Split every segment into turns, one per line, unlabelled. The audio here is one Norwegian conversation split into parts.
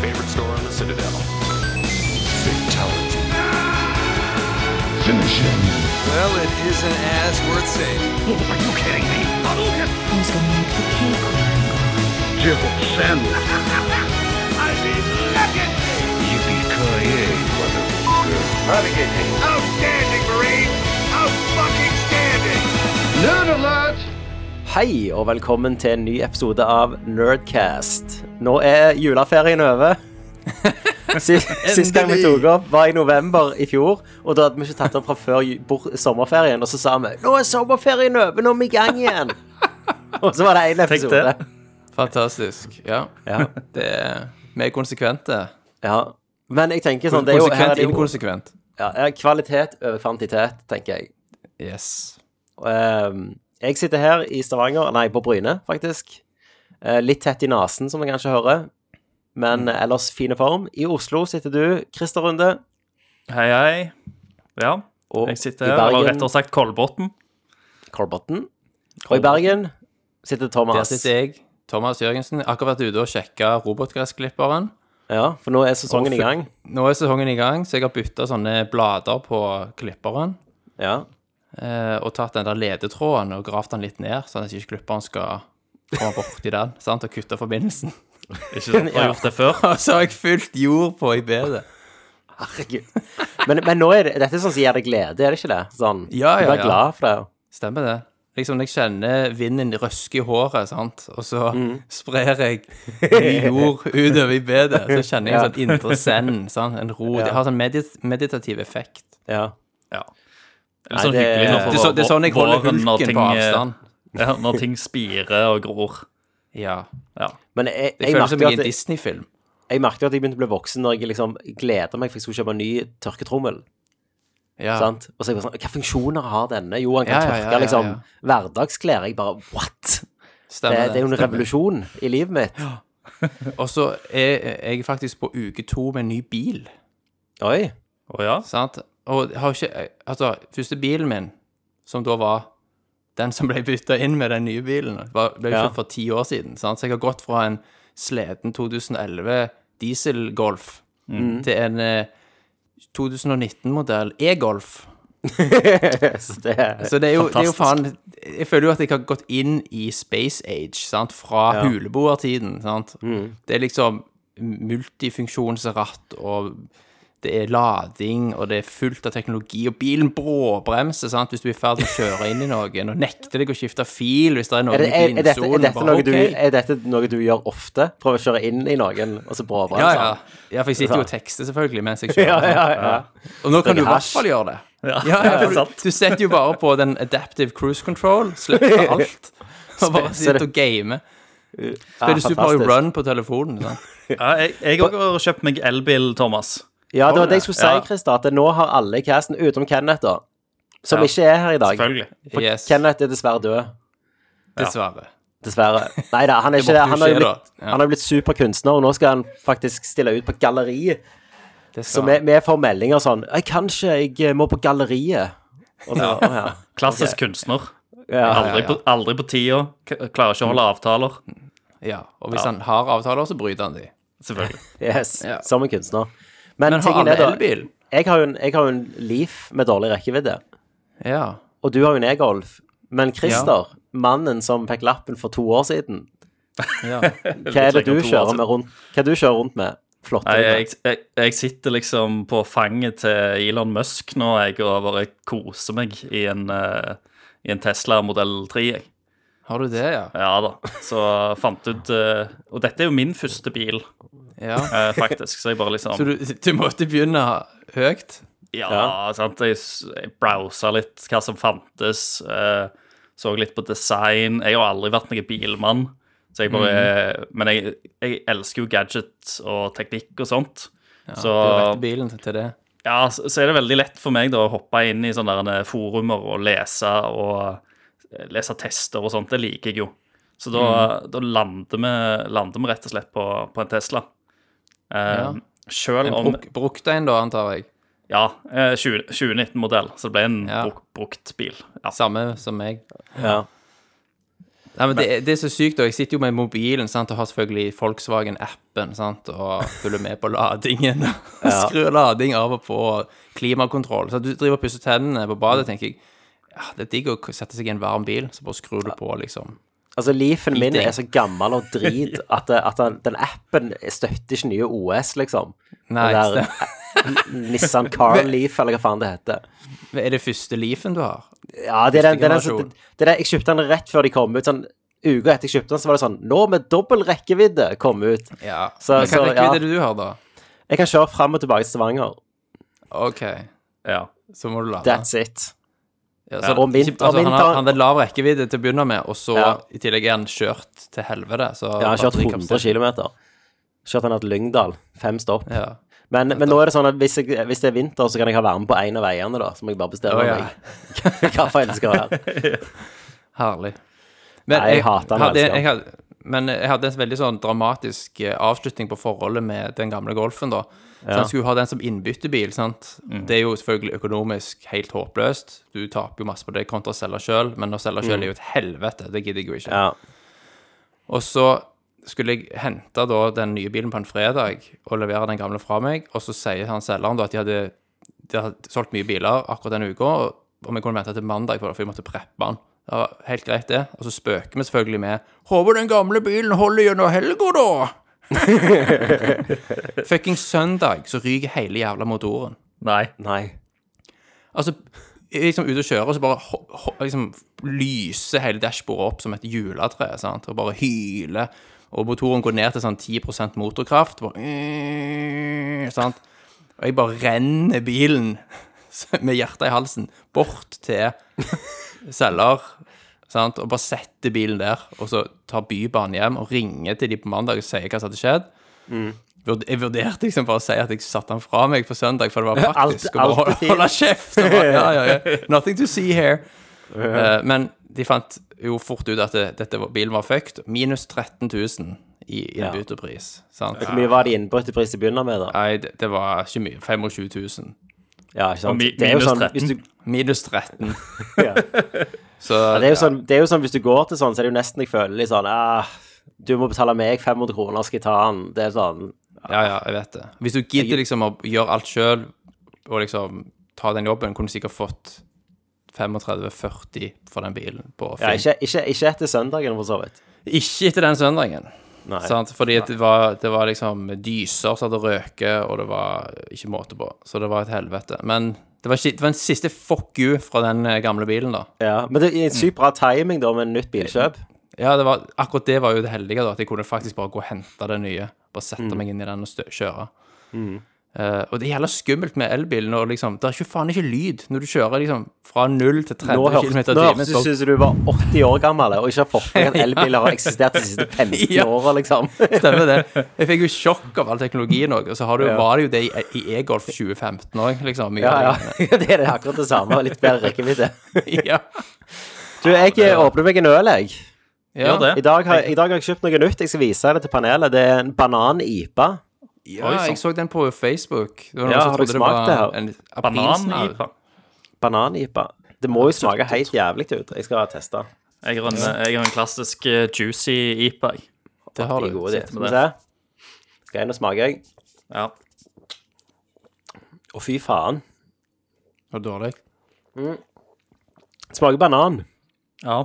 favorite store on the Citadel.
Well, it is an ass worth saving.
Hei, og velkommen til en ny episode av Nerdcast. Nå er juleferien over. Sist, sist gang vi tok opp, var i november i fjor. Og da hadde vi ikke tatt opp fra før ju- bor- sommerferien. Og så sa vi nå er sommerferien over, nå er vi i gang igjen. Og så var det én episode.
Fantastisk. Ja.
Ja,
Det er, vi er konsekvente.
ja. Men jeg tenker sånn, det er jo, her er
Konsekvent
det jo
inkonsekvent.
ja, her er kvalitet over kvantitet, tenker jeg.
Yes.
Ehm, jeg sitter her i Stavanger, nei, på Bryne, faktisk. Eh, litt tett i nesen, som jeg kanskje hører. Men
Mm.
eh, ellers fine form. I Oslo sitter du, Christer Runde.
Hei, hei. Ja,
Og
jeg sitter
i
her, eller
Bergen,
rettere sagt Kolbotn.
Colbotten. Og i Bergen sitter
Der
Thomas.
sitter jeg, Thomas Jørgensen. Akkurat vært ute og sjekka robotgressklipperen.
Ja, for nå er sesongen i gang.
Nå er sesongen i gang, så jeg har bytta sånne blader på klipperen.
Ja.
Eh, og tatt den der ledetråden og gravd den litt ned, sånn at ikke klipperen skal komme borti den sant? og kutte forbindelsen.
Ikke sånn at jeg har gjort det før.
Og så har jeg fylt jord på i bedet.
Herregud. Men, men nå er det, dette er sånn som gir deg glede, er det ikke det? Sånn,
Ja,
Du
ja,
blir
ja.
glad for det.
Stemmer det. Liksom Jeg kjenner vinden røske i håret, sant? og så
Mm.
sprer jeg ny jord utover i bedet. Så kjenner jeg en sånn indre zen, sant? en ro. Det har sånn medit meditativ effekt.
Ja.
Det er sånn
Nei, det-
hyggelig når
Det er, så, det er sånn jeg holder
våren, når
hulken
ting,
på
eh,
avstand.
Ja, når ting spirer og gror.
Ja.
Ja.
Men jeg,
Det
jeg,
føles som
merker
jeg
at
er i en
jeg,
Disney-film.
jeg merker at jeg begynte å bli voksen når jeg liksom gleder meg for jeg skulle kjøpe en ny tørketrommel.
Ja.
Sant? Og så er jeg bare sånn, hva funksjoner har denne? Jo, han kan
Ja, ja, ja,
tørke
ja, ja.
liksom hverdagsklær. Jeg bare, what? Det,
Stemmer
det er jo en
stemmer.
revolusjon i livet mitt.
Og så er jeg faktisk på uke to med en ny bil.
Oi.
Å ja.
Sant? Og jeg har ikke Altså, første bilen min, som da var den som ble bytta inn med den nye bilen, var, ble
Ja.
kjøpt for ti år siden. Sant? Så jeg har gått fra en sliten 2011 dieselgolf til en eh, 2019-modell e-golf.
Så det er
Eh, Så det er jo, det er jo faen
Fantastisk.
Jeg føler jo at jeg har gått inn i space age, sant, fra
Ja. Mm.
huleboertiden, sant. Det er liksom multifunksjonsratt, og det er lading, og det er fullt av teknologi, og bilen bråbremser, sant, hvis du er i ferd med å kjøre inn i noen, og nekter deg å skifte fil hvis det er noen
er, det, er,
i
er, dette, er,
blindsonen.
dette
bare,
noe du,
ok.
er dette noe du gjør ofte? Prøver å kjøre inn i noen, og så bråbremser?
Ja, ja. ja, for jeg sitter jo og tekster selvfølgelig mens jeg kjører.
sånn? ja, ja,
Og nå kan du i hvert
hasj.
fall gjøre det.
Ja,
ja,
det er
for
sant.
du, du setter jo bare på den adaptive cruise control, slipper alt, og bare sitter og gamer. Spiller Super Mario
fantastisk.
Run på telefonen. sånn. Sant?
Ja, jeg jeg også har kjøpt meg elbil, Thomas.
Ja, det var det jeg skulle si,
Ja.
Christer, at nå har alle i casten, utenom Kenneth, da, som
Ja.
ikke er her i dag
Selvfølgelig.
For
Yes,
Kenneth er dessverre død.
dessverre.
Dessverre. Nei da, han er ikke det.
måtte
Han
jo
har jo
skje,
blitt,
da. Ja.
han har blitt superkunstner, og nå skal han faktisk stille ut på galleriet.
Det
Så vi, vi får meldinger sånn Jeg kan ikke, jeg eh, må på galleriet. Og så, å ja.
Klassisk kunstner.
Ja,
Aldri, På, aldri på tida. K- Klarer ikke å holde avtaler.
Ja, og hvis han har avtaler, så bryter han de.
Selvfølgelig.
Yes,
Ja.
som en kunstner. Men,
Men har
tingen
alle
er da
elbil?
jeg har, jo en, jeg har jo en Leaf med dårlig rekkevidde,
Ja.
og du har jo en e-Golf. Men Christer, mannen som fikk lappen for to år siden,
ja.
hva er det
lenger
du
enn to år
kjører
siden.
med rundt? Hva er det du kjører rundt med? Flotte
Nei, jeg,
biler.
jeg, jeg sitter liksom på fanget til Elon Musk nå, jeg, og bare koser meg i en, eh, i en Tesla modell 3. Jeg.
Har du det, ja?
Ja da. Så fant ut eh, Og dette er jo min første bil,
ja.
eh, faktisk, så jeg bare liksom
Så du, du måtte begynne høyt?
Ja, sant. Jeg, s- jeg browsa litt hva som fantes. eh, så litt på design. Jeg har aldri vært noen bilmann. Så jeg
Mm.
bare, Men jeg, jeg elsker jo gadget og teknikk og sånt. så
Du retter bilen til det.
Ja, så så er det veldig lett for meg da å hoppe inn i sånne der eh, forumer og lese og eh, lese tester og sånt. Det liker jeg jo. Så da,
Mm.
da lander, vi, lander vi rett og slett på, på en Tesla. Eh,
Ja.
Selv
En
om
bruk, brukt en, da, antar jeg.
Ja, eh, 20 2019-modell, så det ble en
Ja.
bruk, brukt bil. Ja.
Samme som meg.
Ja.
Nei, men det, er- det er så sykt, og jeg sitter jo med mobilen sant, og har selvfølgelig Volkswagen-appen sant, og følger med på ladingen. og Skrur lading av og på, og klimakontroll. Så du driver og pusser tennene på badet,
Mm.
tenker jeg. Ja, det er digg å sette seg i en varm bil, så bare skrur du på, liksom.
Altså, Leafen min
Eating.
er så gammel og drit at, eh, at den, den appen støtter ikke nye OS, liksom.
Nei,
den der Nissan Car Leaf, eller hva faen det heter.
Er det første Leafen du har?
Ja, det er den, det er den, som-
generasjon.
det er den, jeg kjøpte den rett før de kom ut. sånn Uka etter jeg kjøpte den, så var det sånn Nå med dobbel rekkevidde kom ut.
Ja.
Så-
men hva
så,
rekkevidde
ja.
er det du har, da?
Jeg kan kjøre fram og tilbake til Stavanger.
OK,
Ja.
så må du lade.
That's it.
Ja, så det-
og vinter-
ikke- altså,
og
han, har,
vinter-
han hadde lav rekkevidde til å begynne med, og så
Ja.
i tillegg er han kjørt til helvete. Så
Jeg har kjørt 100
batterikapasitet-
km. Kjørt den her til Lyngdal. Fem stopp.
Ja.
Men, men nå er det sånn at hvis, jeg, hvis det er vinter, så kan jeg ha være med på én av veiene, da. Så må jeg bare bestemme
Å, ja.
meg hva for en det skal være.
Herlig. Men
Nei, jeg hater han,
hadde,
elsker han.
jeg hadde, Men jeg hadde en veldig sånn dramatisk eh, avslutning på forholdet med den gamle Golfen, da. Så han skulle jo ha den som innbyttebil, sant.
Mm.
Det er jo selvfølgelig økonomisk helt håpløst. Du taper jo masse på det kontra å selge sjøl, men å selge
Mm.
sjøl er jo et helvete. Det gidder jeg jo ikke.
Ja.
Og så skulle jeg hente da den nye bilen på en fredag og levere den gamle fra meg, og så sier han selgeren da at de hadde, de hadde solgt mye biler akkurat den uka, og om jeg kunne vente til mandag på det, for jeg måtte preppe den. Det var helt greit, det. Og så spøker vi selvfølgelig med 'Håper den gamle bilen holder gjennom helga, da'. Fucking søndag så ryker hele jævla motoren.
Nei.
Nei.
Altså, jeg er liksom ute og kjører, og så bare ho- ho- liksom lyser hele dashbordet opp som et juletre, sant? og bare hyler. Og motoren går ned til sånn 10 motorkraft. Bare, øh, sant? Og jeg bare renner bilen med hjertet i halsen bort til selger. Sant? Og bare setter bilen der, og så tar Bybanen hjem og ringer til de på mandag og sier hva som hadde skjedd.
Mm.
Vurd- Jeg vurderte liksom bare å si at jeg satte den fra meg på søndag, for det var praktisk.
alt
å bare
er fint.
holde, holde kjeft. Og bare, ja, ja, ja. Nothing to see here. Eh, men de fant jo fort ut at det, dette var, bilen var fucked. Minus 13 000 i innbytterpris. Sant?
Hvor mye var det i innbyttepris til å begynne med, da?
Nei, det, det var ikke mye. 25 000.
Ja, ikke sant?
mi-
Det er jo
minus
sånn, hvis du,
Minus 13.
Ja.
Så
det er jo sånn, det er jo sånn hvis du går til sånn, så er det jo nesten jeg føler litt sånn ah, Du må betale meg 500 kroner, skal jeg ta den? Det er sånn
Ja, ja, jeg vet det. Hvis du gidder liksom å gjøre alt sjøl, og liksom ta den jobben, kunne du sikkert fått 35-40 for den bilen på
ja,
Finn.
ikke, ikke, ikke etter søndagen, for så vidt.
Ikke etter den søndagen.
Nei.
Sant? Fordi at det var, det var liksom dyser som hadde røket, og det var ikke måte på. Så det var et helvete. Men det var, ikke, det var en siste fuck you fra den eh, gamle bilen, da.
Ja. Men det er sykt bra timing da med nytt bilkjøp.
Ja, det var, akkurat det var jo det heldige, da. At jeg kunne faktisk bare gå og hente det nye. Bare sette
Mm.
meg inn i den og stø kjøre. Eh, og det er jævla skummelt med elbilen. Og liksom, det er ikke faen ikke lyd når du kjører liksom fra 0 til 30
Nå
km i
hørtes
timen.
det ut
så-
som du var 80 år gammel og ikke har fått med deg at elbiler har eksistert de siste 15
Ja.
åra, liksom.
Stemmer det. Jeg fikk jo sjokk av all teknologien òg. Og så har du, var det jo det i i e-golf 2015 òg, liksom. mye
Ja, ja.
av
Det er det akkurat det samme, litt bedre rekkevidde.
det. ja.
Du, jeg eh, åpner meg en øl, jeg.
ja.
Gjør det.
I dag, har, I dag har jeg kjøpt noe nytt. Jeg skal vise det til panelet. Det er en banan-IPA.
Ja,
Oi, sant.
jeg så den på Facebook. Det var noen
Ja,
som
har du
trodde det
smakt det
var
her?
en- en
Banan
pilsner.
i pa-
Banan-IPA. Det må jo smake helt jævlig ut. Jeg skal teste.
Jeg har en, jeg har en klassisk eh, juicy IPA. jeg.
Det har
De gode
du.
ditt. Skal vi se. Skal jeg inn og smake, jeg.
Ja.
Å, fy faen.
Og dårlig.
Det Smaker banan.
ja.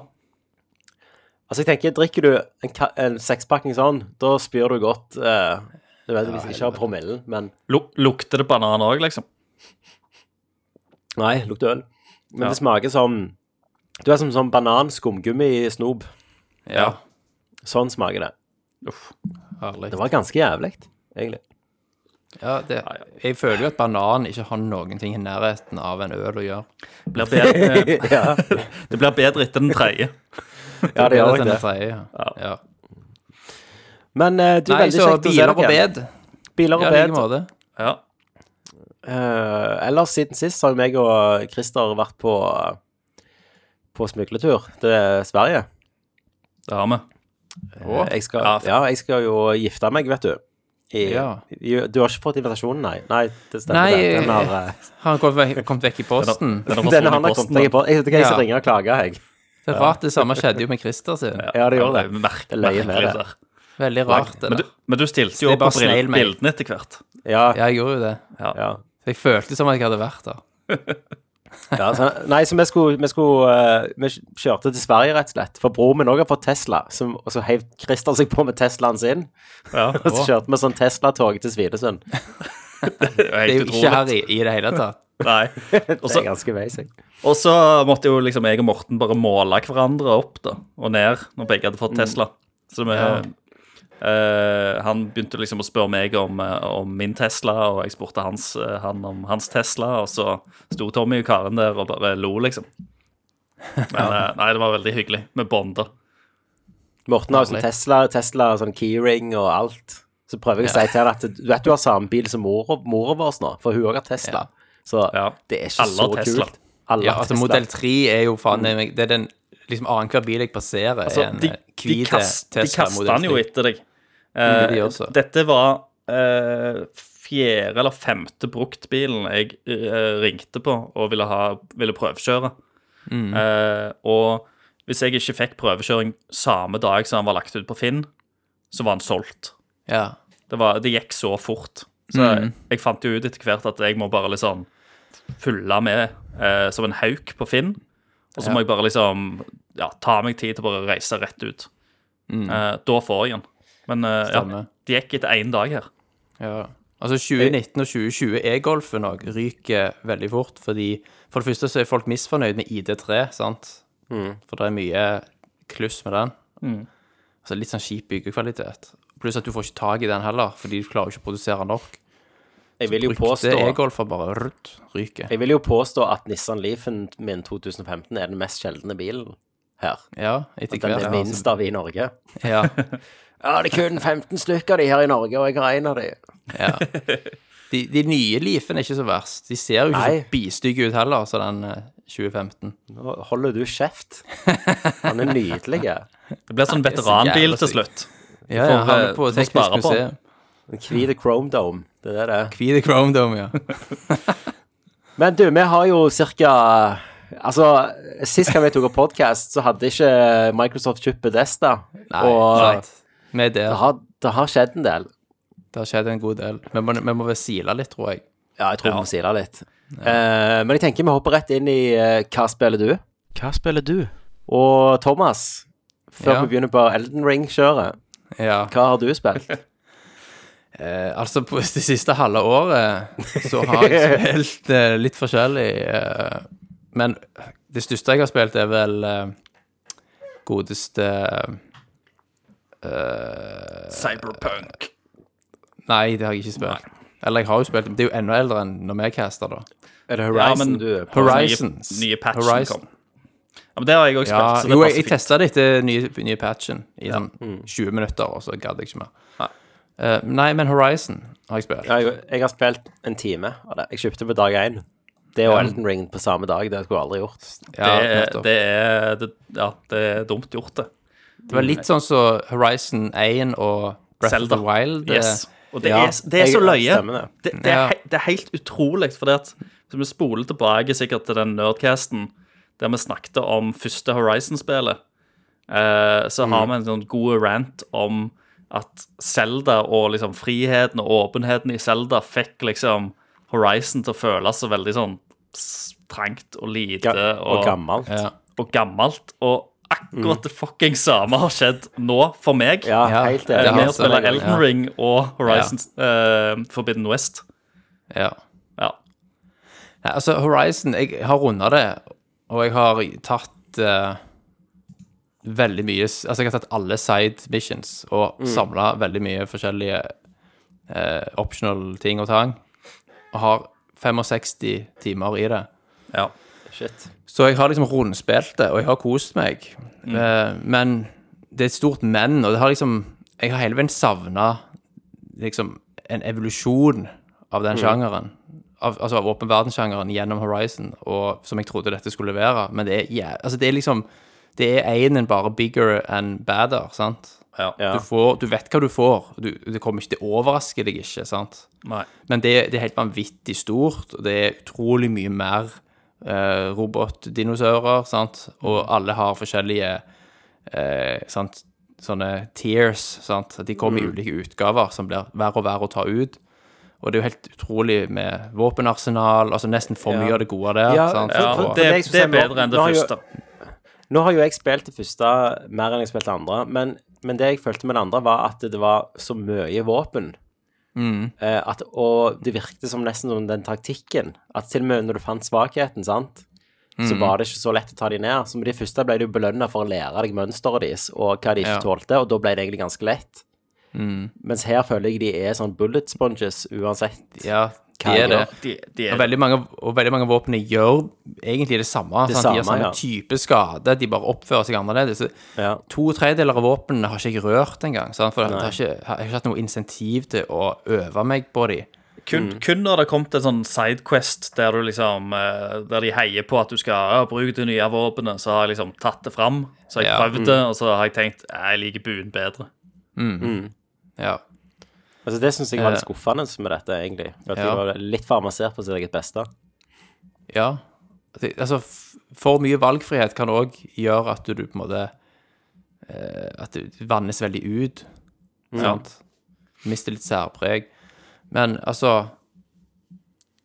Altså, jeg tenker, drikker du en, ka- en sekspakning sånn, da spyr du godt. eh, Nødvendigvis ikke av promillen, men
Lu- Lukter det banan òg, liksom?
Nei, lukter øl. Men
Ja.
det smaker som Du er som sånn banan-skumgummi-snop.
Ja.
Sånn smaker det.
Uff.
Herlig.
Det var ganske jævlig, egentlig.
Ja, det, jeg føler jo at banan ikke har noen ting i nærheten av en øl å gjøre.
Blir bedre, eh,
ja.
det blir bedre etter den tredje.
ja, det gjør
er
jeg
denne
det.
tredje, ja. Ja.
Men eh, du,
Nei,
veldig kjekt
så
å se
biler på
dere.
bed.
Biler
Ja, i
og
like
bed.
måte.
Ja.
Eh, ellers siden sist har jo meg og Christer vært på på smugletur til Sverige. Eh,
Det har vi.
Å,
Jeg skal,
ja, f-
ja, jeg skal jo gifte meg, vet du. I,
Ja.
i- Du har ikke fått invitasjonen, nei? Nei, det stemmer.
Nei,
det. Den har, eh,
Har han kommet vekk, kommet vekk i posten?
den har
Den har forsvunnet i
kommet
posten.
meg i posten. Jeg, jeg skal
Ja.
ringe og klage, jeg.
Det er rart det samme skjedde jo med Christer sin.
Ja, det gjorde det.
Merk,
Det løy med det.
merkelig der.
Veldig rart, det
Men du,
der.
men du stilte
Det
jo
er
opp
bare
på brill-
snailmail.
bildene etter hvert.
Ja,
Ja, jeg gjorde jo det.
ja.
Så jeg følte som at jeg hadde vært der.
ja så, nei, så vi skulle, vi, skulle eh, vi kjørte til Sverige, rett og slett. For broren min òg har fått Tesla, som, og så heiv Christer seg på med Teslaen sin.
Ja,
Og så kjørte vi sånn Tesla-tog til Svinesund.
Det er jo ikke her i, i det hele tatt.
Nei. Og
Det
så-
er ganske basic.
Og så måtte jo liksom jeg og Morten bare måle hverandre opp da, og ned når begge hadde fått Tesla. Så vi, eh, han begynte liksom å spørre meg om, eh, om min Tesla, og jeg spurte hans, eh, han om hans Tesla, og så sto Tommy og Karen der og bare lo, liksom. Men eh, nei, det var veldig hyggelig. Vi bonda.
Morten har jo sånn
Herlig.
Tesla, Tesla og sånn keyring og alt. Så prøver jeg å si til henne at du vet du har samme bil som mora mora vår nå, for hun òg har Tesla. Så
Ja.
det er ikke
Alle
så
har Tesla.
kult. Alle
Ja,
har
altså
Tesla.
Modell 3 er jo faen meg- Det er den liksom annenhver bil jeg passerer, er en
Altså, de,
eh,
de,
hvite
kast, de
Tesla
kastet
Model
han jo
3.
etter deg.
gjorde de
Eh,
også.
dette var eh, fjerde eller femte bruktbilen jeg eh, ringte på og ville, ha, ville prøvekjøre.
Mm.
Eh, og hvis jeg ikke fikk prøvekjøring samme dag som han var lagt ut på Finn, så var han solgt.
Ja. Mm.
Det, var, det gikk så fort. Så jeg, Mm. jeg fant jo ut etter hvert at jeg må bare liksom følge med eh, som en hauk på Finn. Og så må jeg bare liksom ja, ta meg tid til å bare reise rett ut. Eh, da får jeg den. Men eh, ja,
Mm. Stemmer.
det gikk etter én dag her.
ja. Altså 2019 og 2020 e-golfen òg ryker veldig fort, fordi for det første så er folk misfornøyd med ID3, sant.
Mm.
For det er mye kluss med den. Altså litt sånn kjip byggekvalitet. Pluss at du får ikke tak i den heller, fordi du klarer jo ikke å produsere nok.
jeg, vil jo
Brukte
påstå,
e-golfer bare rutt, ryker.
jeg vil jo påstå at Nissan Leafen min 2015 er den mest sjeldne bilen her.
Ja, etter
Den
hvert.
er
altså.
minst av i Norge.
Ja.
Ja, det er kun 15 stykker av de her i Norge, og jeg har én av de.
Ja. De, de nye Leafene er ikke så verst. De ser jo ikke
Nei.
så bistygge ut heller, så den eh, 2015.
Nå holder du kjeft. Han er nydelig. En
Det ble sånn
er så jævla
veteranbil til
sykt.
slutt.
Ja,
får,
ja, han
eh,
er på
du får spare
teknisk
på den.
museum.
hvit Chrome Dome. Det er det.
Hvite Chrome Dome, ja.
Men du, vi har jo cirka Altså, sist gang vi tok opp podkast, så hadde ikke Microsoft kjøpt Bedesta.
Nei,
og
sant. Vi er
Det,
der.
har, det har skjedd en del.
Det har skjedd en god del. Vi må, vi må vel sile litt, tror jeg.
Ja, jeg tror vi må si det litt. Eh, men jeg tenker vi hopper rett inn i eh, Hva spiller du? Hva spiller du? Og Thomas, før
Ja.
vi begynner på Elden Ring-kjøret,
Ja.
hva har du spilt?
Eh, altså, på det siste halve året så har jeg spilt eh, litt forskjellig. Eh, men det største jeg har spilt, er vel eh, godeste eh,
Cyberpunk.
Nei, det har jeg ikke spilt. Eller jeg har jo spilt, men det er jo enda eldre enn når vi caster, da.
Er det
Ja,
Horizon
men-
du er på?
Horizons.
Nye, nye patchen
Horizon.
kom. Ja, men det har jeg òg
Ja,
spilt. så det
jo, jeg, jeg
passer fint. Mm.
testa det etter nye, nye patchen i sånn 20 minutter, og så gadd jeg ikke mer.
Nei.
Eh, nei, men Horizon har jeg spilt.
Ja, jeg, jeg har spilt en time av det. Jeg kjøpte på dag én. Det og Elden Ring på samme dag, det skulle jeg aldri gjort.
Ja,
det, er,
nettopp.
det, er, det, ja, det er dumt gjort, det.
det var litt sånn som Horizon 1 og Breath of
Zelda.
the Wild. eh,
Yes. Og det,
Ja,
er, det er så
jeg-
løye.
stemmer det.
Det, det, er,
Ja.
he- det er helt utrolig, for det at så vi spoler tilbake sikkert til den nerdcasten der vi snakket om første Horizon-spillet. Eh, så
Mm.
har vi en sånn god rant om at Zelda og liksom friheten og åpenheten i Zelda fikk liksom Horizon til å føles så veldig sånn s- trangt og lite
Ga og gammelt.
Ja.
og gammelt. Og akkurat det fucking samme har skjedd nå, for meg.
Ja,
Ja,
helt
det har
Det Eh, med
enig.
å spille
det, ja.
Elden Ring og Horizon eh, Forbidden West.
ja.
Ja.
Nei, altså, Horizon Jeg har runda det, og jeg har tatt eh, veldig mye s- Altså, jeg har tatt alle side missions og
Mm.
samlet samla veldig mye forskjellige eh, optional ting og tang. Og har 65 timer i det.
ja.
Shit.
Så jeg har liksom rundspilt det, og jeg har kost meg. Eh, men det er et stort men, og det har liksom Jeg har hele veien savna liksom en evolusjon av den sjangeren. Av, altså av åpen verden-sjangeren gjennom Horizon, og som jeg trodde dette skulle levere. Men det er, jæ- altså det er liksom Det er einen bare bigger and badder, sant?
ja.
Ja.
Du, får, du vet hva du får. Du, det kommer ikke til å overraske deg ikke, sant?
Nei.
Men det, det er helt vanvittig stort, og det er utrolig mye mer eh, robotdinosaurer, sant? og
Mm.
alle har forskjellige eh, sant? sånne tiers. Sant? At De kommer
Mm.
i ulike utgaver som blir verre og verre å ta ut. Og det er jo helt utrolig med våpenarsenal, altså nesten for mye av det gode der.
Ja,
sant?
Ja,
for-
og,
det,
for meg som
det er
sier, nå-
bedre enn det
nå har jo-
første.
Nå har jo jeg spilt det første mer enn jeg spilte det andre, men, men det jeg følte med det andre, var at det var så mye våpen. Eh, at, og det virkte som nesten som den taktikken. At til og med når du fant svakheten, sant, så var det ikke så lett å ta de ned. Så med de første ble du belønna for å lære deg mønsteret deres og hva de ikke
Ja.
tålte, og da ble det egentlig ganske lett. Mens her føler jeg de er sånn bullet sponges uansett.
ja,
Hva
de
er
er det.
det?
De, de
Og
er,
veldig mange, og veldig mange våpnene gjør egentlig det samme.
Det
sant? de
samme,
gjør samme
ja.
type skade, de bare oppfører seg annerledes. Så
Ja.
To tredjedeler av våpnene har ikke jeg rørt engang. sant? For jeg har ikke, jeg har ikke hatt noe insentiv til å øve meg på de.
kun,
Mm.
kun når det kom til sånn sidequest der du liksom eh, Der de heier på at du skal ja, bruke det nye våpenet, så har jeg liksom tatt det fram. Så har jeg
Ja.
Mm.
prøvd det, og så har jeg tenkt "Ja, jeg liker buen bedre.
Ja.
Altså Det syns jeg var litt
Eh.
skuffende med dette, egentlig. At de
Ja.
var litt for avansert på sitt eget beste.
ja. Det- Altså, f- for mye valgfrihet kan òg gjøre at du, du på en måte eh, At du vannes veldig ut. Sant? Mister litt særpreg. Men altså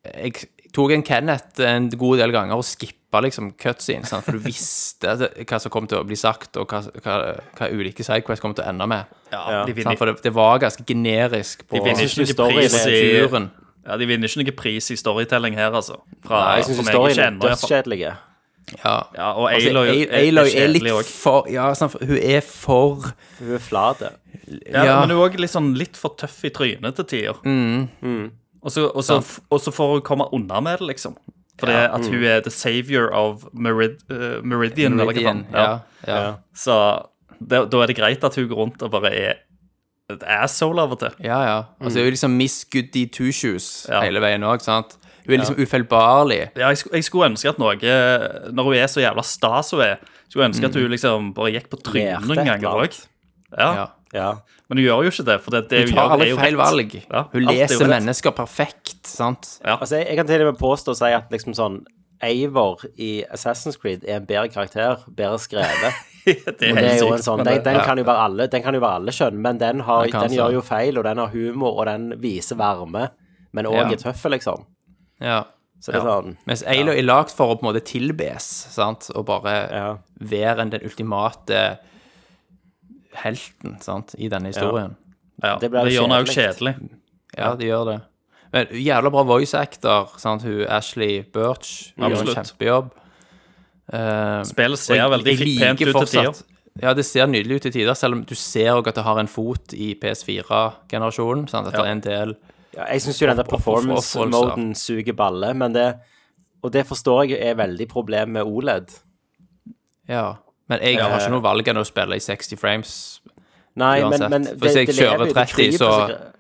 Jeg tok en Kenneth en god del ganger og skippa liksom cutscene, sant? for du visste hva som kom til å bli sagt, og hva, hva, hva ulike sidequests kom til å ende med.
Ja,
Ja.
de vinner,
Sant? Sånn, For det, det var ganske generisk på
de vinner
Jeg synes
ikke
ikke
noe pris
storyen
i
turen.
ja, De vinner ikke noe pris i storytelling her, altså. Fra,
Nei, jeg syns
for meg,
historien
ikke
er
ennå, i hvert fall.
dødskjedelig.
Ja.
Ja, og
Altså, Aloy,
Aloy er,
er
er, kjedelig
litt
òg.
for Ja, sant, for hun er for
Hun er flat.
Ja,
Ja.
Men hun er òg litt, sånn, litt for tøff i trynet til tider.
Mm.
Og, så, og, så, og så får hun komme unna med det, liksom. Fordi at hun er the savior of Merid eh, Meridian, eller hva faen.
Meridian. Ja, ja,
Ja.
Så det, da er det greit at hun går rundt og bare er et asshole av og til.
ja, ja. Altså, hun er liksom Miss Goody Two Shoes
Mm. Ja.
hele veien òg, sant? Hun er liksom ufeilbarlig.
Ja, jeg, sk- jeg skulle ønske at noe Når hun er så jævla sta som hun er, skulle jeg ønske at hun liksom bare gikk på trynet
Mm. Lærte et
noen ganger
eller annet.
òg. Ja.
Ja.
Ja.
Men hun gjør jo ikke det, for det, det
Hun
hun,
tar
gjør, er
alle
jo
feil
rett.
valg.
Ja,
Hun
alt er jo
leser
rett.
mennesker perfekt, sant?
Altså, jeg, jeg kan til og med påstå og si at liksom sånn Eivor i Assassin's Creed er en bedre karakter, bedre skrevet.
Det
Det
helt
er jo
sykt,
en sånn,
men
den,
det-
den kan jo være alle Den kan jo være alle kjønn, men den, har,
Den kan
den
så.
gjør jo feil, og den har humor, og den viser varme, men òg
Ja.
er tøff, liksom.
Ja.
Så det er sånn
Mens Ailo er lagd for å på en måte tilbes, sant, og bare
Ja.
være den ultimate helten, sant, i denne historien.
ja,
det
det,
blir jo
gjør henne òg
kjedelig.
kjedelig.
Ja, det gjør det. Men jævla bra voice actor, sant, hun Ashley Birch. Hun gjør en
Absolutt.
kjempejobb. Eh,
Spillet ser
og jeg-
veldig
jeg
fint-
liker
pent ut til
fortsatt-
tider.
Ja, det ser nydelig ut til tider, selv om du ser også at det har en fot i PS4-generasjonen. sant, At det er en del
Ja, jeg syns jo den der
Opp- opp- opp-
performance-moden suger balle, men det Og det forstår jeg er veldig problem med E OLED.
Ja. Men jeg har ikke noe valg enn å spille i 60 frames.
Nei, men,
Uansett.
men
For hvis jeg
lever
kjører
jo,
30,
kryper
så-
gre-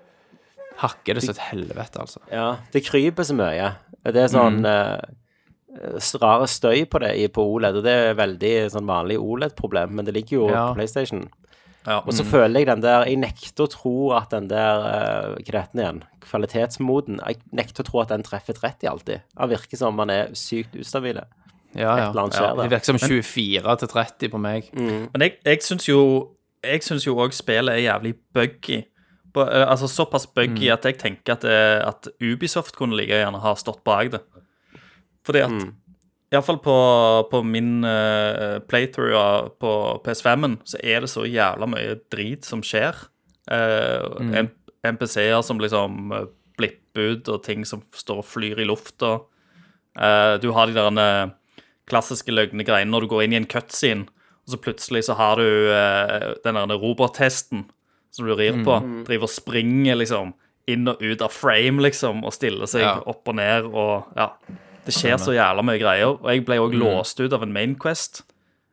Hakker det så et helvete, altså.
Ja, det kryper så mye. Det er
Mm.
sånn eh, s- rare støy på det i- på OLED, og det er veldig sånn vanlig OLED-problem, men det ligger jo
Ja. Mm.
på PlayStation.
Ja.
Og så føler jeg den der Jeg nekter å tro at den der eh, Hva heter den igjen? Kvalitetsmoden. Jeg nekter å tro at den treffer 30 alltid. Han virker som han er sykt ustabil.
Ja, ja.
eller annet
ja.
skjer der.
Det virker som 24 til 30 på meg.
Men jeg, jeg syns jo Jeg synes jo òg spillet er jævlig buggy. På- eh, altså såpass buggy at jeg tenker at, eh, at Ubisoft kunne like gjerne ha stått bak det. Fordi at Iallfall på, på min eh, playthrough av- på PS5-en, så er det så jævla mye drit som skjer. Eh, N- NPC-er som liksom eh, blipper ut, og ting som står og flyr i lufta. Eh, du har de der eh, klassiske løgne greiene når du går inn i en cutscene, og så plutselig så har du eh, den der robot-testen som du rir på,
Mm.
driver og springer liksom inn og ut av frame, liksom, og stiller seg
Ja.
opp og ned og Ja. Det skjer så jævla mye greier. Og jeg ble òg
Mm.
låst ut av en Mainquest,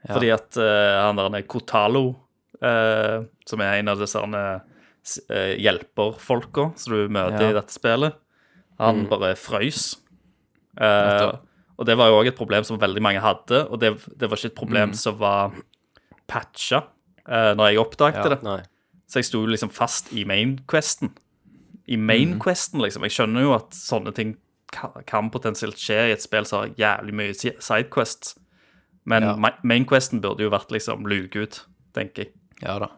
fordi at eh, han der Kotalo, eh, som er en av disse eh, s- eh, hjelperfolka som du møter
Ja. Mm.
i dette spillet, han bare frøys. Eh,
Nettopp.
og det var jo òg et problem som veldig mange hadde, og det, det var ikke et problem
Mm.
som var patcha uh, når jeg oppdagte
Ja,
det.
Nei.
Så jeg sto liksom fast i main questen. I main questen, liksom. Jeg skjønner jo at sånne ting ka- kan potensielt skje i et spill som har jævlig mye si- sidequests. Men ma- mainquesten burde jo vært liksom luke ut, tenker jeg.
Ja da.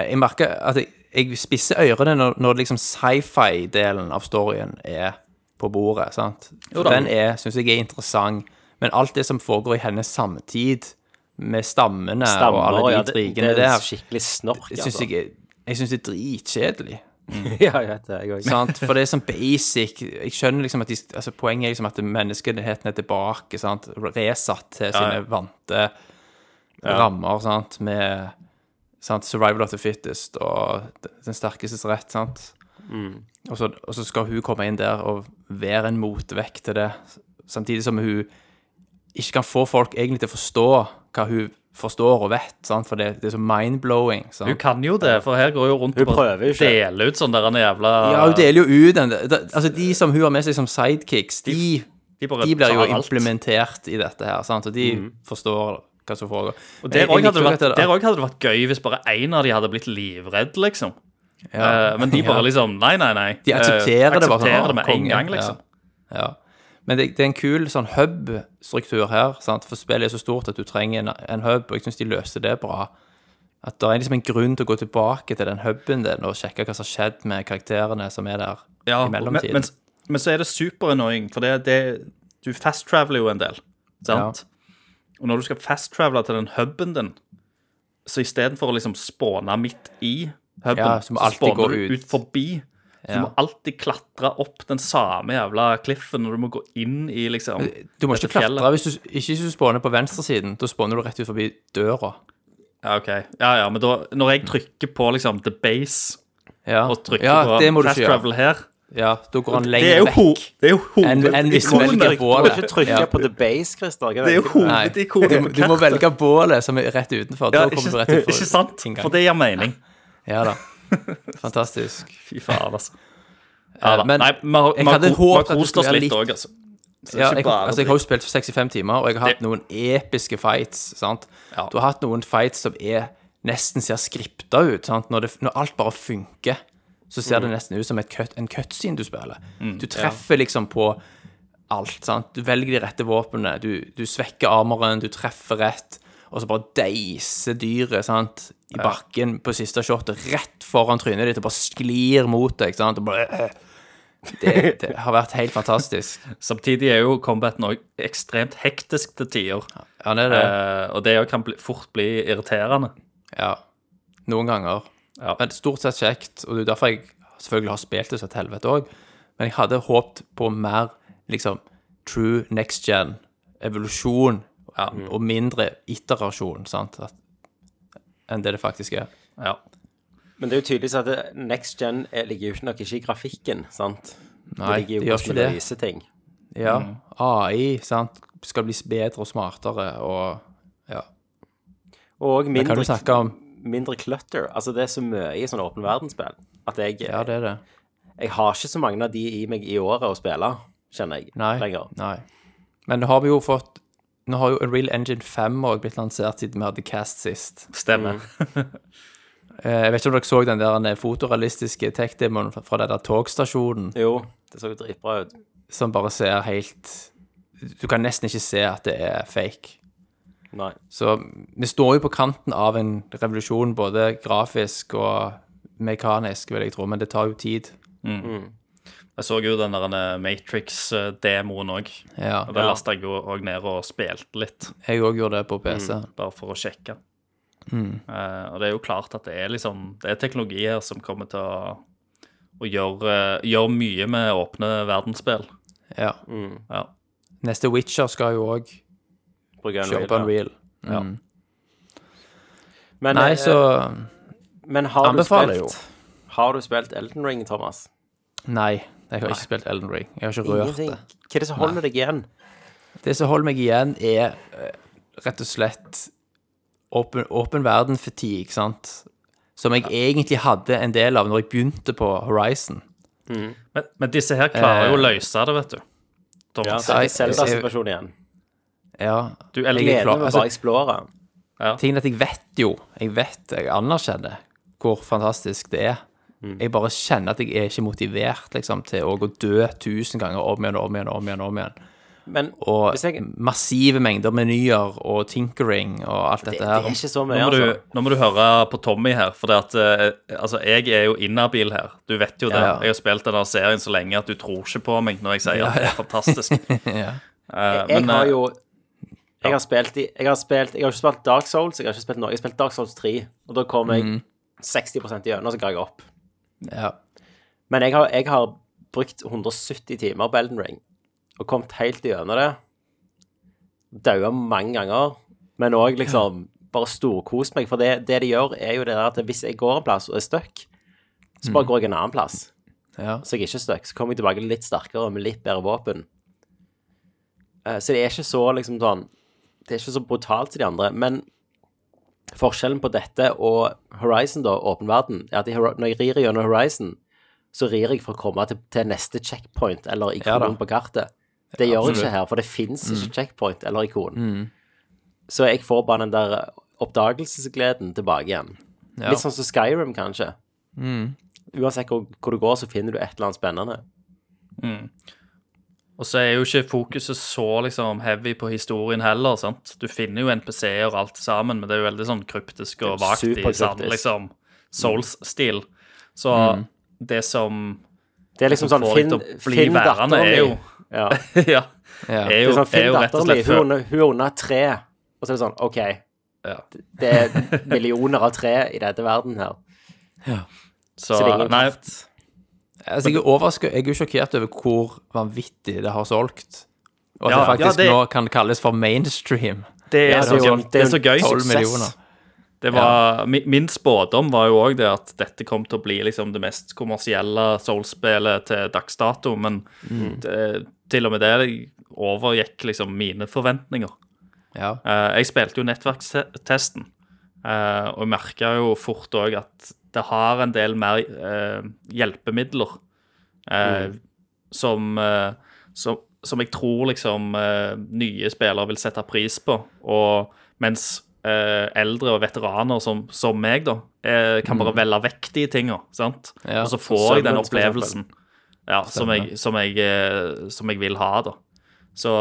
Jeg merker at jeg, jeg spisser ørene når, når det liksom sci-fi-delen av storyen er på bordet. sant?
Jo
For
da.
den er, syns jeg er interessant, men alt det som foregår i hennes samtid, med stammene og alle de
ja,
intrigene
det er
der,
skikkelig snork.
det syns
altså.
jeg, er- jeg synes det er dritkjedelig.
ja, jeg vet det, jeg også.
sant? For det er sånn basic Jeg skjønner liksom at de, altså Poenget er liksom at menneskeheten er tilbake, sant? resatt til sine vante rammer, sant? med sant? survival of the fittest og den sterkestes rett. sant? Og, så, og så skal hun komme inn der og være en motvekt til det, samtidig som hun ikke kan få folk egentlig til å forstå hva hun forstår og vet, sant? for det, det er så mind-blowing. sant?
Hun kan jo det, for her går hun rundt
Hun
og
prøver jo ikke.
deler ut sånne der jævla
Ja, hun deler jo ut den. det- det- Altså, de som hun har med seg som sidekicks, de,
De
de,
bare
blir jo
tar alt. Mhm.
implementert i dette her, sant? og de forstår hva som foregår.
Og Der
Jeg- jeg
òg hadde,
likte
det
jo
vært-
dette, da.
der også hadde det vært gøy hvis bare én av de hadde blitt livredd, liksom. Eh, men de bare
Ja.
liksom Nei, nei, nei.
De aksepterer
Eh,
det bare sånn,
aksepterer
«Å,
det med en
konge»,
gang,
ja.
liksom.
Ja. Men det, det er en kul sånn hub-struktur her, sant? for spillet er så stort at du trenger en, en hub, og jeg syns de løste det bra. At det er liksom en grunn til å gå tilbake til den huben din og sjekke hva som har skjedd med karakterene som er der i
men,
mellomtiden.
men, men så er det superannoying, for det, det, du fast-traveler jo en del. Sant? Og når du skal fast-travele til den huben din, så istedenfor å liksom spåne midt i huben,
Ja, så må alltid gå
du
ut.
ut forbi. Så
Ja.
Du må alltid klatre opp den samme jævla kliffen, og du må gå inn i liksom
eh, du må
dette
ikke
fjellet.
klatre hvis du ikke hvis du spawner på venstresiden. Da spawner du rett ut forbi døra.
Ja, ok. Ja, ja, men da, når jeg trykker på liksom the base
Ja,
og trykker
ja det må
på
du
fast
ikke gjøre.
travel her,
Ja, da går han
det er
lenger
jo, ho
vekk.
det er jo
Enn- enn hvis du
hovedikonet.
velger
Du må
bålet.
ikke trykke
Ja.
på the base, Christer. ikke
Det er jo
veldig-
Nei, du,
hovedikonet på
du må
kartet.
velge bålet som er rett utenfor. Da
Ja,
kommer du
ikke,
rett utenfor.
ikke sant?
inngang.
For det gir mening.
Ja da. Fantastisk.
Fy faen, altså. Ja, da.
men
Nei, vi har-
jeg
vi har
hadde
ko-
håpet
vi har
at det
kost
skulle
oss
være
litt
litt-
òg, altså. Så det er
Ja,
ikke
jeg,
bare
altså, jeg har jo spilt for 65 timer, og jeg har hatt
Det-
noen episke fights. sant?
Ja.
Du har hatt noen fights som er nesten ser skripta ut. sant? Når, det, når alt bare funker, så ser
Mm.
det nesten ut som et cut, en cutscene du spiller. du treffer liksom på alt. sant? Du velger de rette våpnene, du, du svekker armoren, du treffer rett. Og så bare deiser dyret sant? i bakken på siste shotet, rett foran trynet ditt, og bare sklir mot deg. sant? Og bare, det, det har vært helt fantastisk.
Samtidig er jo combaten òg ekstremt hektisk til tider.
Ja, det er det.
Eh, og det òg kan bli, fort bli irriterende.
Ja. Noen ganger.
Ja.
Men stort sett kjekt, og det er derfor jeg selvfølgelig har spilt det så et helvete òg. Men jeg hadde håpt på mer liksom true next gen, evolusjon, ja,
Mm.
og mindre iterasjon, sant, at, enn det det faktisk er.
Ja.
Men det er jo tydelig at det- next gen er- ligger jo ikke nok ikke i grafikken, sant?
Nei,
det ligger
det
jo Mm.
gjør
hvordan
ikke
vi
det.
løser ting.
Ja. AI, sant, skal bli bedre og smartere og Ja.
Og
Det kan
mindre,
vi snakke om.
mindre clutter. Altså, det er så mye i sånne åpen verdensspill at jeg,
Ja, det er det.
jeg har ikke så mange av de i meg i året å spille, kjenner jeg.
Nei.
Lenger.
Nei. Men nå har vi jo fått Nå har jo Unreal Engine 5 òg blitt lansert siden vi hadde Cast sist.
Stemmer.
Eh, Jeg vet ikke om dere så den der den fotorealistiske tech-demoen fra- fra den der togstasjonen,
Jo, det så jo dritbra ut.
som bare ser helt Du kan nesten ikke se at det er fake.
Nei.
Så vi står jo på kanten av en revolusjon, både grafisk og mekanisk, vil jeg tro, men det tar jo tid.
Jeg så jo den der Matrix-demoen òg.
Ja.
Og den lasta jeg jo òg ned og spilte litt,
Jeg òg gjorde det på PC.
bare for å sjekke.
Mm.
Eh, og det er jo klart at det er liksom Det er teknologi her som kommer til å, å gjøre, gjøre mye med åpne verdensspill.
Ja.
Ja.
Neste Witcher skal jo òg
Bruker
kjøre på Unreal.
Ja.
Mm.
Men,
Nei,
eh,
så
men har, du
anbefaler jo.
spilt, har du spilt Elden Ring, Thomas?
Nei. Jeg har ikke spilt Elden Ring. Jeg har ikke rørt
Ingenting.
det.
Hva er det som holder deg igjen?
Det som holder meg igjen, er eh, rett og slett åpen, åpen verden-fatigue, sant? Som jeg egentlig hadde en del av når jeg begynte på Horizon.
Men, men disse her klarer jo å
Eh.
løse det, vet du.
Ja,
Altså,
Thomas.
så er det
Nei,
Zelda-situasjonen igjen.
Ja,
Du
jeg er
elsker
Gleden
klar-
med å
altså,
bare eksplore.
tingen er at jeg vet jo, jeg vet, jeg anerkjenner hvor fantastisk det er.
Mm.
Jeg bare kjenner at jeg er ikke motivert liksom, til å gå dø tusen ganger om igjen og om igjen og om igjen. og om igjen.
Men
Og
hvis jeg,
massive mengder menyer og tinkering og alt
det,
dette
det
her.
er ikke så mye,
Nå må,
altså.
du, nå må du høre på Tommy her, for det at, eh, altså, jeg er jo inhabil her. Du vet jo det.
Ja, ja.
Jeg har spilt denne serien så lenge at du tror ikke på meg når jeg sier at det er fantastisk.
ja.
Eh,
Jeg
men,
har
eh,
jo jeg har, spilt i, jeg har spilt Jeg har ikke spilt Dark Souls, jeg har ikke spilt noe. Jeg har spilt Dark Souls 3, og da kom jeg
Mhm.
60 igjennom, så ga jeg opp.
Ja.
Men jeg har, jeg har brukt 170 timer på Elden Ring og kommet helt gjennom det. Daua mange ganger, men òg liksom bare storkost meg. For det, det de gjør, er jo det der at hvis jeg går en plass og er stuck, så
Mhm.
bare går jeg en annen plass.
Ja.
Så jeg er ikke stuck. Så kommer jeg tilbake litt sterkere og med litt bedre våpen. Eh, Så det er ikke så liksom sånn Det er ikke så brutalt som de andre. Men forskjellen på dette og Horizon, da, åpen verden, er at i Hor- når jeg rir gjennom Horizon, så rir jeg for å komme til, til neste checkpoint eller
Ja da. Mm.
ikon på kartet. Det gjør jeg ikke her, for det fins ikke checkpoint eller ikon. Så jeg får bare den der oppdagelsesgleden tilbake igjen.
Ja.
Litt sånn som Skyrim, kanskje. Uansett hvor, hvor du går, så finner du et eller annet spennende.
Og så er jo ikke fokuset så liksom heavy på historien heller, sant. Du finner jo NPC-er og alt sammen, men det er jo veldig sånn kryptisk og vagt i
superkryptisk.
sånn liksom Souls-stil. Så
Mm.
det som
Det er liksom
som
sånn
Altså, får deg
Finn,
til å bli
finn datteren
værende, er jo
min. Ja.
Ja.
Ja.
Er
Det
jo,
er sånn,
er
Finn
jo rett og
datteren min,
slett
hun er
før
under- hun er under tre. Og så er det sånn, OK,
ja.
det er millioner av tre i denne verden her.
Så,
Så det er ingen
nei,
kraft.
Altså, jeg er overrasket, jeg er jo sjokkert over hvor vanvittig det har solgt. Og at
Ja,
det faktisk
ja, det-
nå kan kalles for mainstream.
det er,
Ja,
så,
jo-
gøy. det er så
jo en
gøy.
12
suksess.
millioner.
Det var, mi- Min spådom var jo òg det at dette kom til å bli liksom det mest kommersielle Souls-spillet til dags dato, men det, til og med det overgikk liksom mine forventninger.
Ja.
Eh, jeg spilte jo nettverkstesten, eh, og merka jo fort òg at det har en del mer eh, hjelpemidler eh, som, eh, som, som jeg tror liksom eh, nye spillere vil sette pris på. Og mens eh, eldre og veteraner som, som meg, da, eh, kan bare velge vekk de tinga. sant?
Ja,
og
som
så får jeg den
Sørlands, for
opplevelsen ja, som, jeg, som, jeg, eh, som jeg vil ha, da. Så,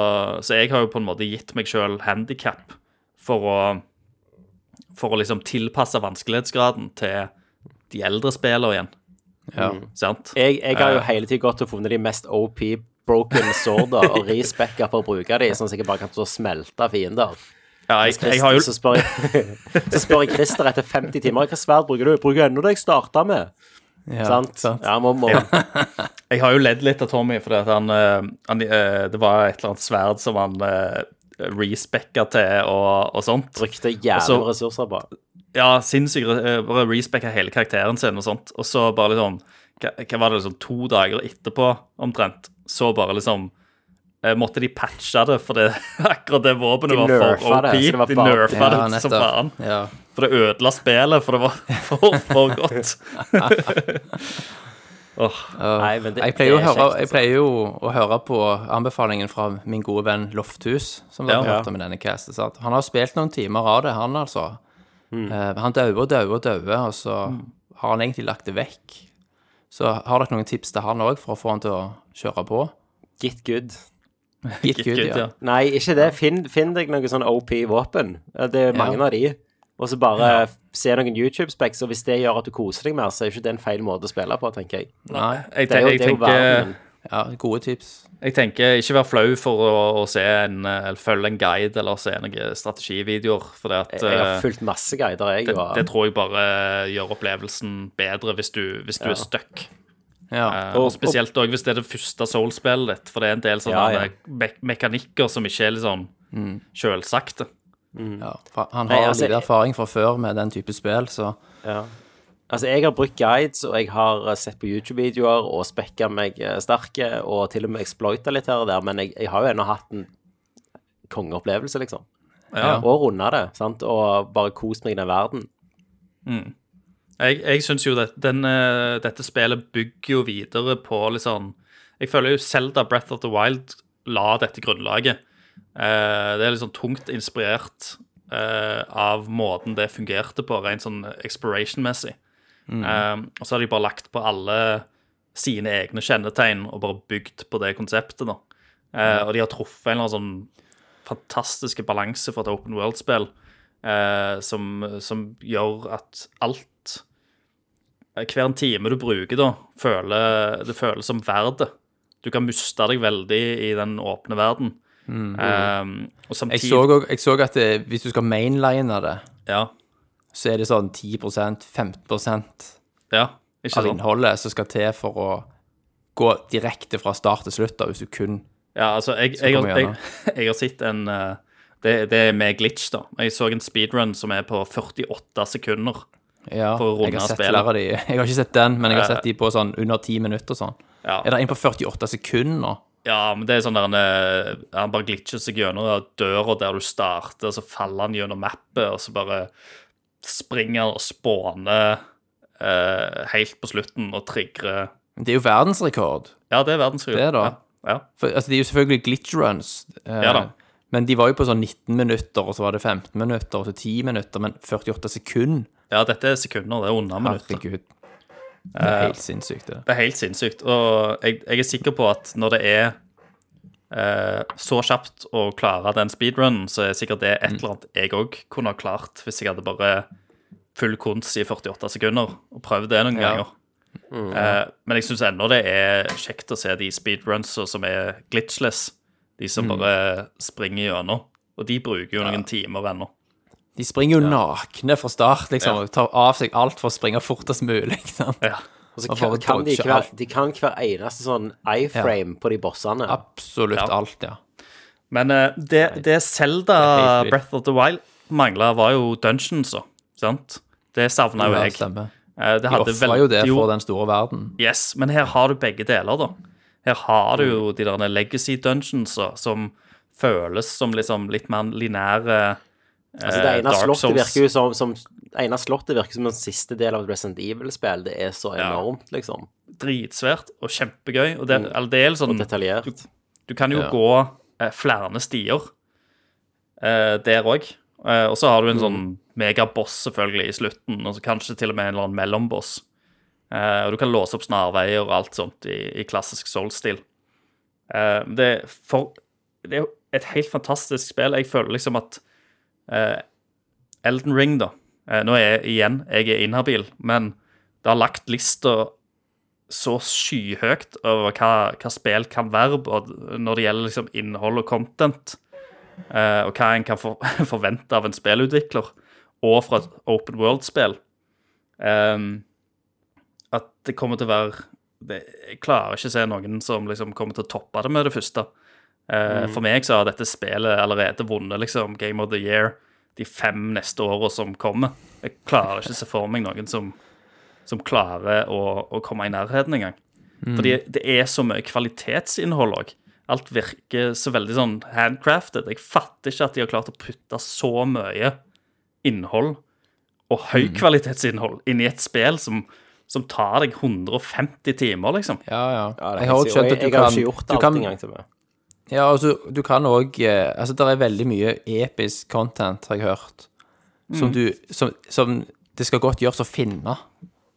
så jeg har jo på en måte gitt meg sjøl handikap for å For å liksom tilpasse vanskelighetsgraden til de eldre spillene igjen. Mm,
Ja.
Sant?
Jeg, jeg har jo hele tiden gått og funnet de mest OP broken sworder og respekka for å bruke de, sånn at jeg bare kan stå og smelte fiender.
Ja, jeg, jeg har jo
så, spør jeg, så spør jeg Christer etter 50 timer hva sverd bruker du? Bruker ennå det jeg starta med.
Ja,
sant? Ja, må, må.
Jeg har jo ledd litt av Tommy, fordi at han, eh, han eh, Det var et eller annet sverd som han uh, respekka til og, og sånt.
Brukte jævlig
Altså-
med ressurser på.
Ja, sinnssykt. eh, Bare respekka hele karakteren sin og sånt. Og så bare liksom Hva, hva var det, liksom to dager etterpå, omtrent, så bare liksom eh, Måtte de patche det, for det, akkurat det våpenet
De
var
nerfa
for OP.
det, så det var
de
bare-
nerfa
Ja,
det som
nettopp.
faen.
Ja.
For det ødela spillet, for det var for, for godt. Åh,
Nei, men det-
Jeg pleier, jo å
det er
høre,
kjekt,
jeg pleier jo å høre på anbefalingen fra min gode venn Lofthus, som dere
Ja.
har hørt om i denne castet. Sant? Han har spilt noen timer av det, han altså.
Mm.
Eh, han dauer og dauer og dauer, og så har han egentlig lagt det vekk. Så har dere noen tips til han òg, for å få han til å kjøre på?
Get good.
Gitt
Gud,
gud, ja.
ja.
Nei, ikke det. Finn, finn deg noen sånn OP-våpen. Det er mange
Ja.
av de. Og så bare se noen YouTube-specs, og hvis det gjør at du koser deg mer, så er jo ikke det en feil måte å spille på, tenker jeg.
Nei.
Jeg,
Det
ten,
er jo,
jeg
det er jo
tenker
verden.
Ja, gode tips.
Jeg tenker, ikke vær flau for å, å se en, eh, eller følge en guide eller se noen strategivideoer, for det, at,
Jeg jeg har
eh,
fulgt masse guider, jeg.
det,
og-
det tror jeg bare gjør opplevelsen bedre hvis du, hvis du er stuck.
Ja.
Eh, og spesielt også hvis det er det første soul-spillet ditt, for det er en del sånne
Ja, ja. Mm.
Me mekanikker som ikke er litt sånn selvsagte.
ja. for Han
Nei,
har
altså,
lite erfaring fra før med den type spill, så
Altså, jeg har brukt guides, og jeg har eh, sett på YouTube-videoer og spekka meg eh, sterke, og til og med exploita litt her og der, men jeg, jeg har jo ennå hatt en kongeopplevelse, liksom.
Ja.
Og runda det, sant, og bare kost meg i den verden.
Jeg, jeg syns jo det, den, eh, dette spillet bygger jo videre på litt sånn Jeg føler jo Zelda Breath of the Wild la dette grunnlaget. Eh, det er litt sånn tungt inspirert eh, av måten det fungerte på, rent sånn exploration-messig. Um, og så har de bare lagt på alle sine egne kjennetegn og bare bygd på det konseptet. da. Eh, og de har truffet en eller annen sånn fantastiske balanse for et open world-spill eh, som, som gjør at alt eh, Hver en time du bruker, da, føler, det føles som verdt det. Du kan miste deg veldig i den åpne verden. Eh, og
Mm. Jeg
samtidig
så, og, jeg så at det, hvis du skal mainline det,
Ja.
så er det sånn 10 15
ja
av
ikke sant?
innholdet som skal til for å gå direkte fra start til slutt, da, hvis du kun
Ja, altså, jeg, jeg,
kom
har- jeg,
igjen,
jeg har sett en eh, det, det er med glitch, da. Jeg så en speedrun som er på 48 sekunder.
Ja,
For å runde
jeg har sett
spillet.
flere av de. Jeg har ikke sett den, men jeg har sett de på sånn under 10 minutter og sånn.
Ja,
Er det en på 48 sekunder?
ja men det er sånn der han, eh, han bare glitcher seg gjennom døra der du starter, så faller han gjennom mappet, og så bare springer han og spåner eh, helt på slutten og trigger
Det er jo verdensrekord.
Ja, det er verdensrekord.
Det da.
Ja, ja.
For, altså, det er jo selvfølgelig glitch runs. eh,
Ja da.
Men de var jo på sånn 19 minutter, og så var det 15 minutter, og så 10 minutter, men 48 sekunder?
ja, dette er sekunder, det er under minutter.
Herregud. Det er helt sinnssykt, det.
Det er helt sinnssykt. Og jeg, jeg er sikker på at når det er eh, så kjapt å klare den speedrunnen, så er sikkert det et eller annet jeg òg kunne ha klart hvis jeg hadde bare full kons i 48 sekunder og prøvd det noen
Ja.
ganger. Eh, men jeg syns ennå det er kjekt å se de speedrunsa som er glitchless. De som bare springer gjennom. Og de bruker jo noen timer ennå.
De springer jo nakne fra start, liksom,
Ja.
og tar av seg alt for å springe fortest mulig. ikke sant?
Ja.
Og så
Og
kan,
bare
kan de,
dodge
hver,
alt.
de kan hver eneste sånn iframe på de bossene.
Absolutt
Ja.
alt, ja.
Men eh, det, det
Det er
Zelda
helt vilt.
Breath of the Wild mangla, var jo dungeons, da. Sant? Det savna jo
Ja,
jeg.
stemmer.
Eh, Det
De
hadde
ofra
vel-
jo det
jo,
for den store verden.
Yes, men her har du begge deler, da. Her har du
Mm.
jo de der legacy dungeons da, som føles som liksom litt mer eh, linære
Altså,
Eh,
det ene slottet virker jo som, som, det ene slottet virker som en siste del av et Resident Evil-spill. Det er så enormt, liksom.
dritsvært og kjempegøy. Og det,
Mm.
eller det er litt sånn
Detaljert.
Du kan jo gå eh, flere stier eh, der òg. Eh, og så har du en sånn megaboss selvfølgelig i slutten, og så kanskje til og med en eller annen mellomboss. Eh, og du kan låse opp snarveier og alt sånt i, i klassisk Soul-stil. Eh, det, er for, det er jo et helt fantastisk spill. Jeg føler liksom at eh, Elden Ring, da eh, Nå er jeg igjen, jeg er inhabil, men det har lagt lista så skyhøyt over hva, hva spill kan være både når det gjelder liksom innhold og content, eh, og hva en kan for, forvente av en spillutvikler, og fra et open world-spill. Ehm, at det kommer til å være det, Jeg klarer ikke å se noen som liksom kommer til å toppe det med det første. Eh, For meg så har dette spillet allerede vunnet liksom Game of the Year de fem neste åra som kommer. Jeg klarer ikke å se for meg noen som som klarer å, å komme i nærheten engang. Fordi det er så mye kvalitetsinnhold òg. Alt virker så veldig sånn handcrafted. Jeg fatter ikke at de har klart å putte så mye innhold, og høykvalitetsinnhold, inn i et spill som, som tar deg 150 timer, liksom.
Ja, ja.
Ja, det er
jeg har
helt
også
sykt. Og
skjønt at du
jeg, jeg har
kan
ikke gjort
du
alt
kan-
engang til meg.
Ja, altså, du kan òg Altså, det er veldig mye episk content, har jeg hørt, som du Som, som det skal godt gjøres å finne.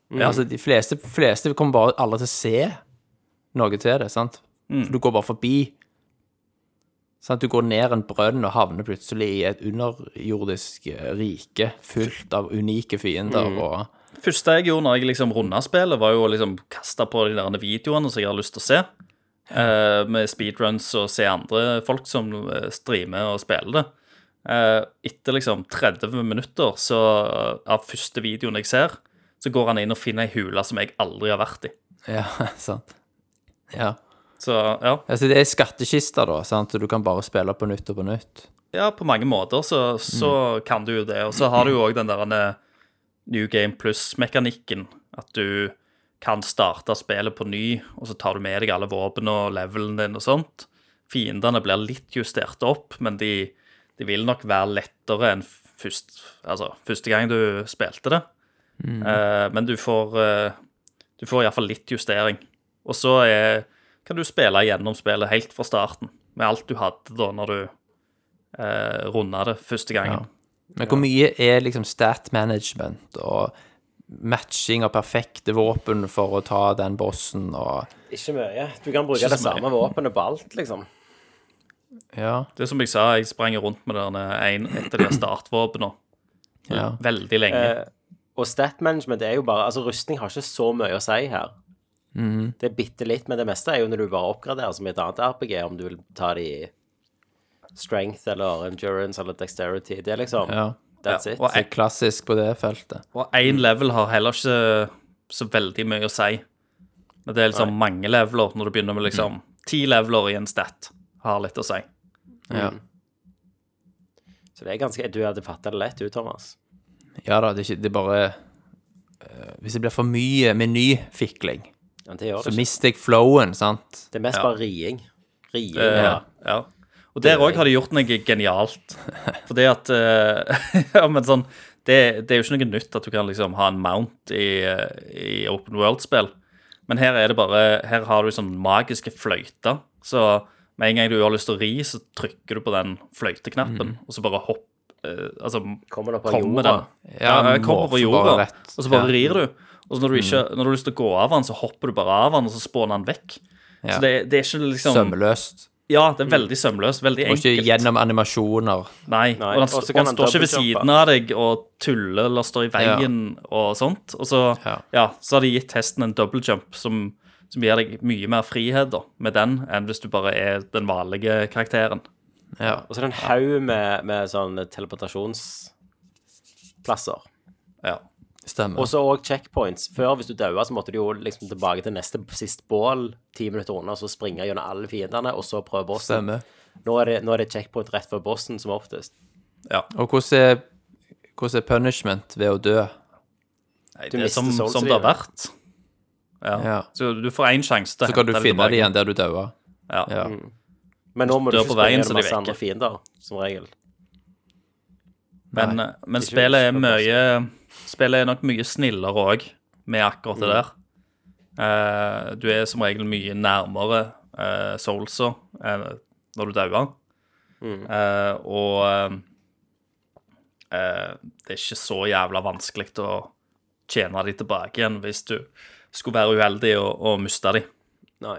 Altså, de fleste, fleste kommer bare aldri til å se noe til det, sant? For du går bare forbi. Sant? Du går ned en brønn og havner plutselig i et underjordisk eh, rike fullt av unike fiender og
første jeg gjorde når jeg liksom runda spillet, var jo å liksom kaste på de der videoene som jeg har lyst til å se. eh, med speedruns og se andre folk som eh, streamer og spiller det. Eh, etter liksom 30 minutter så, av første videoen jeg ser, så går han inn og finner ei hule som jeg aldri har vært i.
Ja, sant. Ja.
Så ja,
Altså, det er skattkister, da, sant? og du kan bare spille på nytt og på nytt.
ja på mange måter så, så kan du jo det. Og så har du jo òg den der eh, New Game Plus-mekanikken. At du kan starte spillet på ny, og så tar du med deg alle våpen og levelen din og sånt. Fiendene blir litt justert opp, men de, de vil nok være lettere enn først, altså, første gang du spilte det. Eh, men du får, eh, du får iallfall litt justering. Og så er, kan du spille gjennom spillet helt fra starten, med alt du hadde da når du uh, runda eh, det første gangen.
Men hvor mye er liksom stat management og matching av perfekte våpen for å ta den bossen og
Ikke mye. Du kan bruke
Ikke
det
så mye.
samme våpenet på alt, liksom.
Ja.
Det er som jeg sa, jeg sprang rundt med denne en, et av de startvåpnene
ja.
veldig lenge.
Og stat management er jo bare Altså, rustning har ikke så mye å si her.
Mhm.
Det er bitte litt, men det meste er jo når du bare oppgraderer som i et annet RPG, om du vil ta det i strength eller endurance eller dexterity. Det er liksom
ja.
That's it.
Og e-
Så klassisk på det feltet.
Og én level har heller ikke så veldig mye å si. Men det er liksom mange leveler når du begynner med liksom ti leveler i en stat. Har litt å si.
Mm.
Ja,
Så det er ganske Du hadde fatta det lett, du, Thomas.
ja da, det er, ikke, det er bare eh, Hvis det blir for mye menyfikling,
Men det gjør
så
det ikke.
mister jeg flowen, sant?
Det er mest bare riing. Riing.
Eh,
Ja.
ja. Og der òg har de gjort noe genialt. For det at eh, Ja, men sånn det, det er jo ikke noe nytt at du kan liksom ha en mount i, eh, i open world-spill. Men her er det bare Her har du sånn magiske fløyter. Så med en gang du har lyst til å ri, så trykker du på den fløyteknappen,
Mm.
og så bare hopp eh, Altså
Kommer det på
kommer
jorda?
den. Ja,
den
den kommer på
morfer
jorda,
bare rett.
og så bare
Ja. Mm.
rir du. Og så når du, ikke, når du har lyst til å gå av den, så hopper du bare av den, og så spåner den vekk.
Ja.
Så det, det er ikke liksom
Sømløst.
ja, det er veldig sømløst. Veldig
Og
enkelt.
Mm. ikke gjennom animasjoner.
Nei,
Nei,
og han,
og så
og
kan han
han står ikke ved
dobbeltjumpe.
siden av deg og tuller eller står i veien og sånt. Og så, ja.
Ja.
så har de gitt hesten en double jump som, som gir deg mye mer frihet da, med den enn hvis du bare er den vanlige karakteren.
Ja.
Og så er det en haug med, med sånn teleportasjonsplasser.
Ja.
Stemmer.
Og så òg checkpoints. Før, hvis du daua, så måtte du jo liksom tilbake til neste sist bål ti minutter unna, så springe gjennom alle fiendene, og så prøve bossen.
Stemmer.
Nå er, det, nå er det checkpoint rett før bossen, som oftest.
ja.
Og hvordan er, hvordan er punishment ved å dø?
Nei,
Du
det er
mister
som,
souls
som
i
det har
det.
vært. Ja.
Ja.
Så du får én sjanse til
Så kan du
hente
finne
tilbake.
det igjen der du daua.
Ja.
Ja.
Mm. Men nå må du
Dør
ikke
på
springe
veien, så
gjennom
de
masse
vekker.
andre fiender, som regel.
Men, eh, men
ikke
spillet er
husker
mye Spillet er nok mye snillere òg, med akkurat det
Mm.
der. Eh, du er som regel mye nærmere uh, soulsa eh, når du dauer.
Mm.
Eh, og eh, det er ikke så jævla vanskelig å tjene de tilbake igjen hvis du skulle være uheldig og, og miste de.
Nei.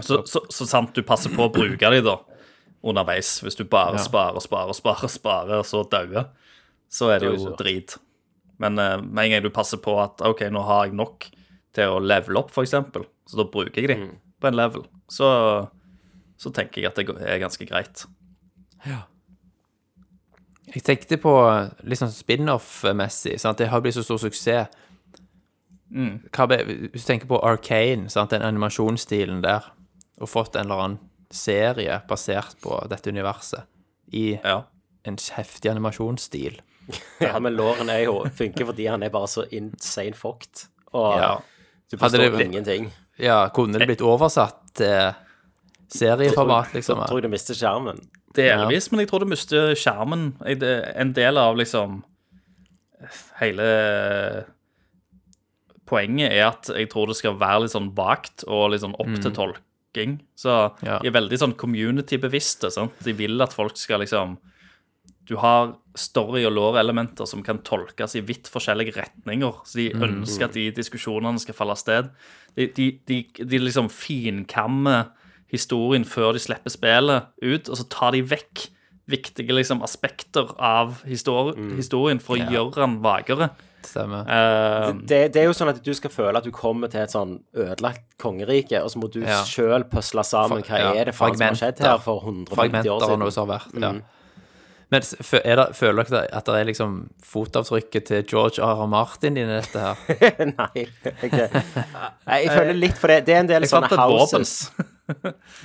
Så, så, så sant du passer på å bruke de da underveis. Hvis du bare
Ja.
sparer, sparer, sparer, sparer, og så dauer, så er det
Det er
jo
jo så.
drit. Men eh, med en gang du passer på at OK, nå har jeg nok til å levele opp, f.eks., så da bruker jeg de på en level, så, så tenker jeg at det er ganske greit.
Jeg tenkte på litt sånn spin-off-messig. sant? Det har blitt så stor suksess. Hva ble, hvis du tenker på Arcane, sant? den animasjonsstilen der, og fått en eller annen serie basert på dette universet i
Ja.
en heftig animasjonsstil
Ja, men Lauren er jo funker fordi han er bare så insane fucked. Og
Ja.
du
Hadde
forstår
det-
ingenting.
Ja, kunne det blitt oversatt til serieformat,
Så
liksom?
tror jeg du mister skjermen.
Delvis, men jeg tror du mister skjermen. Jeg- det- En del av liksom Hele poenget er at jeg tror det skal være litt sånn vagt og litt sånn opp til tolking. Så
Ja.
de er veldig sånn community-bevisste. sant? De vil at folk skal liksom Du har story- og lore-elementer som kan tolkes i vidt forskjellige retninger. Så de ønsker at de diskusjonene skal falle av sted. De, de, de, de liksom finkammer historien før de slipper spillet ut, og så tar de vekk viktige liksom, aspekter av histor historien for å gjøre den vagere.
Stemmer.
Eh,
det, det er jo sånn at du skal føle at du kommer til et sånn ødelagt kongerike, og så må du
Ja.
selv sjøl pøsle sammen hva
Ja,
er det faen som har skjedd her for 150 år
Fragmenter av
siden. Mm.
noe som har vært. Ja. Men s- fø- er det, føler dere at det er liksom fotavtrykket til George R. R. Martin i dette her?
Nei, ok. Nei, jeg føler litt for det. Det er en del
jeg fant
sånne
et våpen.
houses.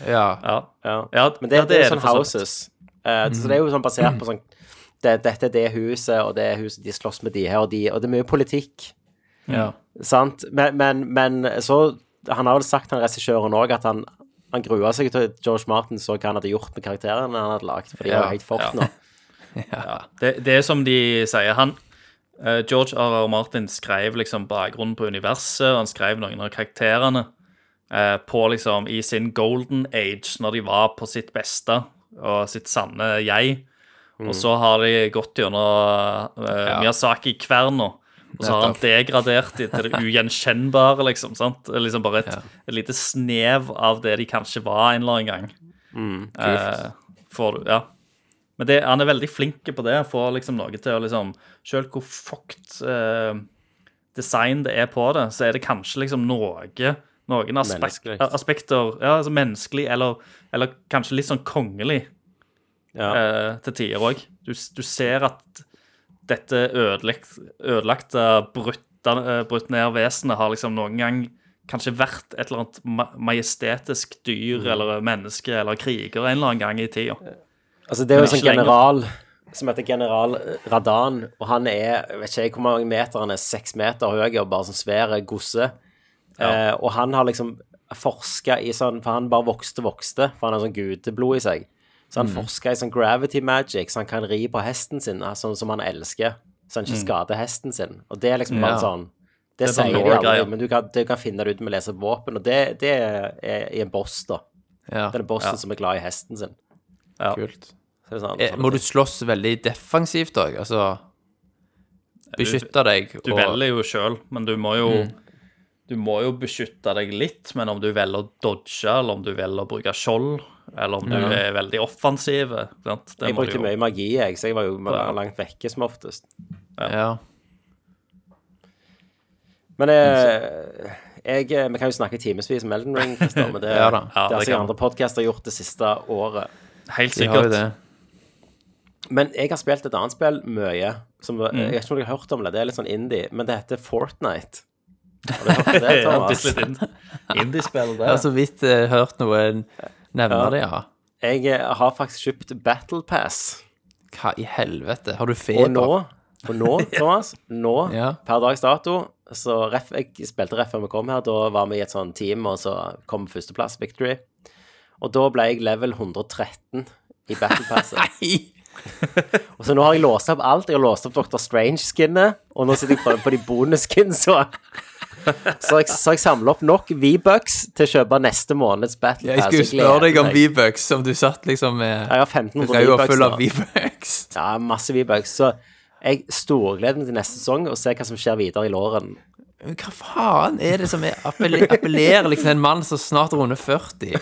Ja.
Ja.
Ja.
Ja,
Men det,
ja,
det, er jo sånn
for så vidt.
houses. Eh, Så det er jo sånn basert på sånn det, Dette er det huset, og det er huset de slåss med de her, og de Og det er mye politikk,
ja.
sant? Men, men, men så Han har vel sagt, han regissøren òg, at han han grua seg til George Martin så hva han hadde gjort med karakterene han hadde lagd. For de var
Ja,
jo helt fort
ja.
nå.
Det, det er som de sier. Han, eh, George R. R. Martin skrev liksom bakgrunnen på universet, og han skrev noen av karakterene eh, på liksom i sin golden age, når de var på sitt beste og sitt sanne eh, jeg. Og så har de gått gjennom eh, Miyazaki-kverna Og så har han degradert det til det ugjenkjennbare, liksom. sant? Det er Liksom Bare et,
Ja.
et lite snev av det de kanskje var en eller annen gang. Eh, får du, ja. Men det, han er veldig flink på det. Han får liksom noe til å liksom Selv hvor fucked eh, design det er på det, så er det kanskje liksom noe noen aspek
Menneskelig.
aspekter ja, altså Menneskelig, eller, eller kanskje litt sånn kongelig
Ja.
eh, til tider òg. Du, s- du ser at dette ødelagt- ødelagte, brutta, eh, brutt ned vesenet har liksom noen gang kanskje vært et eller annet ma- majestetisk dyr
Mm.
eller menneske eller kriger en eller annen gang i tida.
Altså, det er jo
Men
en sånn
ikke lenger.
general som heter general Radan, og han er jeg vet ikke jeg hvor mange meter han er, seks meter høy og bare sånn svære gosse. Eh, og han har liksom forska i sånn For han bare vokste og vokste, for han har sånn gudeblod i seg. Så han forsker i sånn gravity magic, så han kan ri på hesten sin altså, sånn som han elsker. Så han ikke skader hesten sin. Og det er liksom bare
Ja.
sånn Det,
sånn
sier de
lore-greie.
aldri, men du kan, du kan finne det ut med å lese våpen, og det, det er i en boss, da.
Ja,
Den bossen som er glad i hesten sin.
kult.
Så det er sånn,
Eh, Må du slåss veldig defensivt òg? Altså beskytte deg
Du velger jo sjøl, men du må jo
Mm.
Du må jo beskytte deg litt, men om du velger å dodge, eller om du velger å bruke skjold, eller om du er veldig offensiv sant? Det
Jeg
må du
brukte
jo-
mye magi, jeg, så jeg var jo la- langt vekke som oftest.
ja.
Men eh, jeg, eh, vi kan jo snakke timevis om Elden Ring, Christer, men det,
Ja da.
Ja,
det har
det
sikkert
kan-
andre podcaster gjort det siste året.
Helt
Vi har jo
sikkert.
det.
Men jeg har spilt et annet spill mye, som eh, jeg vet ikke om dere har hørt om det, det er litt sånn indie, men det heter Fortnite. Har du hørt om det,
Ja,
Thomas?
bitte litt inn- Indiespill, det.
Jeg har så vidt eh, hørt noen nevne det, ja.
Jeg eh, har faktisk kjøpt Battle Pass,
Hva i helvete? Har du
og
feber?
nå, og nå, Thomas, nå,
Ja.
per dags dato, så ref, jeg spilte ref før vi kom her, da var vi i et sånn team, og så kom førsteplass, Victory. Og da ble jeg level 113 i Battle Passet.
Nei!
Og så nå har jeg låst opp alt. Jeg har låst opp Dr. Strange-skinnet, og nå sitter jeg bare på de bonus-skinsa. Så har jeg, så har jeg samla opp nok V-bucks til å kjøpe neste måneds Battle
Jeg
Pass.
skulle spørre deg om
gleder meg.
V-bucks, om du satt liksom med
Jeg har 1500
røya
V-bucks
full
nå.
av V-bucks.
Ja, masse V-bucks. Så jeg storgleder meg til neste sesong og ser hva som skjer videre i låren.
Men Hva faen er det som er appelle- appellerer liksom til en mann som snart runder 40?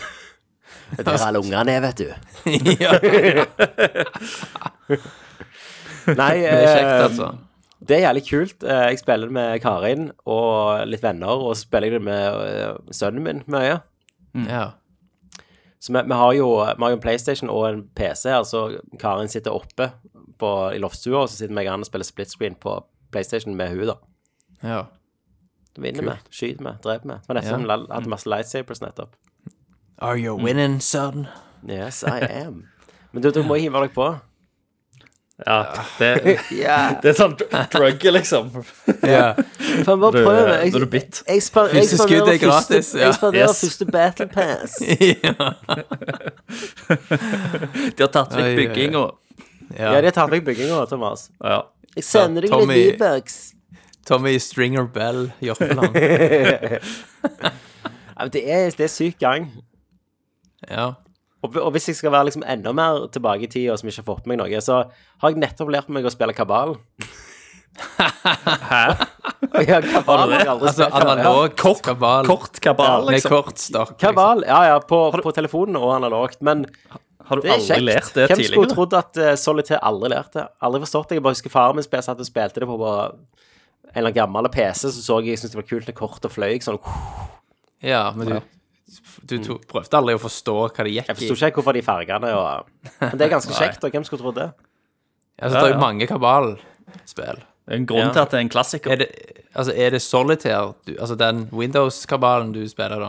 Det er der alle ungene er, vet du.
ja, det er
Nei,
kjekt,
eh,
altså.
Det er jævlig kult. Eh, Jeg spiller det med Karin og litt venner, og så spiller jeg det med eh, sønnen min mye.
Ja.
Så vi, vi, har jo, vi har jo en PlayStation og en PC her, så Karin sitter oppe på, i loftstua, og så sitter meg an og spiller split screen på PlayStation med hun da.
ja.
Da vinner vi, skyter vi, dreper vi. Men
Ja.
derfor ja. hadde masse lightsabers nettopp.
Are you winning, son?
Yes, I am. Men du, dere må hive dere på.
Ja, det, det er sånn dr- drug, liksom.
Ja.
Faen, bare prøv. Jeg,
Når du er bitt.
jeg, span- jeg
Første skudd er
spanderer
gratis,
første,
ja.
jeg spanderer
Yes.
første battle pass.
ja.
De har tatt
Oi, oi,
vekk
oi.
bygginga.
Ja, de tar vekk bygginga, Thomas.
Ja.
Jeg sender deg litt
Tommy-
V-bucks.
Tommy Stringer Bell, Jørpeland.
Ja, men Det er, det er syk gang.
Ja.
Og, og hvis jeg skal være liksom enda mer tilbake i tida, som ikke har fått med meg noe, så har jeg nettopp lært meg å spille kabal. Hæ? Ja, kabal har jeg aldri
Altså
spilt.
analog kabal.
Kort kabal,
Med
liksom.
kort stokk. Liksom.
Kabal, ja ja, på, på telefonen og analogt, men
Har du
det er
aldri
kjekt.
lært det
Hvem skulle
tidligere?
trodd at uh, Solitaire aldri lærte det? Aldri forstått det. Jeg bare husker faren min spil- satt og spilte det på bare en eller annen gammel PC, så så jeg jeg syntes det var kult med kort og fløy. Sånn,
liksom. Ja, men du, du to, prøvde aldri å forstå hva det gikk
jeg
i.
forsto ikke hvorfor de fargene og Men det er ganske kjekt, og hvem skulle trodd det?
Altså, det er jo mange kabalspill.
Det er en grunn til at det er en
Er
klassiker.
det, altså, er det Solitaire, du, altså den Windows-kabalen du spiller da?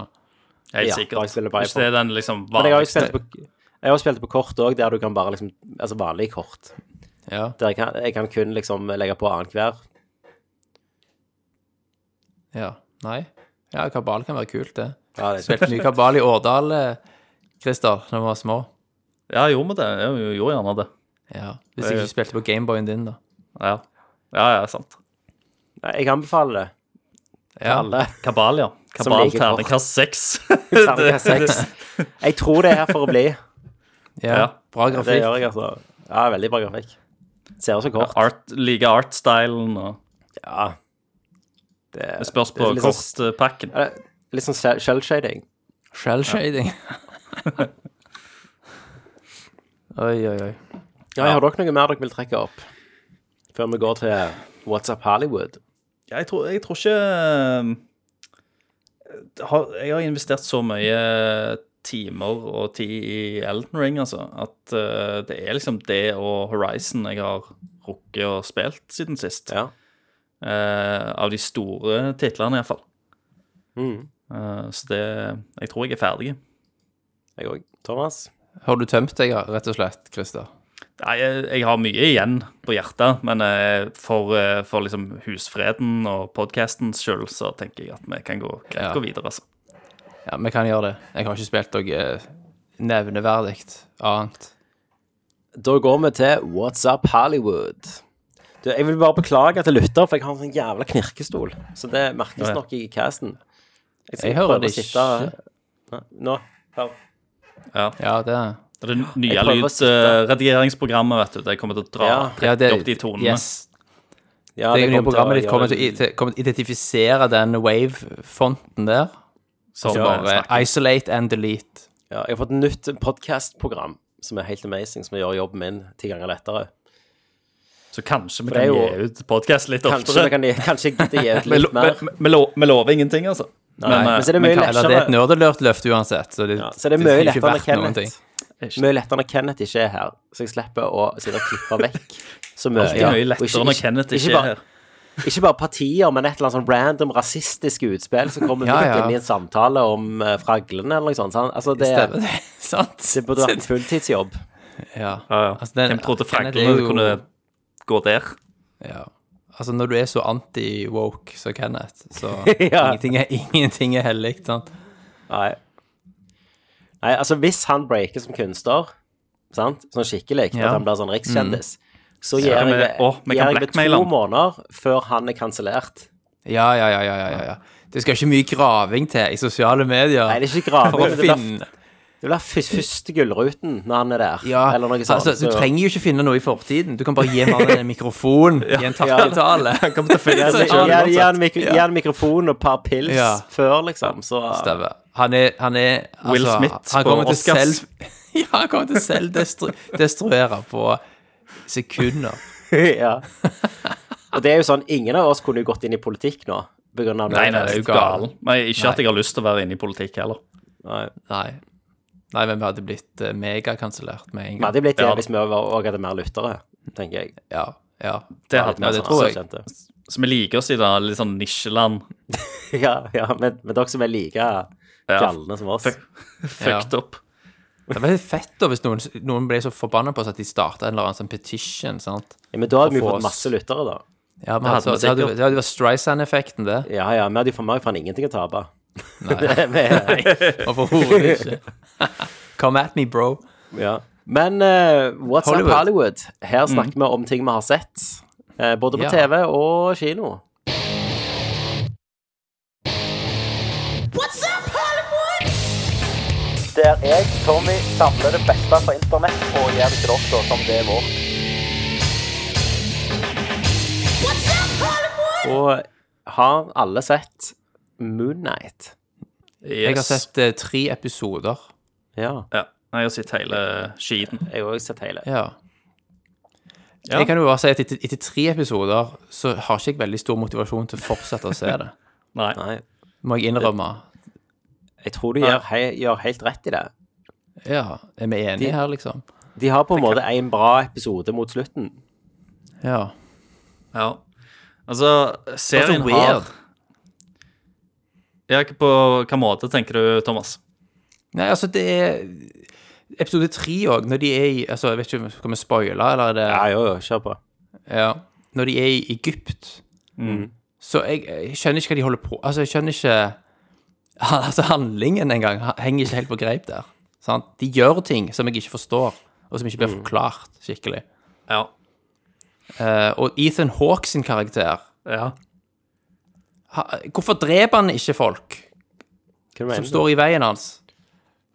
Ja,
Helt
bare
sikkert.
spiller bare
Hvis det er den liksom
Men jeg har jo
vanligste
spilt på, jeg har jo spilt på kort òg, der du kan bare liksom Altså vanlige kort.
Ja.
Der jeg kan, jeg kan kun liksom legge på annenhver.
ja. Nei? Ja, kabal kan være kult, det.
Ja, det er
Spilte mye kabal i Årdal, eh, Christer, da vi var små.
Ja, jeg gjorde vi det? Jeg gjorde gjerne det.
Ja. Hvis
Eh.
jeg ikke spilte på Gameboyen din, da.
Ja, ja, ja sant.
Nei, Jeg anbefaler det.
Ja.
Alle.
Kabal, ja.
Som
Kabal
liker kort.
terningkast seks.
Terningkast seks. Jeg tror det er her for å bli.
ja.
Ja.
Bra
Det
grafikk.
gjør jeg, altså. Ja, veldig bra grafikk. Ser ut som kort.
Art, Liker artstylen og
Ja. Det,
Det spørs på
litt sånn-
kortpakken.
ja, det er Litt sånn shell- shell-shading.
Shellshading. oi, oi, oi.
Ja, Har dere noe mer dere vil trekke opp før vi går til eh, What's Up Hollywood?
Ja, jeg, tror, jeg tror ikke eh, har, Jeg har investert så mye timer og tid i Elden Ring, altså, at eh, det er liksom det og Horizon jeg har rukket og spilt siden sist.
Ja.
Eh, av de store titlene, iallfall.
Mm.
Uh, så det Jeg tror jeg er ferdig.
Jeg òg. Thomas?
Har du tømt deg, rett og slett, Christer?
Nei, jeg, jeg har mye igjen på hjertet, men eh, for, eh, for liksom husfreden og podkastens skyld, så tenker jeg at vi kan gå, greit
Ja.
gå videre, altså.
Ja, vi kan gjøre det. Jeg har ikke spilt noe eh, nevneverdig annet.
Da går vi til What's Up Hollywood. Du, jeg vil bare beklage at jeg lytter, for jeg har en sånn jævla knirkestol. Så det merkes
Ja.
nok i casten. skal
Jeg hører
prøve å
det ikke.
sitte- Nei, Nå. Hør.
Ja.
Ja, det er
Det er det
Jeg
nye
prøver å sitte-
lydredigeringsprogrammet, vet du. Det kommer til å dra
Ja.
trekke
ja, det,
opp de tonene.
Yes.
Ja,
Det nye
kommer til å
programmet ditt kommer til, å i-
gjøre-
til, kommer til å identifisere den wave-fonten der.
som
Så
bare
bare
snakker.
isolate and delete.
Ja, jeg har fått et nytt podcast-program som er helt amazing, som gjør jobben min ti ganger lettere.
Så kanskje vi
det er
kan
jo-
gi ut podkast litt
Kanskje
oftere.
vi kan gi- kanskje jeg gidder gi ut
Vi lo-
litt mer.
vi- vi lo- vi lover ingenting, altså.
Nei, men så er det mye
kan-
lettere.
Eller det er et nerdelørt løft uansett. Så det,
Ja, så det er
det
mye
er ikke
lettere når
verdt noen ting.
Kenneth Mye lettere når Kenneth ikke er her, så jeg slipper å sitte og klippe vekk så mye.
Det er mye
Og
lettere når Kenneth ikke
bare-
er her.
ikke bare partier, men et eller annet sånn random rasistiske utspill som kommer
Ja,
midt
ja.
inn i en samtale om uh, fraglene eller noe sånt. sant? Altså, det,
Stemmer det? Sant?
det burde vært en fulltidsjobb.
Ja. Altså, den-
Hvem trodde
Kenneth er
Franklin
jo-
kunne gå der?
Ja. Altså, når du er så anti-woke som Kenneth, så
Ja.
ingenting er, ingenting er hellig, sant?
Nei. Nei, altså hvis han breaker som kunstner, sant, sånn skikkelig,
Ja.
at han blir sånn rikskjendis, så gir
Ja,
jeg
men-
det-
å, vi
gir
kan
jeg det
blackmaile
to
han.
måneder før han er kansellert.
Ja, ja, ja, ja, ja, ja, ja. Det skal ikke mye graving til i sosiale medier
Nei, det er ikke graving.
for å
men det blir-
finne
Det blir fys- første gullruten når han er der,
ja,
eller noe sånt.
altså, Du
så-
trenger jo ikke finne noe i fortiden. Du kan bare gi mannen en mikrofon i en takketale.
Han kommer til å finne
Gi han-
seg selv
gi han- gi
uansett.
han mikro- Gi han mikrofon og et par pils
Ja.
før, liksom, så
Stemmer. Han er, han er altså,
Will Smith
han
på
kommer til
Oscars.
selv, Ja, han kommer til selv destru, destruere på sekunder.
ja. Og det er jo sånn, ingen av oss kunne jo gått inn i politikk nå. På grunn av
Nei, nei,
det
det
er
er
jo
jo
gal.
galen. Nei, Ikke at jeg har lyst til å være inne i politikk heller.
Nei.
Nei. Nei, men vi hadde blitt eh, megakansellert med en
Vi
gang.
hadde blitt det
Ja.
hvis vi var- og hadde mer lyttere, tenker jeg. sånn
Ja, ja.
Det hadde
Ja,
vi.
det
altså.
tror jeg.
Kjente.
Så vi liker oss i det litt sånn nisjeland.
Ja, ja men, men dere som er like galne som oss.
Fuck. Fucked up.
Det var litt fett da hvis noen, noen ble så forbanna på oss at de starta en eller annen sånn petition. sant?
Ja, men da hadde vi
For
jo
oss.
fått masse lyttere, da.
Ja, men altså,
hadde vi
Det hadde
sikkert.
det hadde vært Streisand-effekten, det.
Ja, ja, vi hadde jo for meg faen ingenting å tape.
Overhodet ikke. Come at me, bro.
ja. Men eh, What's
Hollywood. Mm.
Up Hollywood? Her snakker vi om ting vi har sett. eh, både på
Ja.
TV og kino. Der jeg, Tommy, samler det beste fra internett og gjør det til dere som det er vårt. Og har alle sett Moonnight?
Yes.
Jeg har sett eh, tre episoder.
Ja,
Ja. Jeg har sett hele skiten.
jeg har også sett hele.
Ja.
Ja.
Jeg kan jo bare si at etter, etter tre episoder så har ikke jeg veldig stor motivasjon til å fortsette å se det.
Nei.
Nei,
Må jeg innrømme.
jeg tror du gjør, he gjør helt rett i det.
Ja, er vi enige her, liksom?
De har på en måte en bra episode mot slutten.
Ja.
Ja. Altså, serien har
weird.
Ja, ikke på hvilken måte, tenker du, Thomas?
Nei, altså, det er Episode tre òg, når de er i altså, Jeg vet ikke om skal vi spoile, eller er det
Ja, jo, jo, kjør på.
Ja. Når de er i Egypt. Så jeg, jeg skjønner ikke hva de holder på Altså, jeg skjønner ikke Altså, handlingen engang henger ikke helt på greip der. Sant? De gjør ting som jeg ikke forstår, og som ikke blir forklart skikkelig.
Ja.
Eh, og Ethan Hawke sin karakter
ja.
ha, Hvorfor dreper han ikke folk
Hva du
som
mener du?
står i veien hans?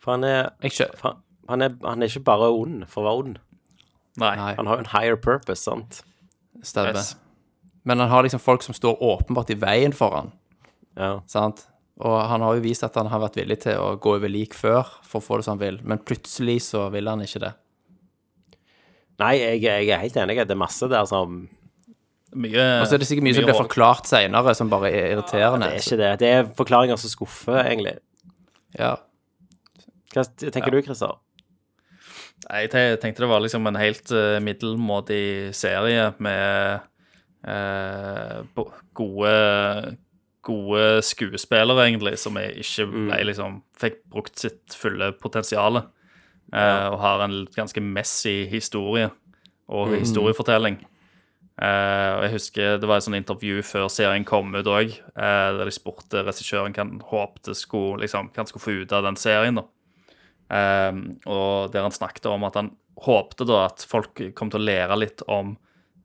For han er,
Jeg skjø-
for han- han er, han er ikke bare ond for å være ond.
Nei.
Nei,
Han har jo en higher purpose, sant?
stemmer.
Yes.
Men han har liksom folk som står åpenbart i veien for han,
Ja.
sant? Og han har jo vist at han har vært villig til å gå over lik før for å få det som han vil, men plutselig så vil han ikke det.
Nei, jeg, jeg er helt enig. Det er masse der som
Mye,
Og så er det sikkert mye som blir
rå-
forklart seinere, som bare er irriterende.
Det er ikke det. Det er forklaringer som skuffer, egentlig.
Ja.
Hva t- tenker du, Christer?
Nei, jeg te- tenkte det var liksom en helt eh, middelmådig serie med eh, bo- gode, gode skuespillere, egentlig, som jeg ikke ble, liksom, fikk brukt sitt fulle potensial. eh, Og har en ganske messy historie og historiefortelling. Eh, og jeg husker Det var et sånt intervju før serien kom ut òg, der de spurte regissøren hva han håpte skulle, liksom, hva han skulle få ut av den serien. da. Um, og der han snakket om at han håpte da at folk kom til å lære litt om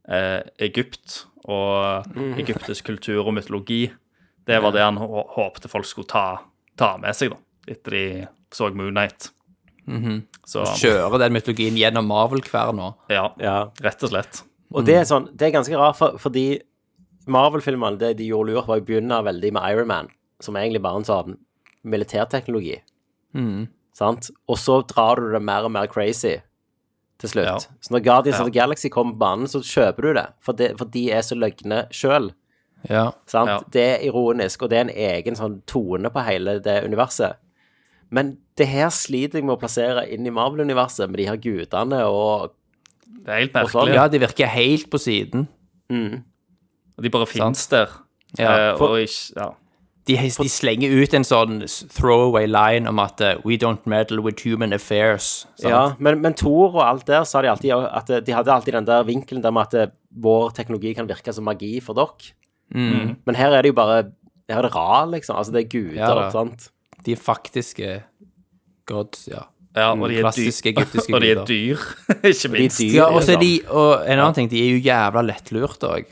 eh, Egypt og egyptisk kultur og mytologi. Det var det han hå- håpte folk skulle ta, ta med seg da, etter de så Moonlight. Så
Kjører den mytologien gjennom Marvel hver nå.
ja,
Ja.
rett og slett.
Og det
Mm.
er sånn, det er ganske rart, for, fordi Marvel-filmene, det de gjorde lurt, var å begynne veldig med Iron Man, som egentlig bare er en sånn militærteknologi.
Mm.
Sant? Og så drar du det mer og mer crazy til slutt.
Ja.
Så når Guardians of
Ja.
the Galaxy kommer på banen, så kjøper du det, for, det, for de er så løgne sjøl.
Ja.
Sant?
Ja.
Det er ironisk, og det er en egen sånn tone på hele det universet. Men det her sliter jeg med å plassere inn i Marvel-universet, med de her gudene og
Det er helt
sånn,
merkelig.
ja, de virker helt på siden.
De bare finnes der.
Ja,
eh, og ikke, ja.
De, de slenger ut en sånn throwaway line om at eh, We don't meddle with human affairs. sant?
Ja, men, men Thor og alt der sa de alltid at de hadde alltid den der vinkelen der med at eh, vår teknologi kan virke som magi for dere. Men her er det jo bare Her er det ral, liksom. Altså, det er guder,
Mm. Ja, da.
sant?
De faktiske gods, ja.
ja, og de er
Klassiske
dyr.
Mm, egyptiske
og de er
guder.
dyr, ikke minst.
dyr. liksom.
Ja, og så er
sant.
de Og en annen ting, de er jo jævla lettlurt òg.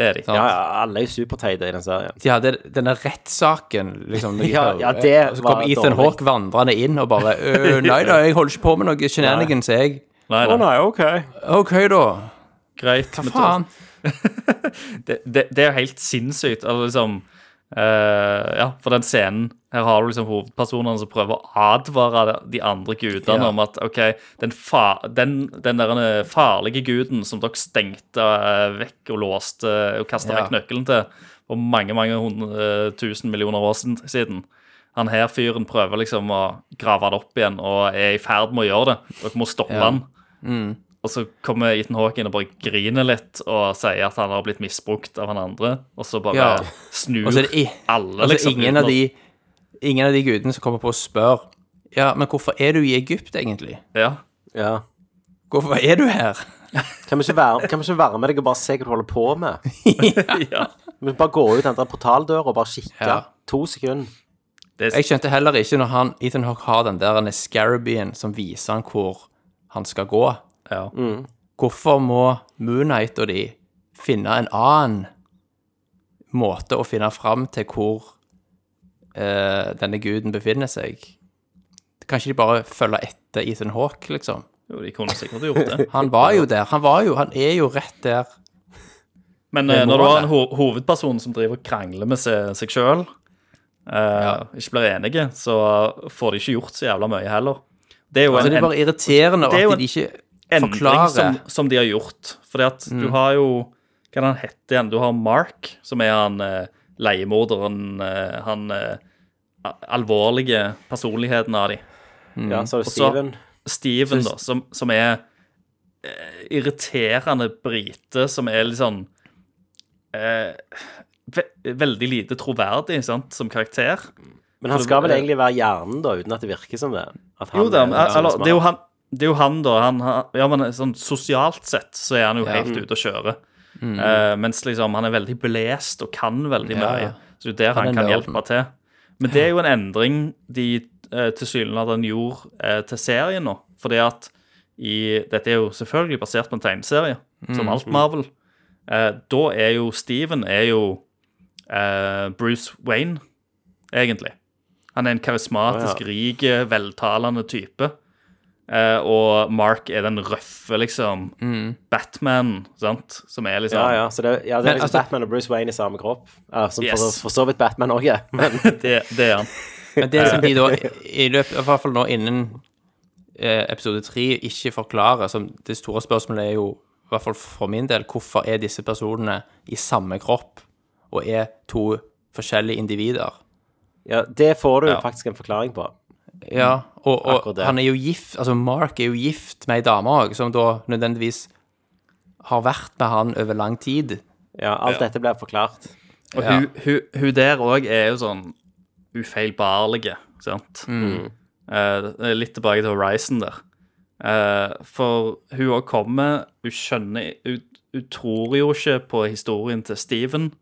Det er de.
Ja, ja, alle er jo superteite i den serien.
De hadde denne rettssaken, liksom. når de-
Ja, ja, det
og så
var
kom Ethan
dårlig.
Hawke vandrende inn og bare «Øh, Nei da, jeg holder ikke på med noe shenanigans, jeg.
Nei, nei.
nei, OK.
OK, da.
Greit.
Hva
men da-
faen?
det, det, det er jo helt sinnssykt. Altså, liksom, eh, ja, for den scenen Her har du liksom hovedpersonene som prøver å advare de andre gudene
Ja.
om at OK, den, fa den, den der eh, farlige guden som dere stengte eh, vekk og låste eh, og kasta
Ja.
vekk nøkkelen til for mange mange hundre eh, tusen millioner år sin- siden han her fyren prøver liksom å grave det opp igjen og er i ferd med å gjøre det. Dere må stoppe han.
Mm.
Og så kommer Ethan Hawke inn og bare griner litt og sier at han har blitt misbrukt av han andre. Og så bare
Ja.
snur
Og så er det, i,
alle,
og så er
liksom.
Altså, ingen,
uten
av
å-
de, ingen av de gudene som kommer på å spørre Ja, men hvorfor er du i Egypt, egentlig?
Ja.
Ja.
Hvorfor er du her?
Kan vi ikke være, kan vi ikke være med deg og bare se hva du holder på med?
ja.
Vi bare gå ut den der portaldøra og bare kikke.
Ja.
To sekunder.
Det er,
Jeg skjønte heller ikke når han, Ethan Hawke har den der denne scarabien som viser han hvor han skal gå.
ja.
Hvorfor må Moonlight og de finne en annen måte å finne fram til hvor eh, denne guden befinner seg? Kan ikke de bare følge etter Ethan Hawke, liksom?
Jo, de kunne sikkert gjort det.
Han var jo der. Han var jo, han er jo rett der.
Men eh, når du har en ho hovedperson som driver og krangler med seg, seg sjøl, ikke blir enige, så får de ikke gjort så jævla mye heller. Det er jo
Så
en,
Altså, det er bare irriterende
Det er jo
at de ikke
endring som, Mm.
forklarer.
som de har gjort. Fordi at du har jo Hva er det han heter igjen? Du har Mark, som er han eh, leiemorderen, eh, han eh, a- alvorlige personligheten av de.
Mm.
Ja, så er det
Og så-
Steven.
Steven, da, som, som er eh, irriterende brite, som er litt sånn eh, ve Veldig lite troverdig sant, som karakter.
Men han skal vel egentlig være hjernen, da, uten at det virker som det. At han
eh, Jo da,
er
men, eh,
den som
eller,
smart.
det er jo han det er jo han, da. Han, har- ja, men sånn Sosialt sett så er han jo
Ja.
helt ute å kjøre. Eh, mens liksom han er veldig belest og kan veldig
Ja.
mye. Så det er der
Han
han,
er
kan
nerden.
hjelpe til. Men det er jo en endring de eh, tilsynelatende gjorde eh, til serien nå. Fordi at i Dette er jo selvfølgelig basert på en tegneserie, som alt Marvel. Eh, da er jo Steven er jo eh, Bruce Wayne, egentlig. Han er en karismatisk, rik, veltalende type. Eh, og Mark er den røffe, liksom, Batman, sant? Som er liksom
Mm. Ja, ja, så det, ja, det er
Men,
liksom
altså-
Batman og Bruce Wayne i samme kropp. Ja, som for,
Yes.
for så vidt Batman òg er. Men
Det, det er han.
Men det som de da, i løpet, i hvert fall nå innen eh, episode tre, ikke forklarer som Det store spørsmålet er jo, i hvert fall for min del, hvorfor er disse personene i samme kropp og er to forskjellige individer?
ja, det får du
Ja.
faktisk en forklaring på.
Ja, og,
Mm. Akkurat
og
det.
han er jo gift, altså Mark er jo gift med ei dame òg, som da nødvendigvis har vært med han over lang tid.
Ja, alt
Ja.
dette blir forklart.
Og hun, hun, hun der òg er jo sånn ufeilbarlige, sant? Eh, litt tilbake til Horizon der. Eh, for hun òg kommer Hun skjønner hun, hun tror jo ikke på historien til Steven,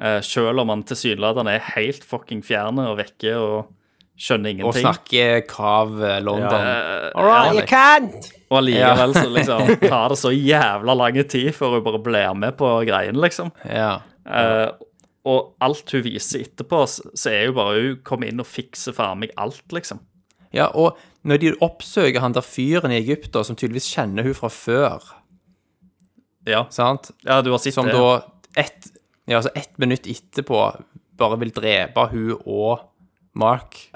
eh, selv om han tilsynelatende er helt fucking fjerne og vekke og skjønner
Og
ingenting.
snakker Krav eh, London.
Eh,
All right,
Ja.
you can't!
og allikevel så liksom tar det så jævla lang tid før hun bare blir med på greien, liksom.
Ja.
Eh, og alt hun viser etterpå, s- så er jo bare hun kommer inn og fikser faen meg alt, liksom.
ja, og når de oppsøker han der fyren i Egypt, da, som tydeligvis kjenner hun fra før,
Ja,
sant?
ja du har sett
som
det.
da ett ja, altså ett minutt etterpå bare vil drepe hun og Mark.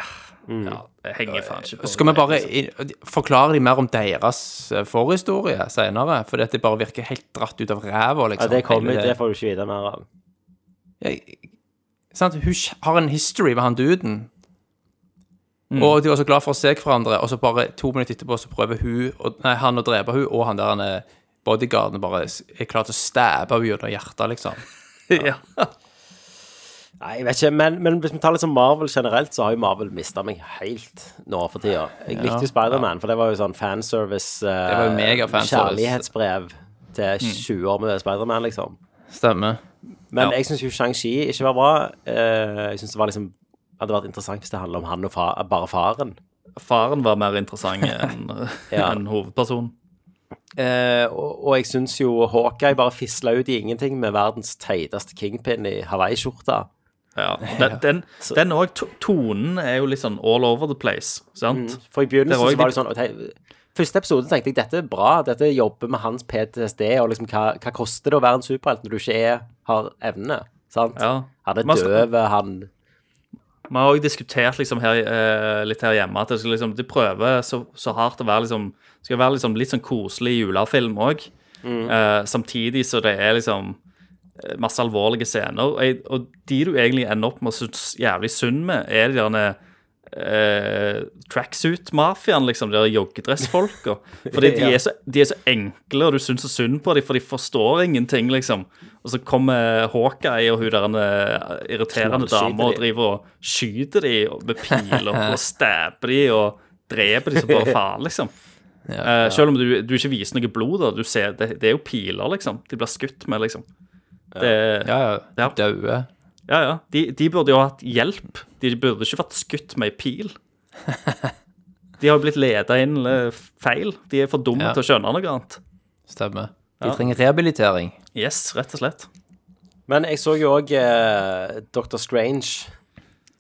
ja, det henger faen ikke på.
Skal vi bare i- forklare de mer om deres eh, forhistorie senere? For dette bare virker helt dratt ut av ræva,
Ja,
liksom.
det kommer
hele
ut, det får du ikke vite mer av.
Jeg- sant? Hun kj- har en history med han duden.
Mm.
Og de var så glad for å se hverandre, og så bare to minutter etterpå så prøver hun, å- nei, han å drepe hun, og han der han er bodyguarden bare s- er klar til å stabbe henne gjennom hjertet, liksom.
ja.
Nei, jeg vet ikke, men, men hvis vi tar litt sånn Marvel generelt, så har jo Marvel mista meg helt nå for tida. Jeg likte jo Spiderman, for det var jo sånn fanservice, eh,
Det var jo mega fanservice.
kjærlighetsbrev til 20 år med Spiderman, liksom.
Stemmer.
Men
Ja.
jeg syns jo Shang-Chi ikke var bra. Eh, jeg syns det var liksom hadde vært interessant hvis det handla om han og fa bare faren.
Faren var mer interessant enn
Ja.
enn hovedpersonen.
Eh, og, og jeg syns jo Hawkeye bare fisla ut i ingenting med verdens teiteste kingpin i hawaiiskjorta.
Ja. og Den, den, den og to- tonen er jo litt sånn all over the place, sant?
For i begynnelsen
Det var jo
så var
de-
det sånn ok, Første episode tenkte jeg dette er bra, dette jobber med hans PTSD, og liksom hva, hva koster det å være en superhelt når du ikke er, har evnene? Sant?
Ja.
Han er
Man skal-
døv, han
Vi har òg diskutert liksom her, eh, litt her hjemme at det skal liksom, de prøver så, så hardt å være liksom, skal være liksom litt sånn koselig julefilm òg. Eh, samtidig så det er liksom eh, masse alvorlige scener. Og, jeg, og de du egentlig ender opp med å synes jævlig synd med, er de derne eh, tracksuit-mafiaen, liksom. De der joggedressfolka. Fordi de,
Ja.
er så, de er så enkle, og du syns så synd på dem, for de forstår ingenting, liksom. Og så kommer Hawkeye og hun derne irriterende
Knallskyter
dama og
de.
driver og skyter de og- med piler og stabber de og dreper de som bare faen, liksom. Eh, selv om du, du ikke viser noe blod, da. Du ser, det, det er jo piler, liksom. De blir skutt med, liksom. Det, ja,
Ja, ja.
Ja.
Daue.
ja. De, de burde jo ha hatt hjelp. De burde ikke vært skutt med ei pil. De har jo blitt leda inn eh, feil. De er for dumme
Ja.
til å skjønne noe annet.
Stemmer. De
Ja.
trenger rehabilitering.
Yes, rett og slett.
Men jeg så jo òg eh, Dr. Strange.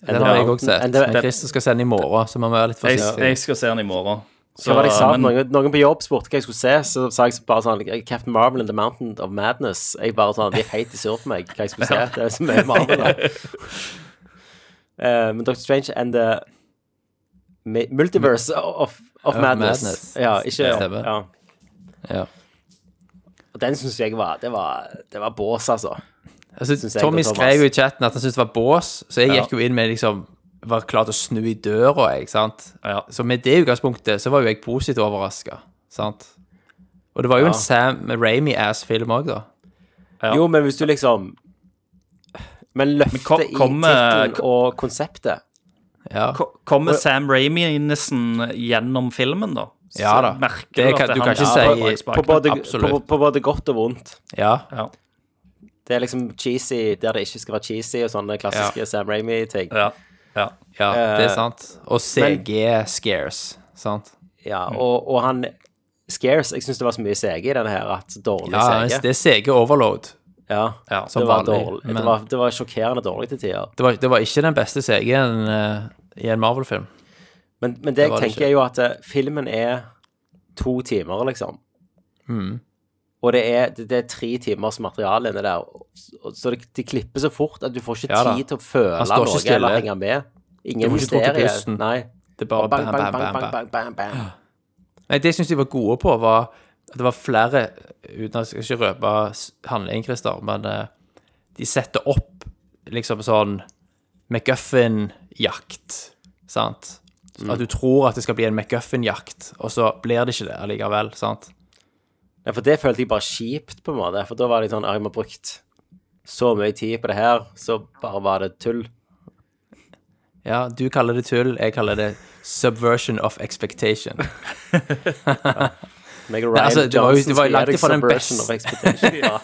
Den har jeg òg sett.
Men det-
Men Christer skal sende i morgen, så man må være litt
Jeg,
forsiktig.
jeg skal se den i morgen. Så,
Hva var det jeg sa?
men-
Noen, noen på jobb spurte hva jeg skulle se, så sa jeg bare sånn Captain Marvel and The Mountain of Madness. Jeg bare sånn De er helt i sur på meg hva jeg skulle se. Det er så mye Marvel da. Eh, men Dr. Strange and the Mi- Multiverse of, of
Of
madness.
Madness.
Ja, ikke
Stemmer.
ja.
Ja.
Og den syns jeg var Det var, det var bås, altså.
Altså,
synes jeg
Tommy
og Thomas.
skrev jo i chatten at han syntes det var bås, så jeg gikk jo inn med liksom Var klar til å snu i døra, jeg, sant.
Ja.
Så med det utgangspunktet så var jo jeg positivt overraska, sant. Og det var jo en Sam Ramy-ass-film òg, da.
Ja.
Jo, men hvis du liksom Men løftet
kom- kom,
i tittelen
eh,
og konseptet
Ja,
Ko- Kommer Sam Raimi-nissen gjennom filmen, da? Så
Ja da.
Merker
Det
at
kan- du kan
handler
ikke
om
si-
Max Bach.
på både,
absolutt.
på, på både godt og vondt.
ja.
Ja.
Det er liksom cheesy der det ikke skal være cheesy, og sånne klassiske Sam Ramy-ting.
Ja. ja.
ja det er
Eh,
sant. Og CG Scares, sant.
Ja, og, og han Scares, jeg syns det var så mye CG i denne her, at så dårlig
Ja,
CG.
det er CG overload.
Ja,
Ja,
det
som
var
vanlig,
dårlig.
men-
Det, var, det var sjokkerende dårlig til tider.
Det var, det var ikke den beste CG-en eh, i en Marvel-film.
Men, men det jeg
var det
tenker,
ikke.
er jo at eh, filmen er to timer, liksom.
Hmm.
Og det er, det, det er tre timers materiale inni der. og- og- Så det, de klipper så fort at du får ikke
Ja da.
tid til å føle
Han står ikke
noe
stille.
eller henge med. Ingen
Du får ikke tråkke
mysterier.
pusten.
Nei.
Det er bare
bang,
bam,
bang,
bam,
bang,
bam, bam.
bang, bang, bang.
Nei, det jeg syns de var gode på, var at det var flere Uten at jeg skal ikke røpe s- handlingen, Christer, men eh, de setter opp liksom sånn McGuffin-jakt, sant?
Mm.
Så At du tror at det skal bli en McGuffin-jakt, og så blir det ikke det allikevel, sant?
Ja, for det følte jeg bare kjipt, på en måte. For da var det sånn ah, Jeg har brukt så mye tid på det her, så bare var det tull.
Ja, du kaller det tull, jeg kaller det subversion of expectation.
Meg og
Nei,
Ryan
altså, det var jo- det var jo
Johnson skal
langt
gi
ifra
deg
den
subversion
best-
of expectation. ja.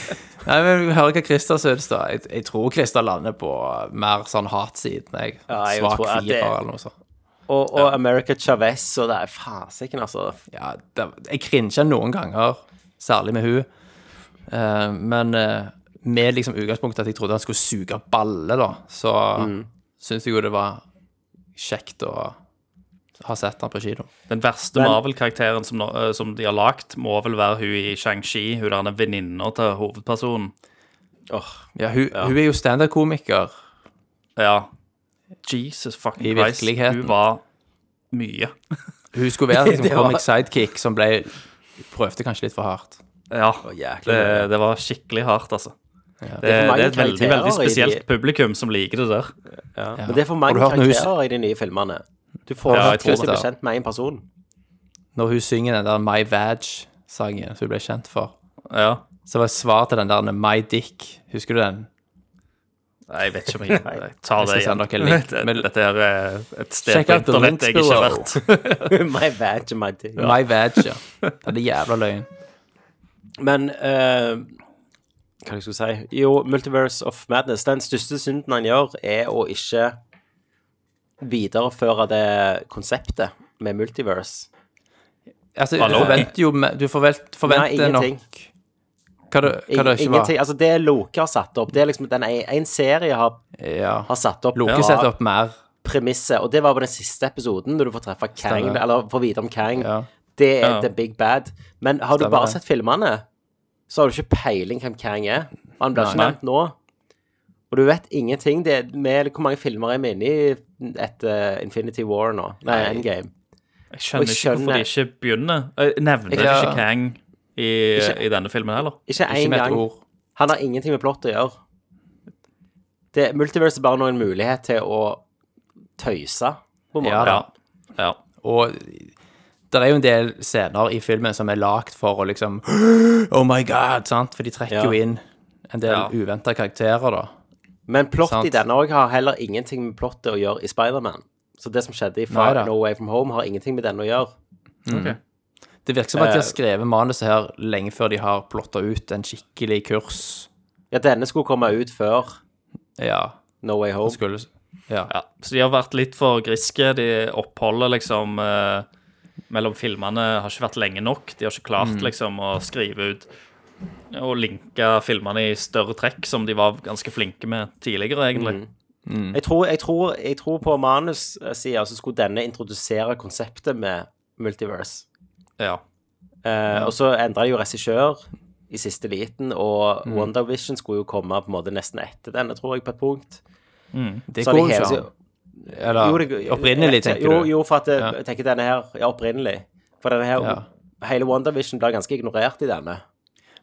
Nei, men vi hører hva Christer syns, da. Jeg, jeg tror Christer lander på mer sånn hatsiden, jeg.
Ja, jeg
Svak
tror at det-
firer eller noe sånt.
Og, og America Chavez og det er fasiken, altså.
ja, det, jeg crincha noen ganger, særlig med hun. Eh, men eh, med liksom utgangspunktet at jeg trodde han skulle suge balle, da, så
Mm.
syns jeg jo det var kjekt å ha sett han på kino.
Den verste Marvel-karakteren som, nå- eh, som de har lagt, må vel være hun i Shang-Chi. Hun der er venninna til hovedpersonen.
Åh,
Ja, hun, hun er jo standup-komiker.
Ja. Jesus fucking
I
Christ.
virkeligheten.
Hun var mye.
Hun skulle være liksom,
Det var-
comic sidekick som ble Prøvde kanskje litt for hardt.
Ja.
jæklig
det,
mye.
det var skikkelig hardt, altså. Det, det,
er for mange
er et veldig,
karakterer i
veldig
de-
spesielt publikum som liker det der.
ja. Men det er for mange
Har du hørt når hun-
karakterer i de nye filmene. Du får
Ja,
ja,
jeg
ikke
tror
bli
det.
kjent med én person.
Når hun synger den der My Vag-sangen som hun ble kjent for,
Ja.
så var det svar til den der My Dick. Husker du den?
Nei, jeg vet ikke om jeg, jeg tar det
Jeg skal
igjen.
sende dere en link,
Dette-
men-
Dette her er eh, et sted
Check
på
out the
internett jeg
links
ikke har
below.
vært.
my badge, my dick.
My Vag, ja. Det er jævla løgn.
Men eh, Hva er det jeg skulle si? Jo, Multiverse of Madness. Den største synden han gjør, er å ikke videreføre det konseptet med multiverse.
Altså, du
Hallo?
forventer jo me- Du forvent,
Nei,
forventer nok
ingenting.
Hva det, hva det ikke var.
ingenting. Altså, det Loke har satt opp, det er liksom den en, en serie har,
Ja.
har satt opp
Loke
bra
setter opp mer.
premisset, og det var på den siste episoden, når du får treffe Kang,
Stemmer.
eller får vite om Kang.
Ja.
Det er
Ja.
the big bad. Men har du
Stemmer
bare
det.
sett filmene, så har du ikke peiling hvem Kang er. Og han blir ikke
Nei.
nevnt nå. Og du vet ingenting. Det er med, hvor mange filmer er vi inne i etter eh, Infinity War nå? Nei, Endgame.
Jeg
Og
skjønner
jeg
ikke hvorfor de ikke begynner. Jeg nevner
Ja.
ikke Kang i, i denne filmen heller.
Ikke
Ikke
én
med et
gang.
ord.
Han har ingenting med plott å gjøre. Det, multiverse er bare noen mulighet til å tøyse, på en måte.
Ja da.
Ja.
Og det er jo en del scener i filmen som er lagd for å liksom Oh my God! sant? For de trekker
Ja.
jo inn en del
Ja.
uventa karakterer, da.
Men plott
Sant.
i denne òg har heller ingenting med plottet å gjøre i Spiderman. Så det som skjedde i
Nei
Far
da.
No Way From Home, har ingenting med denne å gjøre.
Det virker som at
Eh.
de har skrevet manuset her lenge før de har plotta ut en skikkelig kurs.
Ja, denne skulle komme ut før
Ja.
No Way Home.
Skulle Ja.
ja. Så de har vært litt for griske. De oppholdet liksom eh, mellom filmene har ikke vært lenge nok. De har ikke klart
Mm.
liksom å skrive ut og linke filmene i større trekk, som de var ganske flinke med tidligere, egentlig.
Mm. Jeg tror, jeg tror, jeg tror på manussida så skulle denne introdusere konseptet med multiverse.
Ja.
Eh, Og så endra de jo regissør i siste liten, og
Mm.
WandaVision skulle jo komme på en måte nesten etter denne, tror jeg, på et punkt. Så de
Det går jo
hever
ikke
seg-
an. Eller
det- eh,
opprinnelig, tenker
jo,
du.
Jo, for at det,
Ja.
jeg tenker denne her er opprinnelig. For denne her,
Ja.
hele WandaVision blir ganske ignorert i denne.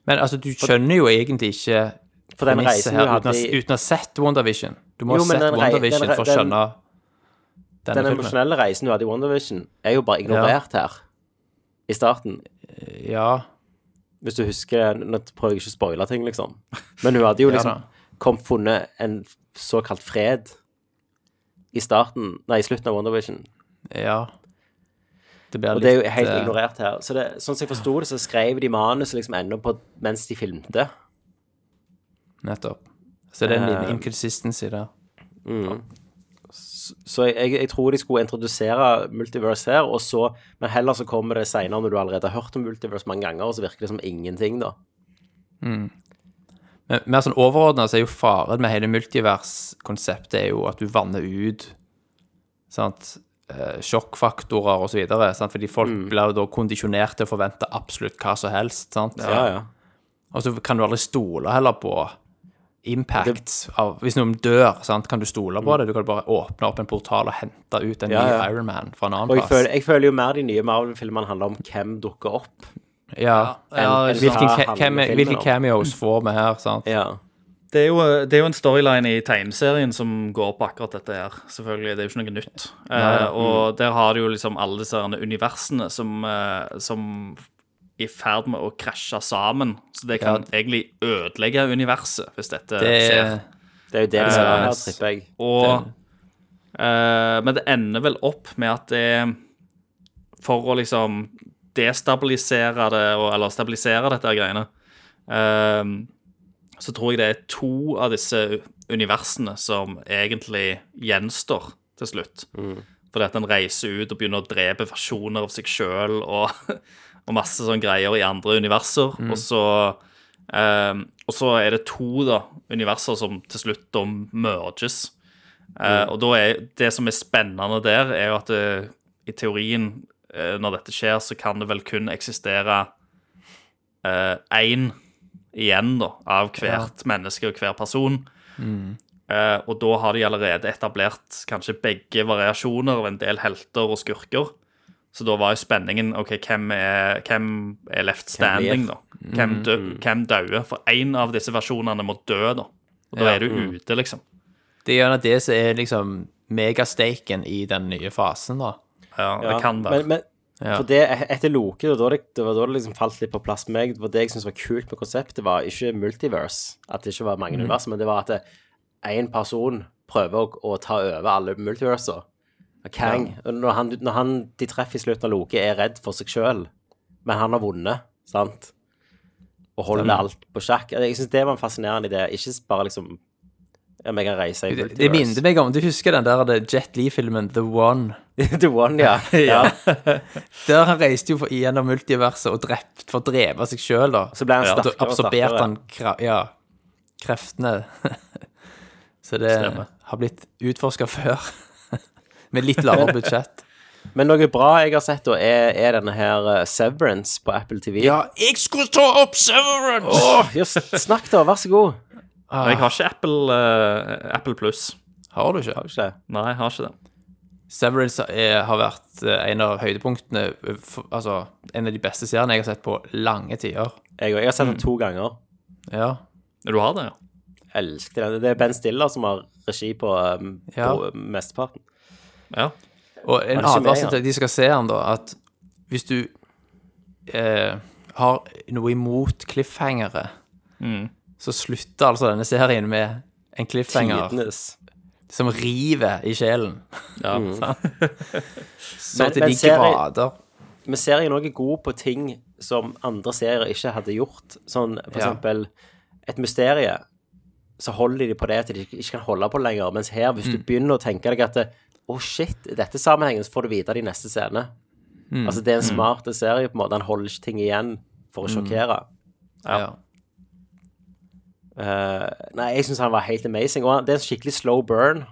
Men altså, du skjønner jo egentlig ikke
For den
premisset
reisen
her
du hadde
uten,
i-
å, uten å ha sett WandaVision. Du
Jo,
må ha
men
sett
den rei-
WandaVision
den re-
for å
den-
skjønne denne
Den
filmen.
emosjonelle reisen du hadde i WandaVision, er jo bare ignorert her i starten.
Ja,
Hvis du husker Nå prøver jeg ikke å spoile ting, liksom. Men hun hadde jo
Ja
liksom
da.
kom funnet en såkalt fred i starten Nei, i slutten av WandaVision.
ja. Det blir
Og det er jo
litt,
helt
eh,
ignorert her. Så det, sånn som jeg forsto det, så skrev de manuset liksom ennå på mens de filmte.
Nettopp. Så det er en
Eh,
liten inconsistency der.
Så jeg, jeg tror de skulle introdusere Multiverse her, og så, men heller så kommer det seinere når du allerede har hørt om Multiverse mange ganger, og så virker det som ingenting, da.
Men mer sånn overordna så er jo faren med hele multiverskonseptet er jo at du vanner ut sant? eh, sjokkfaktorer osv. Fordi folk
Mm.
blir jo da kondisjonert til å forvente absolutt hva som helst. sant?
Ja, ja.
Og så kan du aldri stole heller på impact. Av, hvis noen dør, sant? kan du stole på det? Du kan bare åpne opp en portal og hente ut en
Mm. Ja,
ny
ja.
Iron Man fra en
Og
annen
jeg føler,
plass.
jeg føler jo mer de nye Marvel-filmene handler om hvem dukker opp.
Ja,
Ja,
en-
ikke sant.
Hvilken,
Ja,
ca- hvem,
handler filmen
hvilke
om.
cameos får vi her? sant?
Ja.
Det er, jo, det er jo en storyline i tegneserien som går på akkurat dette her. selvfølgelig, Det er jo ikke noe nytt. Eh, og der har du jo liksom alle disse herne universene som, eh, som er i ferd med å krasje sammen. Så det kan egentlig ødelegge universet, hvis dette
Det,
skjer.
Det er jo det de ser her,
Yes.
tripper jeg.
Og, eh, men det ender vel opp med at det For å liksom destabilisere det, og, eller stabilisere dette her greiene, eh, så tror jeg det er to av disse universene som egentlig gjenstår til slutt. Fordi at en reiser ut og begynner å drepe versjoner av seg sjøl og, og masse sånne greier i andre universer. Og, så, eh, og så er det to da, universer som til slutt da merges. Eh, og da er, det som er spennende der, er jo at eh, i teorien, eh, når dette skjer, så kan det vel kun eksistere eh, én igjen, da, av hvert menneske og hver person. Eh, og da har de allerede etablert kanskje begge variasjoner av en del helter og skurker. Så da var jo spenningen OK, hvem er, hvem er Mm. left standing, da? Hvem, dø, hvem dauer? For én av disse versjonene må dø, da. Og da
Ja.
er du ute, liksom.
det er gjerne det som er liksom megastaken i den nye fasen, da.
Ja,
Ja.
det kan være.
Men, men,
Ja.
For det, etter Loke, det var da det, det, var da det liksom falt litt på plass med meg. Det var det jeg syntes var kult med konseptet, var ikke multiverse. At det ikke var mange univers, men det var at én person prøver å, å ta over alle multiverser. Og Kang, når, han, når han de treffer i slutten av Loke, er redd for seg sjøl, men han har vunnet, sant? Og holder alt på sjakk. Jeg syns det var en fascinerende idé. Ikke bare liksom om jeg kan reise i
Det, det minner
multiverse.
meg om Du husker den der det Jet Lee-filmen The One?
The One, ja. ja.
Der han reiste jo for, gjennom multiverset og drept for å drepe seg sjøl, da.
Så ble han
Ja, da
sterkere og
absorberte
sterkere.
han kra ja, kreftene. Så det
Stemmer.
har blitt utforska før. Med litt lavere budsjett.
Men noe bra jeg har sett, da, er, er denne her eh, Severance på Apple TV.
jeg skulle ta opp Severance!
Åh, just, snakk, da. Vær så god.
Men jeg har ikke Apple, eh, Apple Plus.
Har du ikke?
Har du ikke det?
Nei, jeg har ikke det.
Severance er, har vært eh, en av høydepunktene eh, for, Altså, en av de beste seriene jeg har sett på lange tider.
Jeg, og- jeg har sett den to ganger.
Ja.
Du har det, ja?
Elsket den. Det er Ben Stiller som har regi på, um,
Ja.
på mesteparten.
Ja,
Og en
det ikke meg,
advarsel
ja?
til de som skal se den, da, at hvis du eh, har noe imot cliffhangere, så slutter altså denne serien med en cliffhanger
Tidenes.
som river i sjelen. sånn
ja.
Mm.
Så
Men-
til
men
de
serien-
grader.
Men serien også er god på ting som andre serier ikke hadde gjort. Sånn for
Ja.
eksempel et mysterie. Så holder de på det til de ikke kan holde på lenger. Mens her, hvis du begynner å tenke deg at det- Å, shit, i dette sammenhengen, så får du vite det i neste scene. Altså, det er en smart serie, på en måte. Han holder ikke ting igjen for å sjokkere.
Ja.
Eh, nei, jeg syns han var helt amazing. Og han, det er en skikkelig slow burn.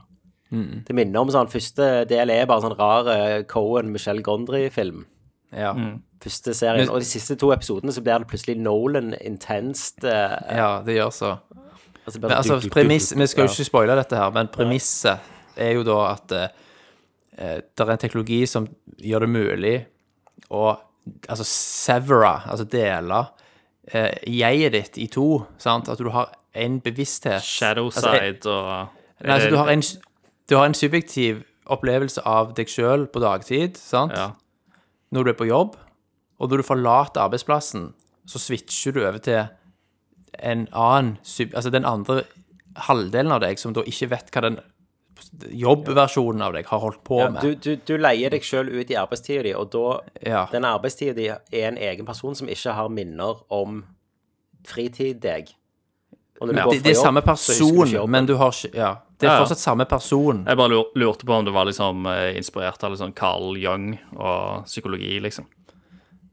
Det minner om sånn første del er bare sånn rar eh, Cohen, Michel Gondry-film.
ja.
Første serien.
Men-
og de siste to episodene så blir det plutselig Nolan intenst. eh,
ja, det gjør så.
altså, bare
Men
sånn
altså,
du- du- du-
premiss, Vi skal jo
ja.
ikke spoile dette her, men premisset er jo da at eh, det er en teknologi som gjør det mulig å altså severe, altså dele, eh, jeget ditt i to. sant? At du har en bevissthet altså, en-
Shadowside og
Nei, altså, du har en, du har en subjektiv opplevelse av deg sjøl på dagtid, sant?
Ja.
når du er på jobb, og når du forlater arbeidsplassen, så switcher du over til en annen sub... Altså den andre halvdelen av deg som da ikke vet hva den jobbversjonen av deg har holdt på med.
du, du, du leier deg sjøl ut i arbeidstida di, og da
Ja.
Den arbeidstida di er en egen person som ikke har minner om fritid deg. Og når du
Ja,
går
det,
fra
det er
jobb,
samme
så husker du ikke
person,
jobben.
men du har ikke Ja. Det
Ja,
er
ja.
fortsatt samme person.
Jeg bare lur- lurte på om du var liksom eh, inspirert av liksom Carl Jung og psykologi, liksom.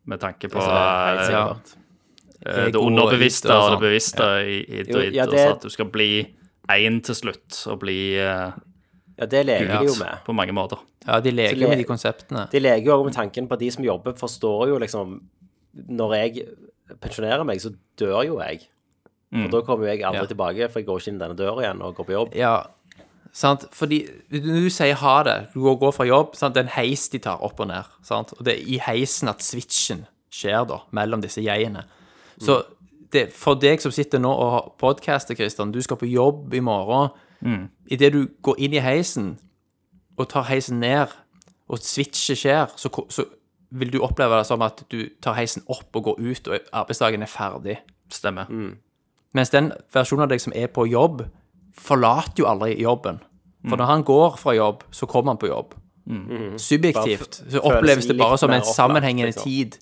Med tanke på
Altså, helt
eh,
Ja.
sikkert.
eh, det
ego og
underbevisste
id og
og
sånn.
det bevisste i, i
altså. Jo,
dritt,
ja,
og
det-
så at du skal bli én til slutt, og bli eh,
Ja, det leker de jo
altså,
med.
på mange måter.
Ja, de leker
Så
med
le-
de konseptene.
De leker jo også med tanken på at de som jobber, forstår jo liksom Når jeg pensjonerer meg, så dør jo jeg. Og da kommer jo jeg aldri
Mm. Ja.
tilbake, for jeg går ikke inn denne døra igjen og går på jobb.
Ja, sant? Fordi når du sier ha det, du går, går fra jobb, sant? det er en heis de tar opp og ned. Sant? Og det er i heisen at switchen skjer da, mellom disse jegene. Mm. Så det, for deg som sitter nå og podcaster, Kristian, du skal på jobb i morgen. I det du går inn i heisen og tar heisen ned, og switchet skjer, så, ko- så vil du oppleve det som at du tar heisen opp og går ut, og arbeidsdagen er ferdig.
Stemmer.
Mm.
Mens den versjonen av deg som er på jobb, forlater jo aldri jobben. For når han går fra jobb, så kommer han på jobb. Subjektivt så
Mm. føles
oppleves det
litt
bare som
mer
en
opplagt,
sammenhengende
liksom.
tid.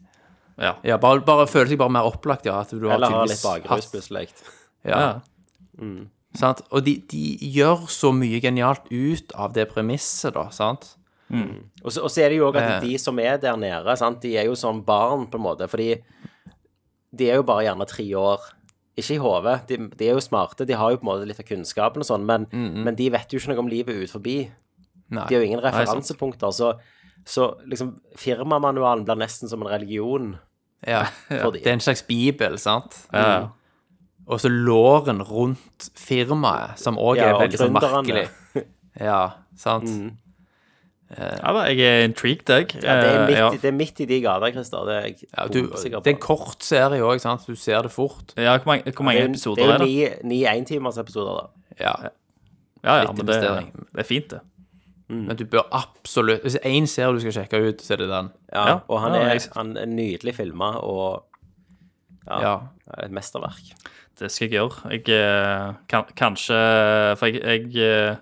Ja.
Ja, bare, bare føler seg bare mer opplagt, ja. At du har
Eller har
tydeligvis
litt bakrus
hatt-
plutselig.
Ja. Sant? Og de, de gjør så mye genialt ut av det premisset, da, sant?
Og så, og så er det jo òg at de som er der nede, sant, de er jo som barn, på en måte. Fordi de er jo bare gjerne tre år. Ikke i hodet. De, de er jo smarte, de har jo på en måte litt av kunnskapen og sånn, men,
Mm,
men de vet jo ikke noe om livet ut forbi.
Nei.
De har jo ingen referansepunkter. Så, så liksom firmamanualen blir nesten som en religion.
Ja.
For de.
Det er en slags bibel, sant? Mm.
Ja.
Og så låren rundt firmaet, som òg
Ja,
er
og
veldig sånn
gründerne. Mm.
merkelig. Ja, sant?
ja da, jeg er intrigued, jeg. Eh,
Ja, det, er midt,
ja.
i- det er midt i de gater, Christer. Det er jeg
Eh, Ja, du,
bombesikker på.
det er en kort serie òg, sant? Du ser det fort.
Ja, hvor mange, hvor mange
Det er jo-
episoder
det
er
er jo
det?
ni, ni entimersepisoder, da.
Ja.
Ja, ja,
litt
men det,
investering.
det er fint, det.
Mm. Men du bør absolutt Hvis det er én serie du skal sjekke ut, så er det den.
Ja,
Ja,
og han
ja,
er,
jeg-
han er nydelig filma og
Ja.
er et mesterverk.
Det skal jeg gjøre. Jeg eh, kan, Kanskje For jeg, jeg eh,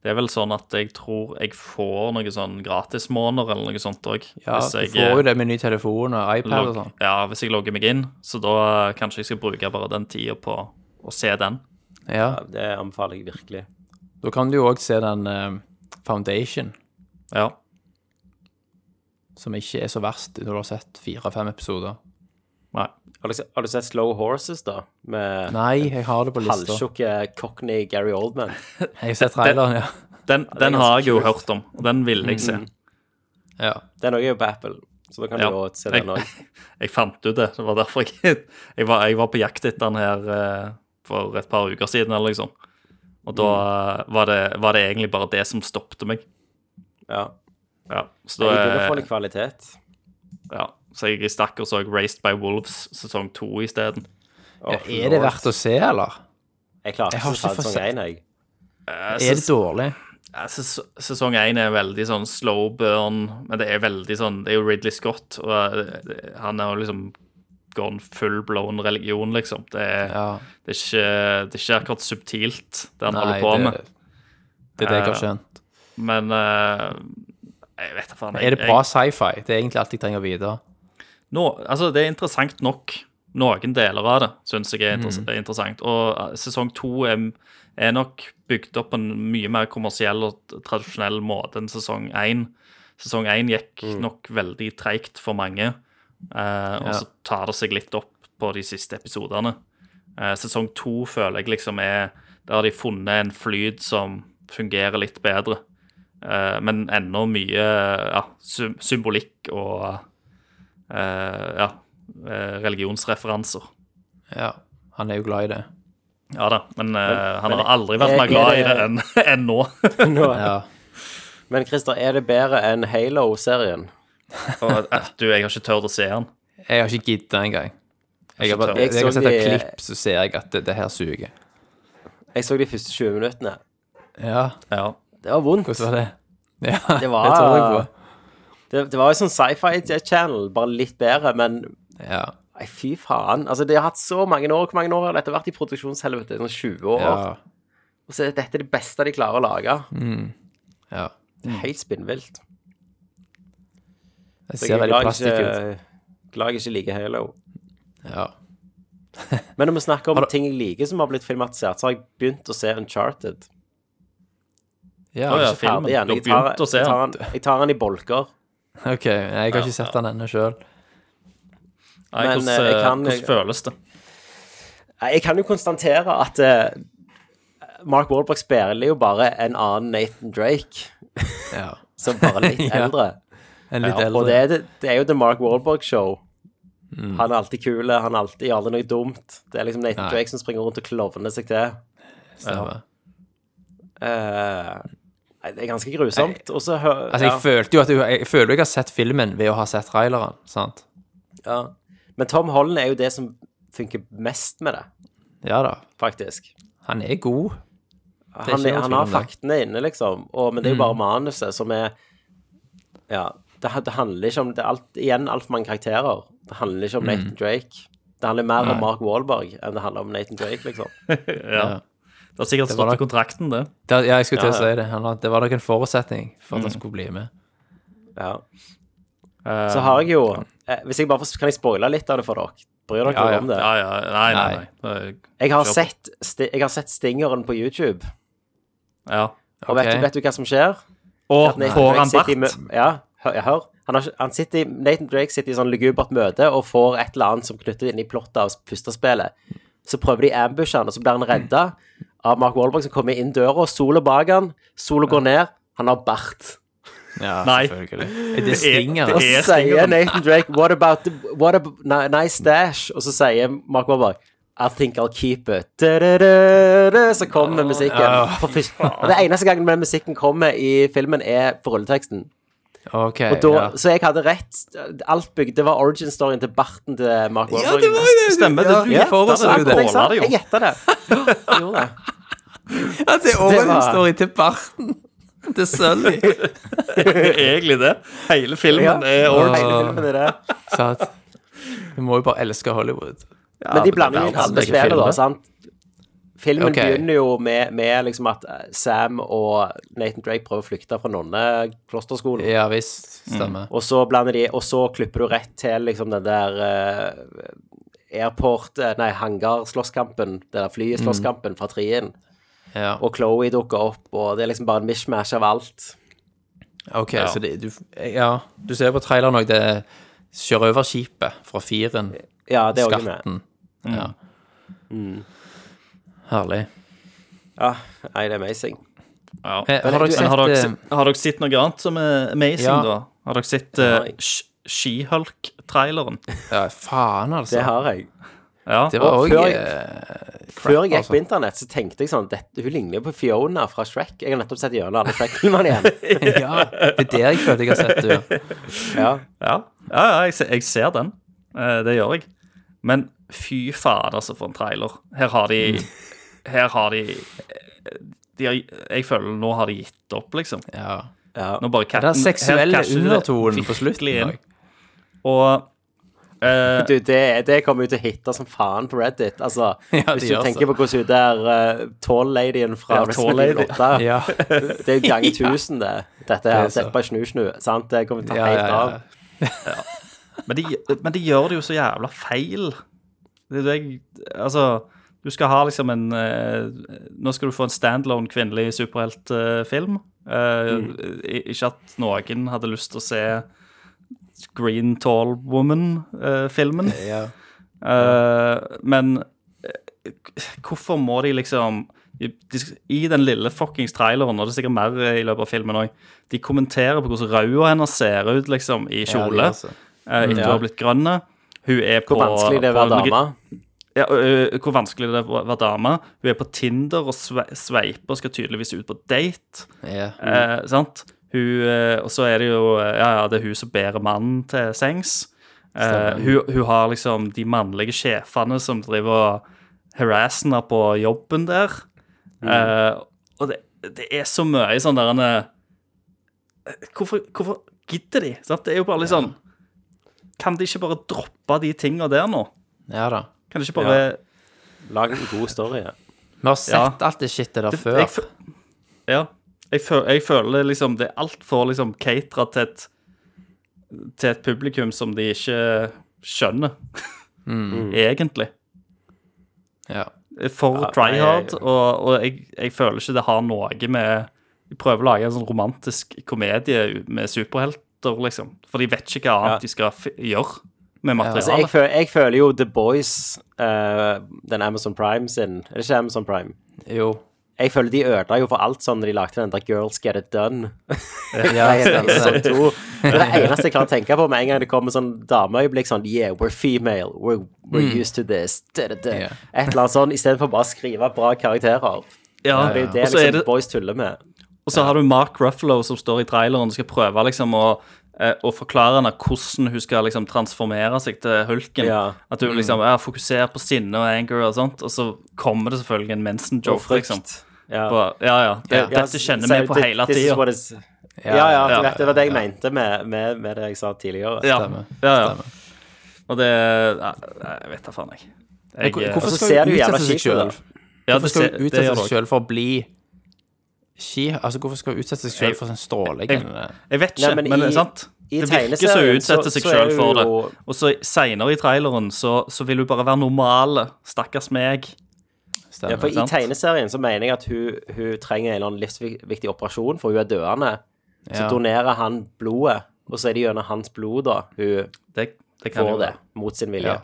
Det er vel sånn at jeg tror jeg får noen sånn gratismåneder eller noe sånt òg.
Ja, du får
eh,
jo det med ny telefon og iPad og sånn.
ja, hvis jeg logger meg inn. Så da eh, kanskje jeg skal bruke bare den tida på å se den.
Ja.
Ja, Det anbefaler jeg virkelig.
Da kan du jo òg se den eh, Foundation,
Ja.
som ikke er så verst når du har sett fire-fem episoder.
Nei.
Har du, se- har du sett Slow Horses, da? Med
Nei, jeg har det på lista.
halvtjukke cockney Gary Oldman.
Jeg har sett traileren, ja.
Den, den har jeg jo hørt om, og den ville jeg se.
Mm, ja.
Den òg er jo på Apple, så da kan
Ja.
du jo se
Jeg,
den òg.
jeg fant ut det. Det var derfor jeg Jeg var, jeg var på jakt etter den her eh, for et par uker siden, eller liksom. Og da
Mm.
eh, var, det, var det egentlig bare det som stoppet meg.
Ja.
Ja, så,
Jeg
da,
begynner å få litt kvalitet.
ja, så jeg stakk og så Raced by Wolves sesong to isteden.
Åh,
Er det
lord.
verdt å se, eller?
Jeg klarte
Jeg har
ikke å ta
ikke fått
sesong
sett-
én, jeg.
Er det dårlig?
Ja, ses- altså, Sesong én er veldig sånn slow burn, men det er veldig sånn Det er jo Ridley Scott, og eh, han har jo liksom gone full blown religion, liksom. Det er,
Ja.
det er, ikke, det er ikke akkurat subtilt, det han holder på
det,
med.
det er det jeg har skjønt.
Men eh, jeg vet da faen. jeg-
Er det bra
jeg-
sci-fi? Det er egentlig alt jeg trenger å vite.
nå- altså, det er interessant nok. Noen deler av det syns jeg er inter er interessant. Og eh, sesong to er, er nok bygd opp på en mye mer kommersiell og t- tradisjonell måte enn sesong én. Sesong én gikk nok veldig treigt for mange, eh, og så tar det seg litt opp på de siste episodene. Eh, sesong to føler jeg liksom er Der har de funnet en flyt som fungerer litt bedre. Eh, men ennå mye ja, sy- symbolikk og eh, ja, eh, religionsreferanser.
Ja. Han er jo glad i det.
Ja da, men eh, han har aldri
er-
vært
er
mer glad i
det-
det enn enn nå.
Nå-
Ja.
Men Christer, er det bedre enn Halo-serien?
Og, eh, du, jeg har ikke tørt å se han.
Jeg har ikke giddet engang. Jeg har bare
Jeg
jeg har
så
sett et
de-
klipp, så ser jeg at det, det her suger.
Jeg så de første 20 minuttene.
Ja,
Ja.
Det var vondt.
hvordan var det? Ja,
Det var-
tror jeg på.
Det, det var jo sånn sci-fi-channel, bare litt bedre, men
Ja,
Nei, fy faen. Altså, det har hatt så mange år. Hvor mange år har dette vært i produksjonshelvete? Sånn 20 år.
ja,
Og så er dette det beste de klarer å lage.
ja.
Det er helt spinnvilt.
Det
Så
ser
jeg er eh,
veldig
glad
plastikk ut.
jeg ikke- Glad jeg ikke liker Halo.
Ja.
Men når vi snakker om
Har du-
ting jeg liker som har blitt filmatisert, så har jeg begynt å se Uncharted.
ja,
Å, ja.
Ikke ferdig
filmen.
igjen.
Du har
Jeg tar,
begynt å se
jeg tar,
den.
den, jeg tar den i bolker.
ok. Jeg har ikke sett den ennå sjøl.
Nei,
Men,
hvordan,
eh, jeg
eh,
kan-
hvordan føles det?
Nei, Jeg kan jo konstatere at eh, Mark Wahlberg spiller jo bare en annen Nathan Drake,
Ja.
som bare er litt
Ja.
eldre.
En litt
Og
eldre. Mm.
det er, det, det er jo The Mark Wahlberg-show. Han er alltid kul, han er alltid, gjør aldri noe dumt. Det er liksom Nathan
Nei.
Drake som springer rundt og klovner seg til.
stemmer.
Eh, nei, det er ganske grusomt. Og så hø-
Altså, jeg
ja,
følte jo at jeg, jeg føler jo jeg har sett filmen ved å ha sett traileren, sant?
ja. Men Tom Holland er jo det som funker mest med det,
Ja da.
faktisk.
Han er god. er
Han, han
ikke noe tvil
har
om det. Mm.
faktene inne, liksom. Og, men det er jo bare manuset som er Ja. Det, det handler ikke om det er alt, Igjen altfor mange karakterer. Det handler
Mm.
ikke om Nathan Drake. Det handler mer om Mark Wahlberg enn det handler om Nathan Drake, liksom.
Ja. Det har
var
sikkert
nok-
stått i kontrakten, det.
Det, ja, jeg skulle til å
Ja, ja.
si det. Han, har- det var nok en forutsetning for at han skulle bli med.
Ja.
Eh,
Så har jeg jo eh, Hvis jeg bare får, Kan jeg spoile litt av det for dere? Bryr dere
Ja, ja.
om det?
Ja, ja. Nei, nei, nei. Det er-
Jeg har,
Kjør på.
sett, sti- jeg har sett Stingeren på YouTube,
Ja.
og vet,
Ok.
du- vet du hva som skjer?
Og
Nathan
får
Drake
han
sitter i
bart?
mø- Ja, hør. Ja, hør. Han har, ikke- han sitter i, Nathan Drake sitter i sånn lugubert møte og får et eller annet som knytter inn i plottet av første spillet. Så prøver de ambush han, og så blir han redda av Mark Wahlberg som kommer inn døra, og sola bak han, sola går ned, han har bart.
Ja,
Nei.
selvfølgelig. Er det
er-
Stinger?
Og
det
så sier
er Stingeren.
Nathan Drake What about the what a ni- nice stash? Og så sier Mark Wahlberg I think I'll keep it. Da-da-da-da, Så kommer musikken.
Åh.
For fyrst- og det eneste gangen den musikken kommer i filmen, er på rulleteksten.
Ok,
Og da,
ja.
Så jeg hadde rett. Alt bygd, det var origin-storyen til barten til Mark Wahlberg.
det.
Stemmer det. Du
Ja,
foreslo
akkurat
jo
det
det.
jeg sa.
Båla det jo.
Jeg gjetta det. Jeg gjorde det.
Ja, det er
origin-story
til barten. Til Sully.
Det er egentlig det. Hele filmen
Ja.
er origin.
Hele filmen er det.
Sant. Du må jo bare elske Hollywood.
Men de
men
blander
det
jo
er
inn
verdens
alle
egen
spillene,
film,
da,
det.
sant? Filmen
Ok.
begynner jo med, med liksom at eh, Sam og Nathan Drake prøver å flykte fra nonneklosterskolen.
Ja visst. Stemmer.
Og så blander de, og så klipper du rett til liksom den der eh, airport, eh, nei, hangar-slåsskampen, det der
Mm.
flyet-slåsskampen fra trien.
Ja.
Og Chloé dukker opp, og det er liksom bare en mishmash av alt.
Ok, så det, du Ja, du ser på traileren òg, det sjørøverskipet fra firen.
Ja, det er også med. Mm.
Skatten. Ja. Herlig.
Ja, nei, det er amazing.
Ja.
Eh, har dere
Men har, dere,
sett
se- har dere sett noe annet som er amazing,
Ja.
da? Har dere sett eh,
Nei.
Skihulk-traileren?
eh, Ja, faen, altså.
Det har jeg.
Ja.
Det var
Og
òg
før jeg- Før jeg gikk
altså.
på internett, så tenkte jeg sånn dette, Hun ligner jo på Fiona fra Shrek. Jeg har nettopp sett gjennom alle Shrek-filmene igjen.
Ja, det er der jeg følte jeg har sett det.
Ja.
Ja, ja, ja jeg, ser, jeg ser den. Eh, Det gjør jeg. Men fy faen, altså, for en trailer. Her har de
Mm.
Her har de eh, de har, jeg føler nå har de gitt opp, liksom.
Ja.
ja.
Nå bare
Den seksuelle undertonen på slutten.
slutten. Og eh,
Du, det, det kommer jo til å hitte som faen på Reddit. Altså,
Ja,
hvis
det
du
gjør
tenker
så.
på hvordan hun der uh, tall-ladyen fra
Ja,
Resident Evil
tall-lady.
8
Ja.
Det er jo ganger tusen, det. Dette her,
Det er så.
deppa snu-snu. Sant? Det kommer til å ta
Ja, ja,
helt
ja.
av.
Men de, men de gjør det jo så jævla feil. Det er det jeg Altså, du skal ha liksom en eh, Nå skal du få en standalone kvinnelig superheltfilm. Eh, Ikke at noen hadde lyst til å se Green Tall Woman-filmen.
Ja.
men eh, hvorfor må de liksom de, I den lille fuckings traileren, og det er sikkert mer eh, i løpet av filmen òg, de kommenterer på hvordan ræva hennes ser ut liksom, i
Ja, det
kjole.
gjør så. Mm.
Eh, etter å ha blitt grønne. Hun er på
Hvor vanskelig det er å være
på-
dame.
Ja, ø, ø, hvor vanskelig det er å være dame. Hun er på Tinder og sve sveiper, skal tydeligvis ut på date.
Ja.
Eh, sant? Hun, eh, og så er det jo eh, Ja, ja, det er hun som bærer mannen til sengs. Eh, hun, hun har liksom de mannlige sjefene som driver og harasser henne på jobben der. Eh, og det, det er så mye sånn der en, eh, hvorfor, hvorfor gidder de? Sant? Det er jo bare litt sånn Kan de ikke bare droppe de tinga der nå?
ja da.
Kan de ikke bare
Lag en god story. ja.
Vi har sett
Ja.
alt det shitet der
Det-
før.
Jeg, fø- ja. Jeg, fø- jeg føler liksom det er altfor liksom catera til et til et publikum som de ikke skjønner, egentlig.
Ja.
For
Ja,
try
nei,
hard,
jeg-
og, og jeg, jeg føler ikke det har noe med De prøver å lage en sånn romantisk komedie med superhelter, liksom. For de vet ikke hva annet
Ja.
de skal f gjøre med
Altså, jeg,
materialet.
føler, jeg føler jo The Boys, eh, den Amazon Prime sin Er det ikke Amazon Prime?
Jo.
Jeg føler de ødela jo for alt sånn når de lagde den der 'Girls Get It Done'.
Ja,
Nei,
stemmer
sesong
det.
to. Det er det eneste jeg klarer å tenke på med en gang det kommer sånn dameøyeblikk sånn Yeah, we're female, we're, we're
Mm.
used to this da, da, da.
Ja.
Et eller annet sånn, istedenfor bare å skrive bra karakterer.
Ja,
Det er jo det
Og så er
liksom
det,
boys tuller med.
Og så har du Mark Ruffalo som står i traileren og skal prøve liksom å, eh, å forklare henne hvordan hun skal liksom transformere seg til hulken.
Ja.
At hun liksom er fokusert på sinne og anger og sånt, og så kommer det selvfølgelig en
Og
mensen-joke,
frykt.
liksom.
Ja.
På- Ja, ja. Det,
Ja,
Dette kjenner
så-
vi på
this-
hele
this is
tida.
what is- Ja, ja,
ja,
du vet, det var det jeg
ja.
mente med, med, med det jeg sa tidligere.
Ja,
Stemmer.
ja, ja.
Stemmer.
Og det ja, Jeg vet da faen, jeg. jeg
Hvor-
eh,
så
Hvorfor
ser
skal
du
hun
jævla
utsette altså,
kjipt
seg
på
sjøl?
det.
ja,
Hvorfor
det
skal
ser-
hun
det gjør
utsette
det
seg sjøl for å bli ski? Altså, hvorfor skal hun utsette seg sjøl for sånn strålegende
Jeg vet ikke,
Nei, men
men,
i-
det er sant?
i
Det virker som
tegneserien
hun utsetter
så-
seg
så er
sjøl
hun
for det.
jo-
Og så seinere i traileren så, så vil hun bare være normal. Stakkars meg.
Ja, for
stemme?
I
sant.
tegneserien så mener jeg at hun, hun trenger en eller annen livsviktig operasjon, for hun er døende. Så
Ja.
donerer han blodet, og så er det gjennom hans blod da hun
Det, det kan
får
jo
det, mot sin vilje.
Ja.
Ja,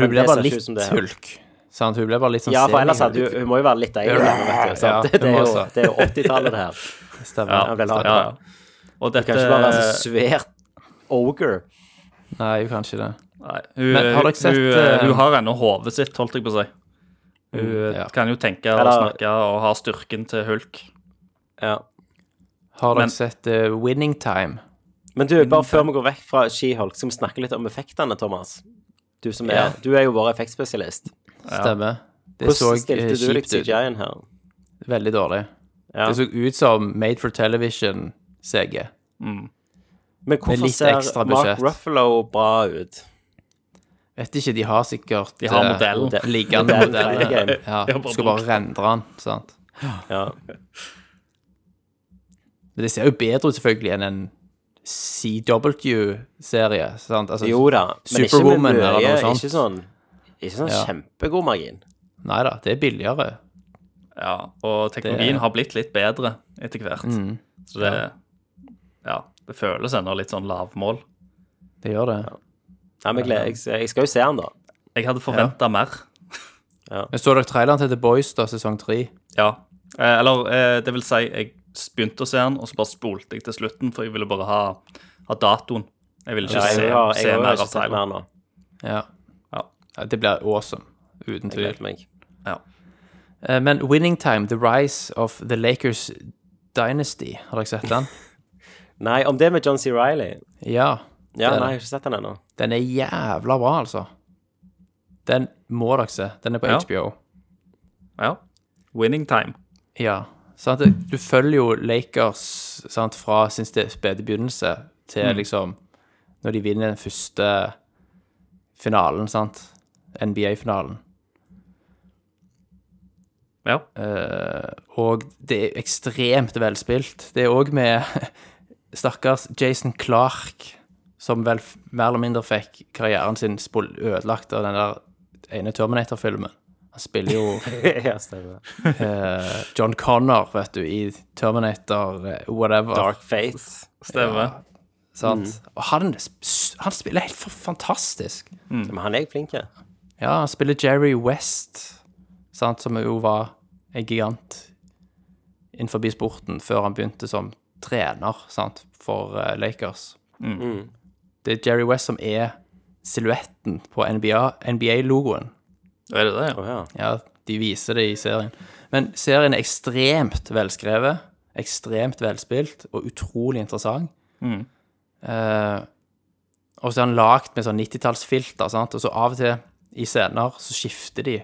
Men
hun ble
det
bare
ser ikke ut
litt
som det her.
hulk. Sant? Hun ble bare litt sånn
for ellers hadde
semi-hulk.
hun Hun må jo være litt deilig, vet du. sant?
Ja,
det, er
hun må
jo,
også.
det er jo 80-tallet, det her.
Stemmer.
Ja,
Ja,
ja,
vel, han-
ja. Og dette
Kan ikke bare være så svært ogre.
Nei, hun kan ikke det.
Nei, hun,
Men har dere sett,
hun,
eh, Mm,
hun har ennå hodet sitt, holdt jeg på å si. Hun
ja.
kan jo tenke og
Eller-
snakke og har styrken til hulk.
Ja.
Har dere
Men-
sett eh, Winning Time?
Men du, bare før vi går vekk fra She-Hulk, skal vi snakke litt om effektene, Thomas. Du, som er,
Ja.
du er jo vår effektspesialist.
Stemmer. Det så
Hvordan
eh,
stilte du deg
kjipt
til
ut.
CGI-en her?
Veldig dårlig.
Ja.
Det så ut som Made for Television-CG.
Men
Med
hvorfor
litt
ser
ekstra
Mark
budsjett.
Ruffalo bra ut?
Vet ikke, de har sikkert
De har
eh,
modellen.
modell.
Liggende
Modell-
modeller.
Game.
Ja,
De har bare
skal bare
brukt.
rendre den, sant.
Ja.
Men det ser jo bedre ut, selvfølgelig, enn en CW-serie, sant. Altså,
Jo da, men ikke med
Superwoman
mye.
eller noe sånt.
Ikke sånn, ikke sånn
Ja.
kjempegod margin.
Nei da, det er billigere.
Ja, og teknologien har blitt litt bedre etter hvert.
Mm.
Så det Ja, det føles ennå litt sånn lavmål.
Det gjør det.
Nei, men jeg, gleder- jeg, jeg skal jo se han da.
Jeg hadde forventa mer.
Men så dere traileren til The Boys, da, sesong tre?
Ja. Eh, eller eh, det vil si, jeg begynte å se den, og så bare spolte jeg til slutten, for jeg ville bare ha, ha datoen. Jeg ville ikke
Ja,
se,
jeg har, jeg
se
har
mer
ikke
av
sett
traileren.
mer nå.
Ja.
Ja.
Ja, Det blir awesome, uten tvil.
Gleder meg.
Eh, Men Winning Time, The Rise of the Lakers Dynasty, har dere sett den?
Nei, om det med John C. Reilly
Ja.
Ja,
Det
nei, jeg
er det.
har ikke sett han ennå.
Den er jævla bra, altså. Den må dere se. Den er på
Ja.
HBO.
Ja. Winning time.
Ja. Sant? Du følger jo Lakers sant, fra sin ste- spede begynnelse til liksom Når de vinner den første finalen, sant? NBA-finalen.
Ja.
Og det er ekstremt velspilt. Det er òg med stakkars Jason Clark, som vel f- mer eller mindre fikk karrieren sin spol- ødelagt av den der ene Terminator-filmen. Han spiller jo
ja, stemmer.
eh, John Connor, vet du, i Terminator eh, whatever.
Dark Faith.
Stemmer.
Sant? Og han, s- han spiller helt f- fantastisk.
Men han er jo flink, ja.
Ja, han spiller Jerry West, sant, som jo var en gigant innenfor sporten før han begynte som trener sant, for eh, Lakers. Det er Jerry West som er silhuetten på NBA-logoen.
Er det det, ja?
Å, ja.
ja, de viser det i serien. Men serien er ekstremt velskrevet, ekstremt velspilt og utrolig interessant. Eh, og så er den lagd med sånn 90-tallsfilter, sant? og så av og til i scener så skifter de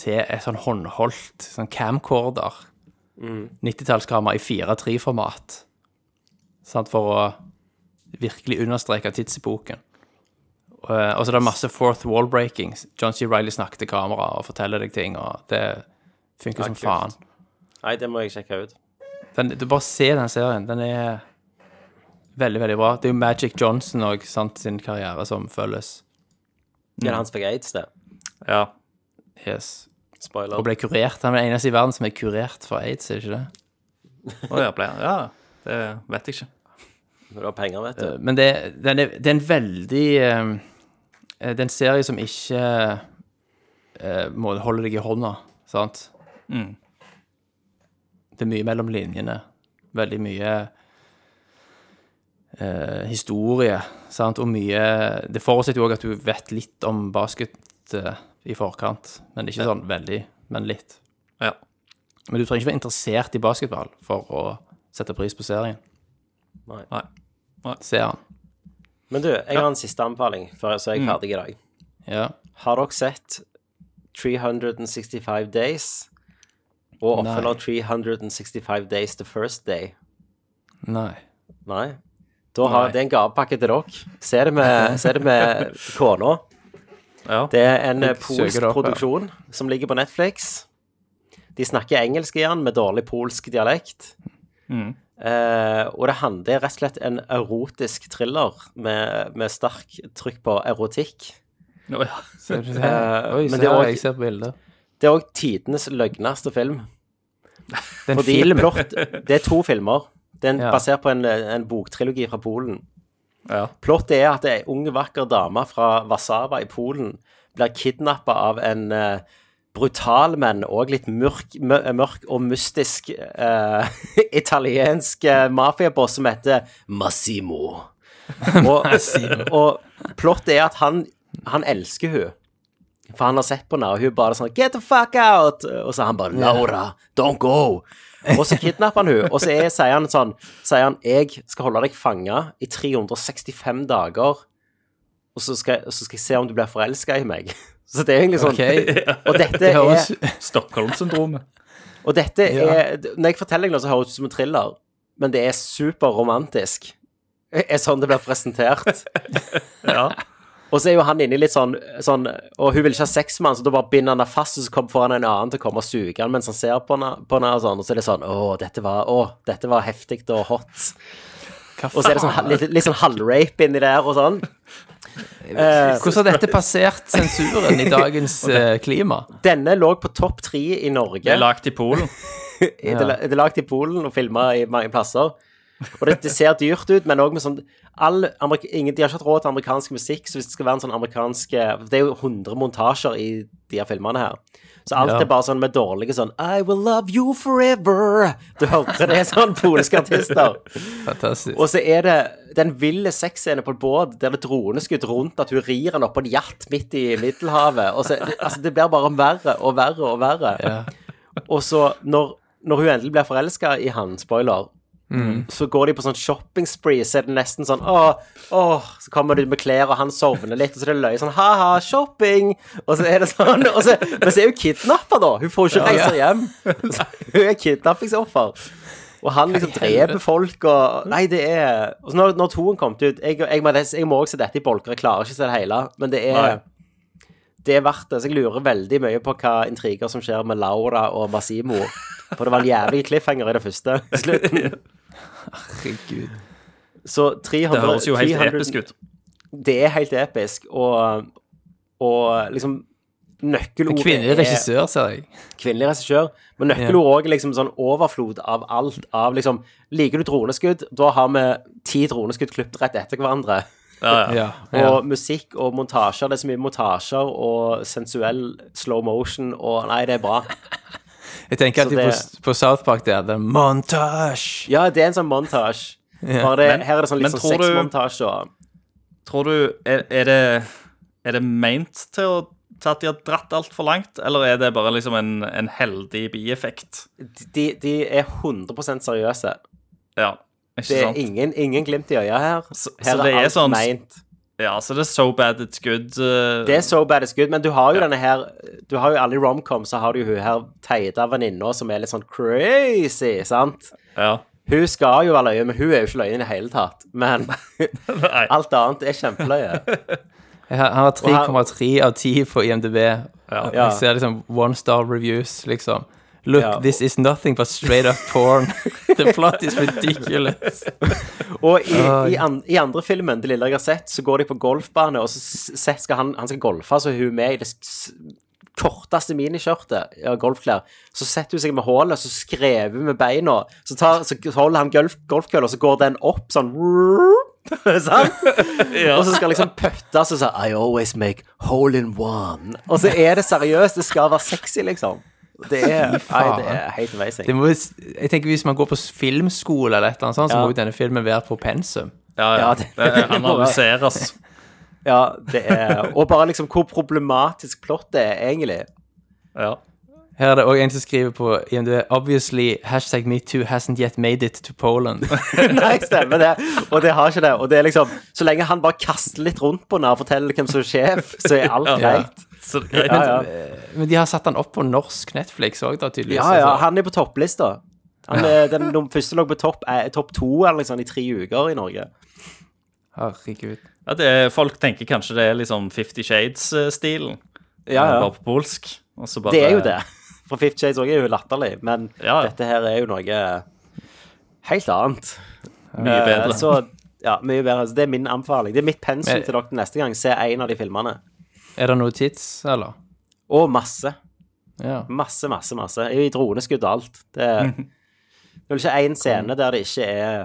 til et sånn håndholdt sånn camcorder. 90-tallskamera i 4-3-format. Sant, for å virkelig understreke tidsepoken. Og, og så er det masse fourth wall breaking. John C. Reilly snakker til kamera og forteller deg ting, og det funker som faen.
Nei, det må jeg sjekke ut.
Den, du bare se den serien. Den er veldig, veldig bra. Det er jo Magic Johnson og sant, sin karriere som følges. Mm.
Det er han som fikk aids, det.
ja.
Yes.
Spoiler.
Og ble kurert. Han er den eneste i verden som er kurert for aids, er det ikke det?
Å, ja, ble han. Ja, det vet jeg ikke.
Du har penger, vet du.
Eh, Men det, den er, det er en veldig eh, Det er en serie som ikke eh, må holde deg i hånda, sant?
Mm.
Det er mye mellom linjene. Veldig mye eh, historie, sant, og mye Det forutsetter jo òg at du vet litt om basket eh, i forkant, men ikke sånn veldig, men litt.
Ja.
Men du trenger ikke være interessert i basketball for å sette pris på serien.
Nei.
Nei.
Ser han.
Men du, jeg har en siste anbefaling, før så
Mm.
er jeg ferdig i dag.
Ja.
Har dere sett 365 Days og
Nei.
oppfølger 365 Days The First Day?
Nei.
Nei. Da har,
Nei.
Det er en gavepakke til dere. Se det med, se det med kona.
Ja.
Det er en eh,
søker
polsk
det opp, ja.
produksjon som ligger på Netflix. De snakker engelsk igjen, med dårlig polsk dialekt.
Mm.
Eh, og det handler det er rett og slett en erotisk thriller med, med sterk trykk på erotikk.
Å, ja.
Ser du det?
Eh,
Oi,
men
se
det er
her,
også-
jeg ser på bildet.
Det er òg tidenes løgneste film.
Det er en
Fordi
film.
plott, det er to filmer. Det er en,
Ja.
basert på en, en boktrilogi fra Polen.
Ja.
Plottet er at ei ung, vakker dame fra Warszawa i Polen blir kidnappa av en eh, brutal, men òg litt mørk, mø- mørk og mystisk eh, italiensk eh, mafiaboss som heter Massimo. Og, og plottet er at han, han elsker hun. For han har sett på henne, og hun bare sånn Get the fuck out! Og så er han bare Laura, don't go! Og så kidnapper han hun, og så er, sier han sånn Sier han Jeg skal holde deg fanga i 365 dager, og så skal, så skal jeg se om du blir forelska i meg. Så det er egentlig sånn
Ok.
Og dette
Det høres
er
Stockholm-syndromet.
Og dette
Ja.
er Når jeg forteller deg nå, så høres det ut som en thriller, men det er superromantisk. Det Er sånn det blir presentert.
Ja.
Og så er jo han inni litt sånn, sånn Og hun vil ikke ha sex med han, så da bare binder han henne fast, og så kom- får han en annen til å komme og suge han mens han ser på henne, på henne og sånn. Og så er det sånn Å, dette var, å, dette var heftig og hot.
Hva
Og så er det sånn, ha- litt, litt sånn halvrape inni der og sånn. Eh,
Hvordan har dette passert sensuren i dagens eh, klima?
denne lå på topp tre i Norge.
Det er lagd i Polen.
I- Det er lagd i Polen og filma i mange plasser. Og det, det ser dyrt ut, men òg med sånn all amerik- ingen, De har ikke hatt råd til amerikansk musikk, så hvis det skal være en sånn amerikansk Det er jo 100 montasjer i de her filmene her. Så alt
Ja.
er bare sånn med dårlige sånn I will love you forever. Du hørte det er sånn polske artister.
Fantastisk.
Og så er det den ville sexscenen på et båt der det er droneskudd rundt at hun rir han oppå en jatt midt i Middelhavet. Og så, det, altså, det blir bare verre og verre og verre.
Ja.
Og så, når, når hun endelig blir forelska i han, spoiler, så går de på sånn shopping spree, så er det nesten sånn åh, åh, så kommer du med klær, og han sovner litt, og så er det løye sånn ha-ha, shopping, og så er det sånn, og så, men så er hun kidnappa, da. Hun får ikke reise hjem. Hun er kidnappingsoffer. Og han liksom dreper folk og Nei, det er Og så når, når toen kom ut Jeg, jeg, må- jeg må også se dette i bolker, jeg klarer ikke å se det hele, men det er
Nei.
det er verdt det. Så jeg lurer veldig mye på hva intriger som skjer med Laura og Massimo. For det var en jævlig cliffhanger i det første. Slutten.
Herregud.
Så 300
Det høres jo helt
300
episk ut.
Det er helt episk, og, og liksom Nøkkelordet
Kvinnelig
er-
regissør, ser jeg.
kvinnelig regissør. Men nøkkelord òg er liksom sånn overflod av alt. Av liksom Liker du droneskudd? Da har vi ti droneskudd klippet rett etter hverandre.
Ja, ja.
Ja.
Og musikk og montasjer. Det er så mye montasjer og sensuell slow motion og Nei, det er bra.
Jeg tenker alltid
Så
på, på South Park der. Det er montage!
Ja, det er en sånn montasje. Bare det,
Men-
her er det sånn litt
men
sånn
tror du-
sexmontasje og
Tror du Er, er det Er det meint til å til at de har dratt altfor langt, eller er det bare liksom en, en heldig bieffekt?
de, de er 100 seriøse.
Ja, ikke
Det er
sant?
ingen, ingen glimt i øya her.
Så-
Her
så det er
alt
sånn-
meint.
Ja, så det er so bad it's good. eh,
Det er so bad it's good, men du har jo denne her Du har jo alle i romcom, så har du jo hun her teita venninna som er litt sånn crazy, sant?
ja.
Hun skal jo være løye, men hun er jo ikke løye i det hele tatt. Men
Nei.
alt annet er kjempeløye.
Jeg har- Han har
Og her-
3,3 av 10 på IMDb.
Ja.
Jeg ser liksom one star reviews, liksom. Look,
Ja.
this is nothing but straight up porn. The plot is ridiculous.
Og i, i, an, i andre filmen, det lille jeg har sett, så går de på golfbane, og så s- s- skal han, han skal golfe, så er hun med i det s- s- korteste miniskjørtet av golfklær. Så setter hun seg med hålet, så skrever hun med beina, så, tar, så holder han golf, golfkølla, og så går den opp sånn Sant? Og så skal liksom pøtte, så sier I always make hole in one. Og så er det seriøst, det skal være sexy, liksom. Det er, nei,
faen.
det er helt amazing.
Det må, jeg tenker Hvis man går på s- filmskole, eller et eller annet sånt, så
Ja.
må jo denne filmen være på pensum.
Ja, ja.
Ja,
det, eh,
det-
analyseres.
Ja, det er, og bare liksom hvor problematisk plott det er, egentlig.
Ja.
Her er det òg en som skriver på IMDb Obviously, hashtag metoo hasn't yet made it to Poland.
Nei, stemmer det. Og det har ikke det. Og det er liksom, så lenge han bare kaster litt rundt på den og forteller hvem som er sjef, så er alt greit.
Så det er greit.
Ja, ja.
Men de har satt den opp på norsk Netflix òg, da, tydeligvis.
Ja, ja,
Altså,
han er på topplista. Han er, den, den første lå på topp eh, topp to eller liksom, i tre uker i Norge.
Herregud.
Ja, det er, folk tenker kanskje det er liksom Fifty Shades-stilen,
Ja,
bare
ja.
på polsk. og så bare-
Det er jo det. For Fifth Shades også er jo latterlig, men
Ja.
dette her er jo noe helt annet.
Mye bedre.
Eh, Så ja, mye bedre. Så det er min anbefaling. Det er mitt pensum
Men-
til dere neste gang. Se en av de filmene.
Er det noe tids, eller?
Og masse.
Ja.
Masse, masse, masse. I droneskudd og alt. Det er, det er vel ikke én scene der det ikke er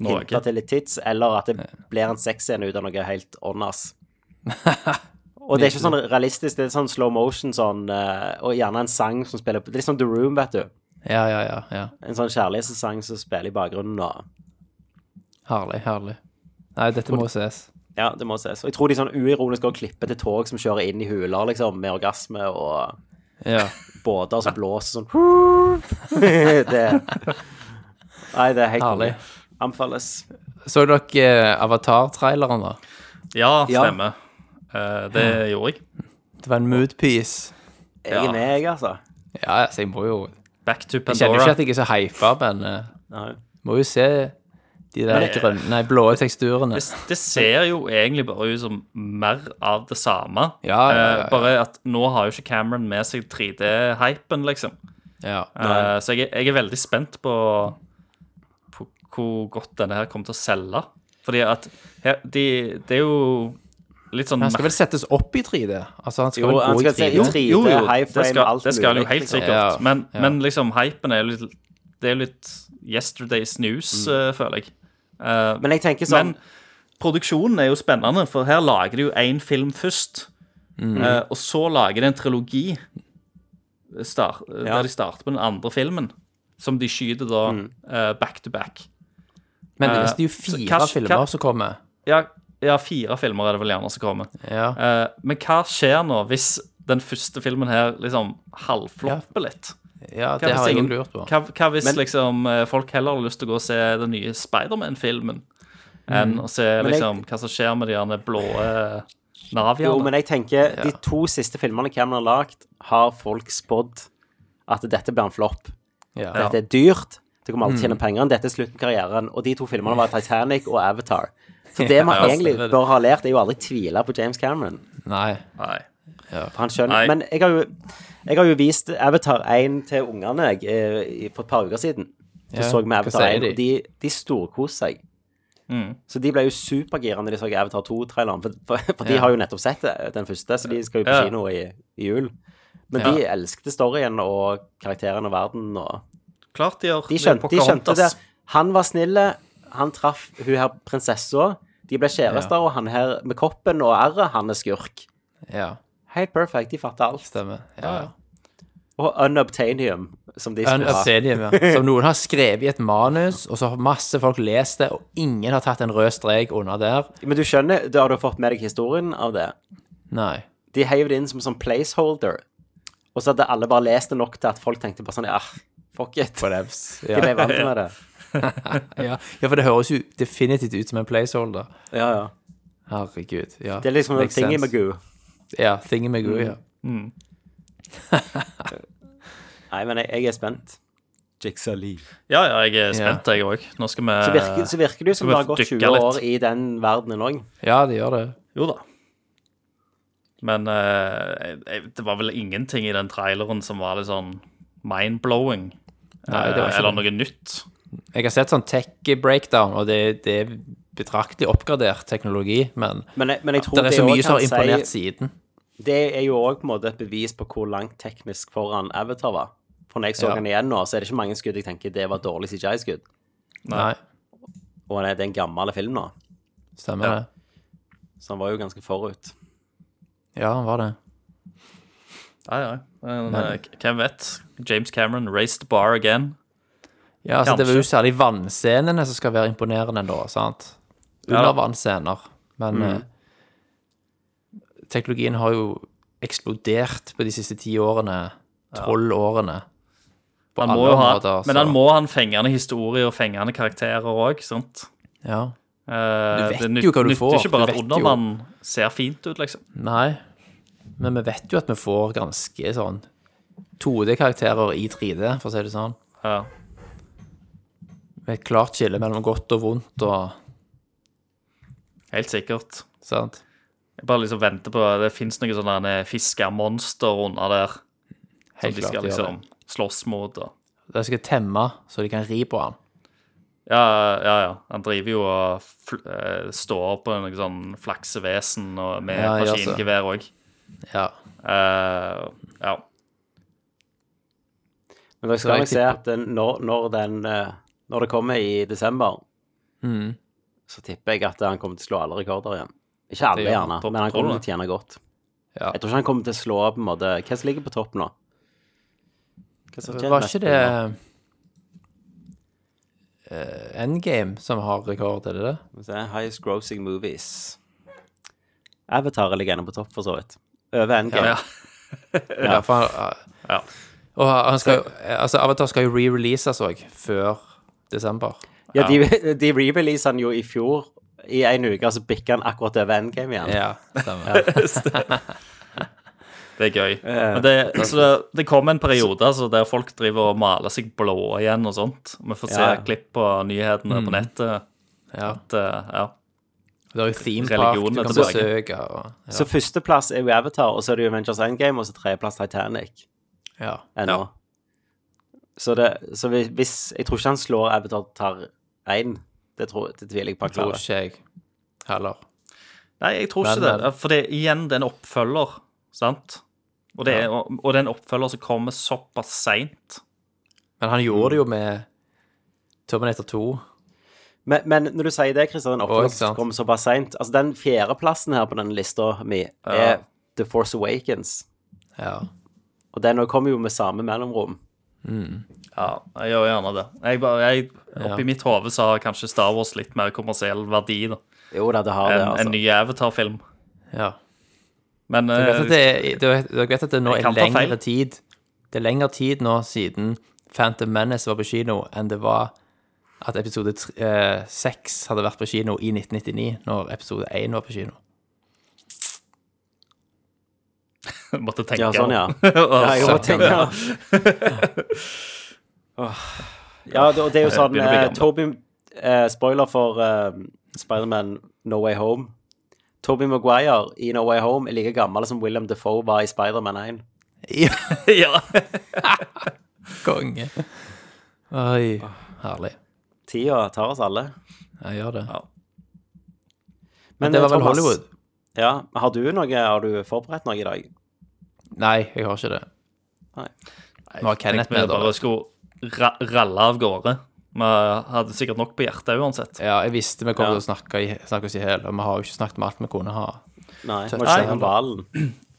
Noe.
hinta til litt tids, eller at det blir en sexscene ut av noe helt åndas. Og det er ikke sånn realistisk, det er sånn slow motion sånn, eh, og gjerne en sang som spiller på Det er litt sånn The Room, vet du.
ja, ja, ja. ja.
En sånn kjærlighetssang som spiller i bakgrunnen. Og,
Herlig, herlig. Nei, dette må ses.
ja, det må ses. Og jeg tror de sånn uironisk går og klipper til tog som kjører inn i huler, liksom, med orgasme og
Ja.
båter som blåser sånn det, Nei, det er helt
Herlig.
konge. Anbefales.
Så dere eh, Avatar-traileren, da?
Ja,
Ja.
stemmer. Eh, det gjorde jeg.
Det var en moodpiece.
Jeg er
Ja.
med, jeg, altså.
Ja, altså, jeg må jo
Back to
Jeg kjenner jo ikke
Pandora.
at jeg er så hypa, men eh,
Nei.
må jo se de der
Men-
grønne, nei, blå teksturene.
Det, det ser jo egentlig bare ut som mer av det samme.
Ja, ja, ja, ja.
Eh, bare at nå har jo ikke Cameron med seg 3D-hypen, liksom.
Ja.
Eh, så jeg, er- jeg er veldig spent på, på hvor godt denne her kommer til å selge. Fordi at her, de, det er jo litt sånn
Men han skal vel settes opp i 3D? Altså, han skal
Jo,
vel
han
gå
skal se
i
i
3D?
3D,
Jo, jo,
high
det
frame,
skal,
alt
det skal han jo
mulig,
helt
liksom.
sikkert.
Ja,
men,
ja.
men liksom, hypen er jo litt Det er jo litt yesterday's news,
Mm.
eh, føler jeg. Eh,
Men jeg tenker sånn
men produksjonen er jo spennende, for her lager de jo én film først. eh, og så lager de en trilogi eh, star, eh,
Ja.
der de starter på den andre filmen, som de skyter da eh, back to back.
Men
Eh,
det er jo
så
fire
hva-
filmer
hva-
som kommer.
Ja, ja, fire filmer er det vel gjerne som kommer.
Ja.
Eh, men hva skjer nå hvis den første filmen her liksom halvflopper litt?
ja,
Hva
det
hvis
har jeg
ingen-
òg lurt på.
Hva, hva hvis liksom eh, folk heller har lyst til å gå og se den nye Spiderman-filmen enn å se
Mm. Men jeg-
liksom hva som skjer med de gjerne blå eh,
Jo,
naviene?
men jeg tenker de to siste filmene Cameron har lagd, har folk spådd at dette blir en flopp.
Ja.
Dette er dyrt. Det kommer aldri til å tjene penger. Dette er slutten av karrieren. Og de to filmene var Titanic og Avatar. Så det man
Ja,
egentlig
stemmer det.
bør ha lært, er jo aldri tvile på James Cameron.
Nei.
Nei.
For han skjønner.
Nei.
Men jeg har jo, jeg har jo vist Avatar 1 til ungene jeg, eh, i- for et par uker siden. Så
Ja,
så jeg med
hva
Avatar
sier
1,
de?
og de, de storkoste seg. Så de ble jo supergira når de så Avatar 2-traileren, for, for, for de
Ja.
har jo nettopp sett det, den første, så de skal jo på
Ja.
kino i, i jul. Men
Ja.
de elsket storyen og karakteren og verden og
Klart de gjør.
De skjønte, de skjønte det.
Pocahontas.
Han var snille, han traff hun her prinsessa, de ble kjærester, og han her med koppen og arret, han er skurk.
Ja.
Helt perfect, de fatter alt.
Stemmer. Ja, ja.
Og unobtainium, som de skulle ha.
Unobsidian, ja. Som noen har skrevet i et manus, og så har masse folk lest det, og ingen har tatt en rød strek under der.
Men du skjønner, da har du fått med deg historien av det.
Nei.
De heiv det inn som sånn placeholder, og så hadde alle bare lest det nok til at folk tenkte bare sånn, ja, fuck it. De
Ja.
ble vant med det.
Ja. ja, for det høres jo definitivt ut som en placeholder.
Ja, ja.
Herregud. Ja.
Det er liksom en
Makes
ting i
sense.
Magoo.
Ja, thingamagoo,
Mm.
ja.
Nei, men jeg, jeg er spent. Jigsaw Lee.
Ja, ja, jeg er spent, jeg òg. Nå skal vi
Så virker, så virker det jo som
vi
det har gått
dykke
20 år
litt?
i den verdenen òg.
Ja, det gjør det.
Jo da. Men eh, jeg- det var vel ingenting i den traileren som var litt sånn mind-blowing.
Nei, det var
eh,
ikke
eller
det.
noe nytt.
Jeg har sett sånn tech-breakdown, og det, det er betraktelig oppgradert teknologi, men
Men, jeg- men jeg tror
det er så
også
mye som har
kan
imponert
si-
siden.
Det er jo òg på en måte et bevis på hvor langt teknisk foran Avatar var. For når jeg så
Ja.
den igjen nå, så er det ikke mange skudd jeg tenker det var dårlig CJI-skudd.
Nei,
Og det er en gammel film nå,
stemmer det.
så han var jo ganske forut.
Ja, han var det.
Ja, ja. Men, eh, hvem vet? James Cameron raised the bar again.
Ja, altså Det er jo
Kanskje.
særlig vannscenene som skal være imponerende, da. sant? Undervannsscener.
Mm.
Men eh, teknologien har jo eksplodert på de siste ti årene. Tolv årene. På
Han
alle
må jo ha,
områder,
men
så-
han må ha en fengende historie og fengende karakterer òg, sant?
Ja.
Eh,
Du vet
det nyt-
jo hva du
nytter
får.
ikke bare
Du vet
at
jo.
Undermannen ser fint ut, liksom.
Nei. Men vi vet jo at vi får ganske sånn 2D-karakterer i 3D, for å si det sånn.
Ja.
Med et klart skille mellom godt og vondt og
Helt sikkert.
sant?
Jeg bare liksom venter på Det fins noen sånne der fiskemonster under der som
Helt
de
klart
skal
de gjør
liksom slåss mot. Og.
De skal temme, så de kan ri på han.
Ja, ja, ja. Han driver jo og fl eh, står på noe sånn flaksevesen og med
Ja, jeg gjør så.
maskingevær òg.
Ja.
ja.
Men dere
Så
skal
jeg
nok se
tipper-
at den- når, når, den, eh, når det kommer i desember,
Mm.
så tipper jeg at han kommer til å slå alle rekorder igjen. Ikke alle,
Det gjør han.
gjerne,
Topp
men han kommer
tolv,
til å tjene godt.
Ja.
Jeg tror ikke han kommer til å slå på en måte Hva som ligger på topp nå? Hva som tjener
Var
mest
ikke
penger?
det eh, Endgame som har rekord, er det det?
Skal vi se, Highest grossing movies. Avatar ligger gjerne på topp, for så vidt. Over
ja,
Endgame.
ja.
Ja. for han, eh,
Ja.
Og han skal, jo- altså, Avatar skal jo re-releases òg, før desember.
Ja, de, de releaset han jo i fjor. I en uke så bikket han akkurat over Endgame igjen.
Ja, stemmer.
Det er gøy. Men det, så det, det kom en periode altså, der folk driver og maler seg blå igjen og sånt. Vi får se
Ja, ja.
klipp på nyhetene på nettet.
Ja.
At, eh, ja.
Det er jo theme park du
Religionen er
kan
tilbake.
besøke. Og, ja.
Så førsteplass er jo Avatar, og så er det jo Avengers Endgame, og så tredjeplass Titanic
ja.
ennå.
Ja.
Så, det, så hvis- hvis Jeg tror ikke han slår Avatar tar én. Det, tror, det tviler jeg på. at han
Tror
klarer.
ikke jeg heller.
Nei, jeg tror ikke
Men-
det. For det, igjen, det er en oppfølger, sant? Og det, er, og, og det er en oppfølger som kommer såpass seint.
Men han gjorde det jo med Terminator 2.
Men, men når du sier det, Kristian, den
Å, ikke
oppfølgelsen
sant.
kom såpass seint Altså, den fjerdeplassen her på den lista mi er The Force Awakens.
Ja.
Og den også kommer jo med samme mellomrom.
Ja, jeg gjør gjerne det. Jeg bare, jeg,
Ja.
oppi mitt hode så har kanskje Star Wars litt mer kommersiell verdi da,
Jo da, det har
enn
det, altså.
en ny Avatar-film.
ja.
Men
Dere vet at
eh,
det, er- dere vet- dere vet at det nå
Jeg
er
kan ta
lengre
feil.
tid Det er lengre tid nå siden Phantom Menace var på kino enn det var at episode 6 hadde vært på kino i 1999, når episode 1 var på kino.
måtte tenke
Ja, sånn, ja.
Og
Ja, jeg
så-
også tenker det. Åh. Ja, det, og det er jo
Jeg
sånn
begynner å
eh,
bli gammel.
Toby, eh, Spoiler for eh, Spiderman No Way Home. Toby Maguire i No Way Home er like gammel som William Defoe var i Spiderman 1.
Ja,
ja.
konge. Oi, herlig.
Tida tar oss alle.
Jeg gjør det.
Men
Det
eh,
var vel
Thomas,
Hollywood?
Ja, har du noe, har du forberedt noe i dag?
Nei, jeg har ikke det.
Nei.
Nå har Kenneth
Tenkte vi
med, da.
bare skulle ra ralle av gårde. Vi hadde sikkert nok på hjertet uansett.
Ja, jeg visste vi kom til å snakke, i, snakke oss i hjel, og vi har jo ikke snakket om alt vi kunne ha.
Nei, må
Nei.
ikke snakke om hvalen.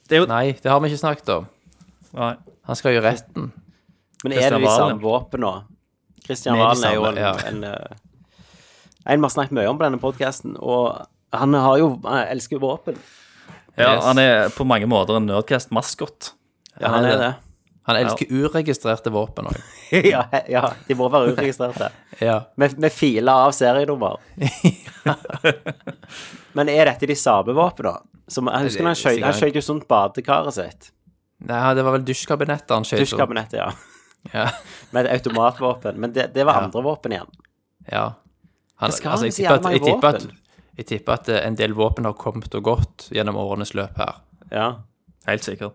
Det er jo...
Nei, det har vi ikke snakket om.
Nei.
Han skal jo i retten.
Men er det liksom
Christian
de
Valen.
samme våpnene? Kristian
Med de
Valen er jo en,
samme, ja.
en, eh, en vi har snakket mye om på denne podkasten, og han har jo, han elsker jo våpen.
Ja,
Yes.
han er på mange måter en Nerdcast-maskot.
Ja, han er det.
Han elsker uregistrerte våpen òg.
ja, he- ja, de må være uregistrerte.
Ja.
Med, med filer av serienummer. Men er dette de samme våpnene? Som, jeg husker når han skjøt- han skjøt jo sånt badekaret sitt.
Nei, det var vel dusjkabinettet han skjøt. opp.
Dusjkabinettet, ja.
Ja.
Med et automatvåpen. Men det, det var andre våpen igjen.
ja. Han,
skal
altså,
han
jeg
så
tipper at,
jævla
jeg
mange
tipper at,
våpen?
jeg tipper at eh, en del våpen har kommet og gått gjennom årenes løp her.
Ja.
Helt sikkert.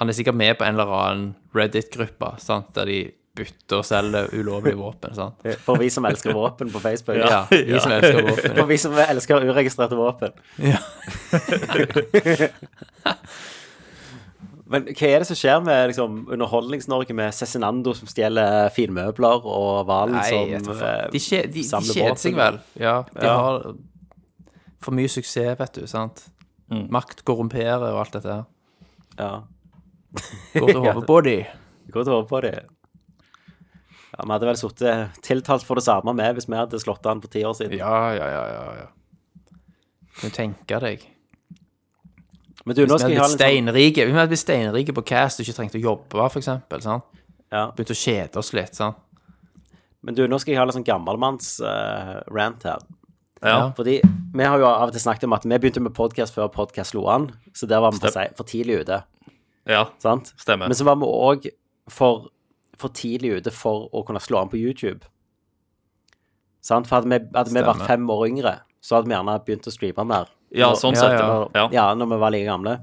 Han er sikkert med på en eller annen Reddit-gruppe sant, der de bytter og selger ulovlige våpen. sant?
For vi som elsker våpen på Facebook.
Ja, de som elsker våpen.
For vi som elsker uregistrerte våpen.
Ja.
Men hva er det som skjer med liksom, Underholdnings-Norge med Cezinando som stjeler finmøbler, og Valen
Nei,
som
jeg vet ikke.
eh,
de, kje, de, de
samler
kjeder
våpen?
seg vel. Ja, de
Ja.
har for
Mm.
mye suksess, vet du. sant? Makt korrumperer og alt dette her.
Ja.
Går til hodet på de.
Godt å håpe på det. Ja, Vi hadde vel sittet tiltalt for det samme med hvis vi hadde slått han for ti år siden.
Ja, ja, ja, ja, ja. Kan du tenke deg.
Men du, nå
Hvis vi
skal jeg
hadde
ha litt
blitt
sånn
steinrike Vi hadde blitt steinrike på cast og ikke trengt å jobbe, for eksempel, sant?
ja.
Begynt å kjede oss litt, sant?
Men du, nå skal jeg ha litt sånn gammelmanns-rant her.
Ja.
Fordi vi har jo av og til snakket om at vi begynte med podkast før podkast slo an, så der var vi for, se- for tidlig ute.
ja.
Sant?
Stemmer.
Men så var vi òg for, for tidlig ute for å kunne slå an på YouTube. Sant? For hadde vi, hadde vi vært
Stemmer.
fem år yngre, så hadde vi gjerne begynt å streame mer.
Ja, sånn
Ja,
sett,
ja.
ja. ja.
ja, når vi var like gamle.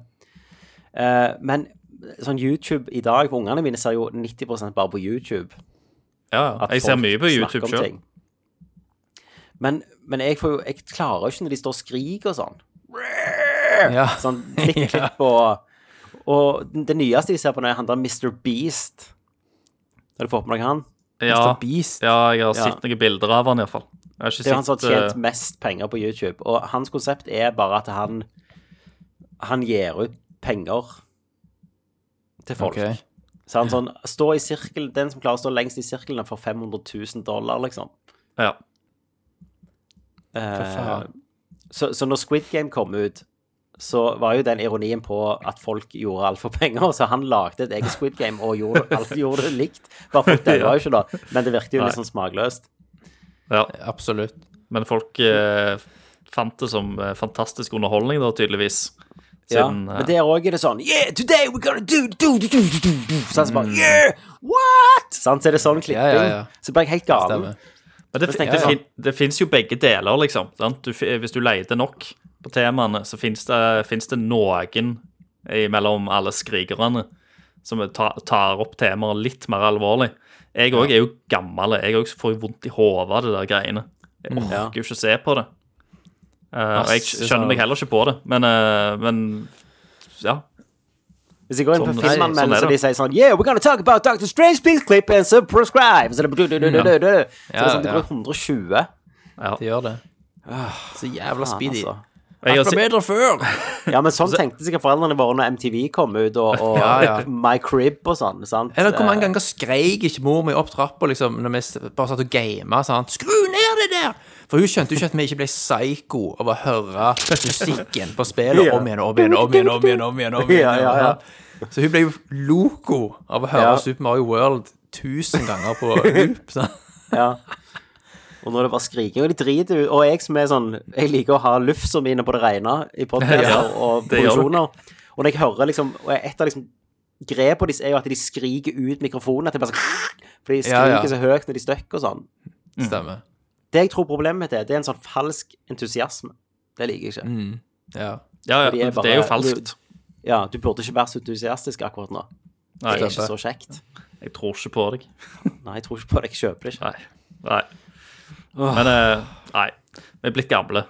Eh, men sånn YouTube i dag, for ungene mine ser jo 90 bare på YouTube.
ja.
at
Jeg ser
folk
mye på
snakker
YouTube
om
sjøl.
ting. Men, men jeg, får jo, jeg klarer jo ikke når de står og skriker og sånn.
Ja.
Sånn klikk, klikk på Og den- det nyeste jeg ser på nå, handler om Mr. Beast. Har du fått med deg han?
Ja.
Mr. Beast.
ja, jeg har
Ja.
sett noen bilder av han iallfall. Jeg har ikke
Det er jo han som har
sett
tjent
eh,
mest penger på YouTube. Og hans konsept er bare at han Han gir ut penger til folk.
Ok.
Så han sånn Stå i sirkel Den som klarer å stå lengst i sirkelen, får 500 000 dollar, liksom.
ja.
Eh,
faen?
så, så når Squid Game kom ut, så var jo den ironien på at folk gjorde alt for penger. Så han lagde et eget Squid Game og gjorde, alt gjorde det likt. Bare folk daua jo ikke da, men det virket jo litt sånn smakløst.
ja.
Absolutt.
Men folk eh, fant det som eh, fantastisk underholdning, da, tydeligvis.
Ja,
Siden, eh,
men der òg er det sånn Yeah, today we're gonna do do do do do do, do. Sånn, så
Mm.
bare Yeah, what? Sant, så er det sånn klipping.
Ja, ja, ja.
Så ble jeg helt gal.
Stemmer.
Men det,
Så
det,
tenkte jeg
fin- det fins jo begge deler, liksom. Sant? Du, fi- hvis du leter nok på temaene, så fins det, finnes det noen mellom alle skrikerne som ta, tar opp temaer litt mer alvorlig. Jeg òg er jo gammel. Jeg òg får jo vondt i hodet av det der greiene. Jeg orker jo ikke se på det. Eh, og jeg
Ass,
skjønner meg heller ikke på det, men, eh, men ja.
Hvis jeg går inn
Sånn-
på
Nei, sånn er
Filmanmeldelsen,
det.
og de sier sånn Yeah, we're gonna talk about Dr. Strange, please clip and subscribe. Så det er du, du, du, du, du, du.
Mm.
Så det er sånn, det
Ja,
går 120.
Det gjør det. Så jævla speedy.
Ah, altså.
Jeg
Det
har,
var
se-
bedre før!
Ja, men sånn tenkte sikkert foreldrene våre når MTV kom ut, og, og
Ja, ja.
My Crib og sånn. sant?
Eller hvor mange ganger skreik ikke mor mi opp trappa liksom, når vi s- bare satt og gama? Sant? 'Skru ned det der!' For hun skjønte jo ikke at vi ikke ble psycho av å høre musikken på spillet
Ja.
om igjen og om igjen og om igjen. om igjen, om igjen, om igjen,
Ja, ja, ja.
sant? Så hun ble jo loco av å høre
Ja.
Super Mario World tusen ganger på loop. sant?
Ja. Eh, Og når det bare skriking, og de driter ut Og jeg som er sånn Jeg liker å ha lufsa mine på det rene i podkaster
Ja,
og
det gjør du.
produksjoner. Og når jeg hører liksom Og et av liksom grepene deres er jo at de skriker ut mikrofonen. At det bare sånn For de skriker
Ja, ja.
så høyt når de støkker og sånn.
Stemmer.
Det jeg tror problemet mitt er, det er en sånn falsk entusiasme. Det liker jeg ikke.
Ja.
ja, ja,
de er
det er jo
bare-
falskt.
Ja, du burde ikke være så entusiastisk akkurat nå. Det
Nei,
er ikke så kjekt.
jeg tror ikke på deg.
Nei, jeg tror ikke på det. Jeg kjøper det ikke.
Nei. Nei. Men eh, nei. Vi er blitt gamle.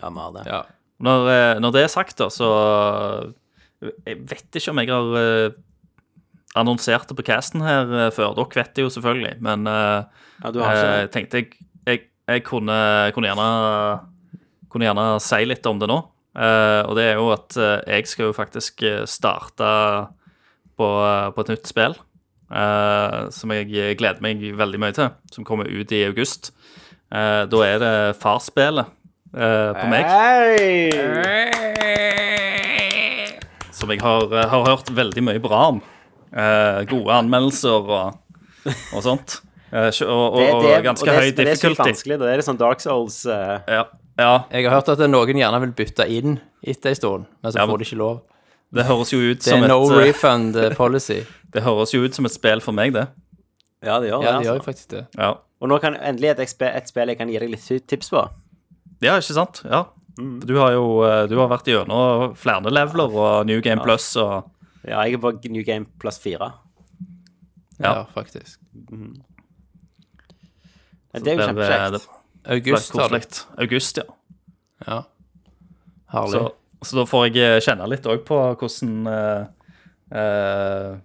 Ja, vi har det.
ja.
Når, eh, når det er sagt, da, så eh, Jeg vet ikke om jeg har eh, annonsert det på casten her eh, før. Dere vet det jo selvfølgelig, men eh,
Ja, du har ikke
eh, tenkte jeg Jeg, jeg kunne, kunne, gjerne, kunne gjerne si litt om det nå. Eh, og det er jo at eh, jeg skal jo faktisk eh, starte på, på et nytt spill. eh, som jeg gleder meg veldig mye til, som kommer ut i august. Eh, da er det farsspillet eh, på meg.
Hei!
som jeg har, eh, har hørt veldig mye bra om. Eh, gode anmeldelser og, og sånt. Eh, sjø- og, og, og ganske
og det-
høy
men Det er sykt
difficulty.
vanskelig. Det er litt sånn Dark Souls eh,
Ja, ja,
Jeg har hørt at noen gjerne vil bytte inn etter en stund, men så
Ja, men-
får de ikke lov.
det høres jo ut
Det
som
er no
et, eh,
refund eh, policy.
det høres jo ut som et spill for meg, det.
Ja, det gjør det.
Ja, de gjør
altså.
jo faktisk det.
Ja,
Og nå kan endelig et, ekspe- et spill jeg kan gi deg litt tips på.
ja ikke sant? Ja.
Mm.
Du har jo eh, du har vært gjennom flere leveler og New Game Plus og
Ja, jeg er på New Game pluss fire.
Ja.
Ja, faktisk.
Men Det er jo
det er-
kjempekjekt.
det er
August har det.
koselig. August, ja.
Ja. Herlig.
Så, så da får jeg eh, kjenne litt òg på hvordan eh, eh,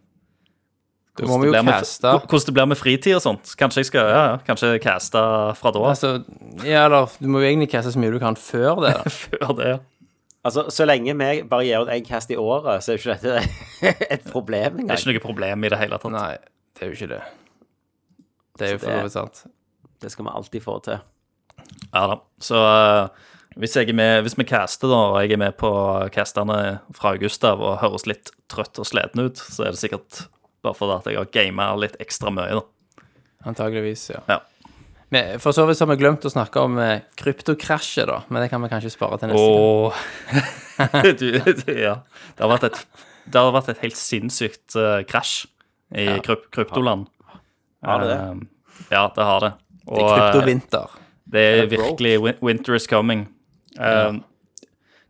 Da må vi jo
det blir med-
caste.
hvordan det blir med fritid og sånt. Kanskje jeg skal ja, ja, kanskje caste fra da av.
Altså, ja, eller du må jo egentlig caste så mye du kan før det. da.
Før det.
Altså, så lenge vi bare gir ut én cast i året, så er jo ikke dette et problem
Det er
engang.
ikke noe problem i det hele tatt.
Nei, det er jo ikke det. Det er jo
Så det-
for så vidt sant.
Det skal vi alltid få til.
Ja da. Så eh, hvis, jeg er med, hvis vi caster, da, og jeg er med på casterne fra august av og høres litt trøtt og sliten ut, så er det sikkert bare fordi at jeg har gama litt ekstra mye, da.
Antageligvis, ja.
Ja.
Men for så vidt så har vi glemt å snakke om eh, kryptokrasjet, da. Men det kan vi kanskje spare til neste gang.
Og du, du, ja. Det har vært et, det har vært et helt sinnssykt eh, krasj i kryp kryptoland.
Har det det?
Eh, ja, det har det. Og,
Det er kryptovinter.
eh, det er
det broke?
virkelig win- winter is coming. Eh,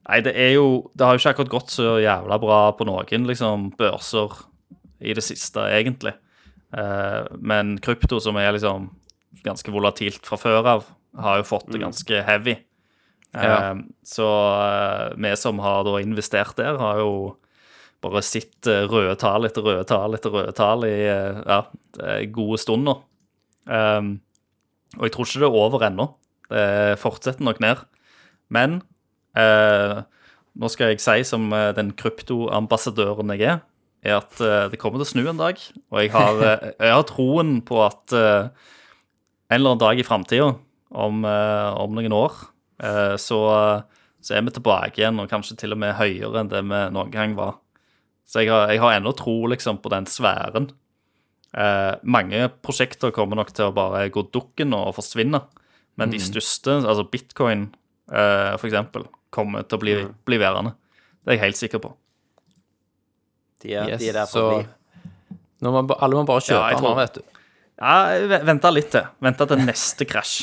Nei, det er jo Det har jo ikke akkurat gått så jævla bra på noen liksom, børser i det siste, egentlig. Eh, men krypto, som er liksom ganske volatilt fra før av, har jo fått det ganske heavy.
Ja.
Eh, Så eh, vi som har da investert der, har jo bare sett eh, røde tall etter røde tall etter røde tall i eh, ja, eh, gode stunder. Um, og jeg tror ikke det er over ennå. Det fortsetter nok ned. Men eh, nå skal jeg si som eh, den kryptoambassadøren jeg er, er at eh, det kommer til å snu en dag. Og jeg har, eh, jeg har troen på at eh, en eller annen dag i framtida, om, eh, om noen år, eh, så, så er vi tilbake igjen, og kanskje til og med høyere enn det vi noen gang var. Så jeg har, jeg har ennå tro liksom, på den sfæren. Eh, mange prosjekter kommer nok til å bare gå dukken og forsvinne. Men de største, altså bitcoin eh, for eksempel, kommer til å bli, bli værende. Det er jeg helt sikker på.
De er,
Yes,
de er der
så
for å bli.
nå må, ba- alle må bare kjøpe
Ja, jeg
den,
tror-
vet du.
Ja, Vente litt til. Vente til neste krasj.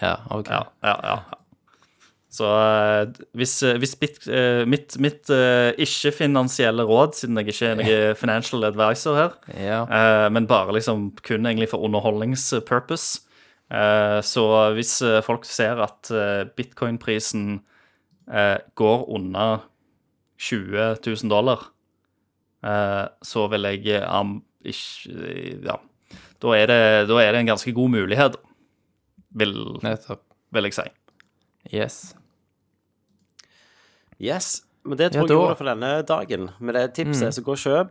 Ja, ok.
Ja, ja, ja. Så eh, hvis, eh, hvis bit, eh, mitt, mitt eh, ikke-finansielle råd, siden jeg ikke er noen financial advisor her,
Ja.
Eh, men bare liksom kun egentlig for underholdningspurpose. Eh, så hvis eh, folk ser at eh, bitcoin-prisen eh, går unna 20 000 dollar, eh, så vil jeg eh, am, ikke, Ja. Da er, det, da er det en ganske god mulighet, vil,
Nettopp.
vil jeg si.
Yes.
Yes. Men det
Ja,
tror jeg
da-
gjorde det for denne dagen. Med det tipset, så gå og kjøp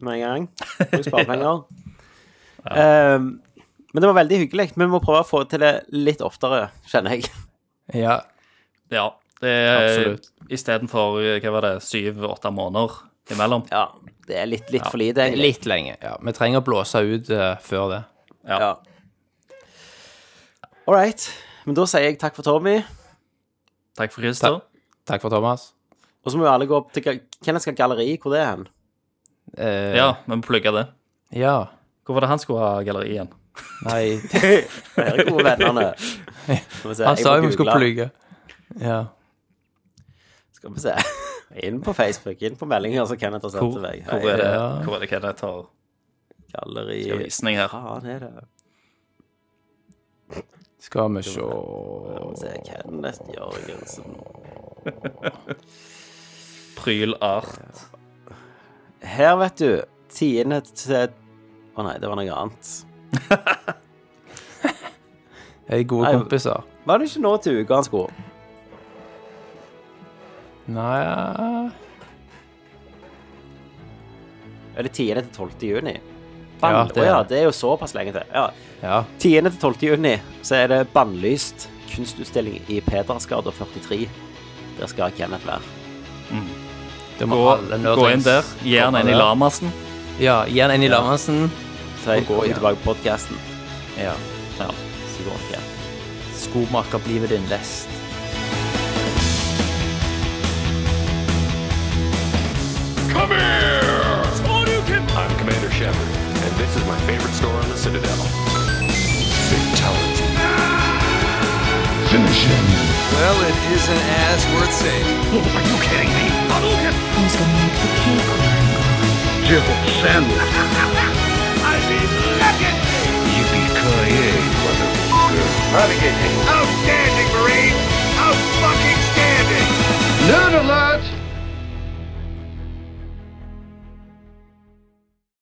med en gang. Bruk sparepenger. Ehm, men det var veldig hyggelig. Men vi må prøve å få til det litt oftere, kjenner jeg.
Ja.
Ja. Det er
Absolutt.
istedenfor eh, hva var det, syv-åtte måneder imellom.
Ja, det er litt, litt for lite, egentlig.
Litt lenge. Ja. Vi trenger å blåse ut eh, før det.
Ja. All right. Men da sier jeg takk for Tommy.
Takk for Christer.
Takk for Thomas.
Og så må jo alle gå opp til ga- Hvem skal galleri? Hvor det er hen?
Eh,
Ja, vi må plugge det.
ja.
Hvor var det han skulle ha galleri igjen?
Nei,
Dere gode vennene.
han sa jo vi skulle plugge. Ja.
Skal vi se. Inn på Facebook, inn på meldinger, så Kenneth har sendt til meg.
Hvor er det,
Ja.
hvor er det Kenneth har
Galleri
skal visning her?
Faen er det
Skal vi se
Skal vi se, Kenneth Jørgensen
Prylart.
Her, vet du. Tiende til Å nei, det var noe annet.
Jeg er gode
Nei,
kompiser.
Var det ikke nå til uka han skulle?
Nei
Eller tiende til tolvte juni?
Ja,
Ban-
det
Å ja,
er det.
det er jo såpass lenge til. Ja.
Ja.
10. til 12. juni så er det bannlyst kunstutstilling i Pedersgata 43. Der skal Kenneth være.
Det må
Gå,
alle
gå inn der, gi han en i
Lamassen.
lamasen.
Ja, gi han en i Lamassen.
Så jeg
Og gå
kommer
igjen.
tilbake på podkasten.
Ja.
Ja.
Så går jeg igjen.
Skomaker blir ved din lest.
Come here! I'm Commander Shepard, and this is my favorite store on the Citadel. Fatality. Finish him.
Well, it is an ass worth saving.
Are you kidding me?
Who's gonna make the cake?
Yippee-ki-yay, motherfucker. Out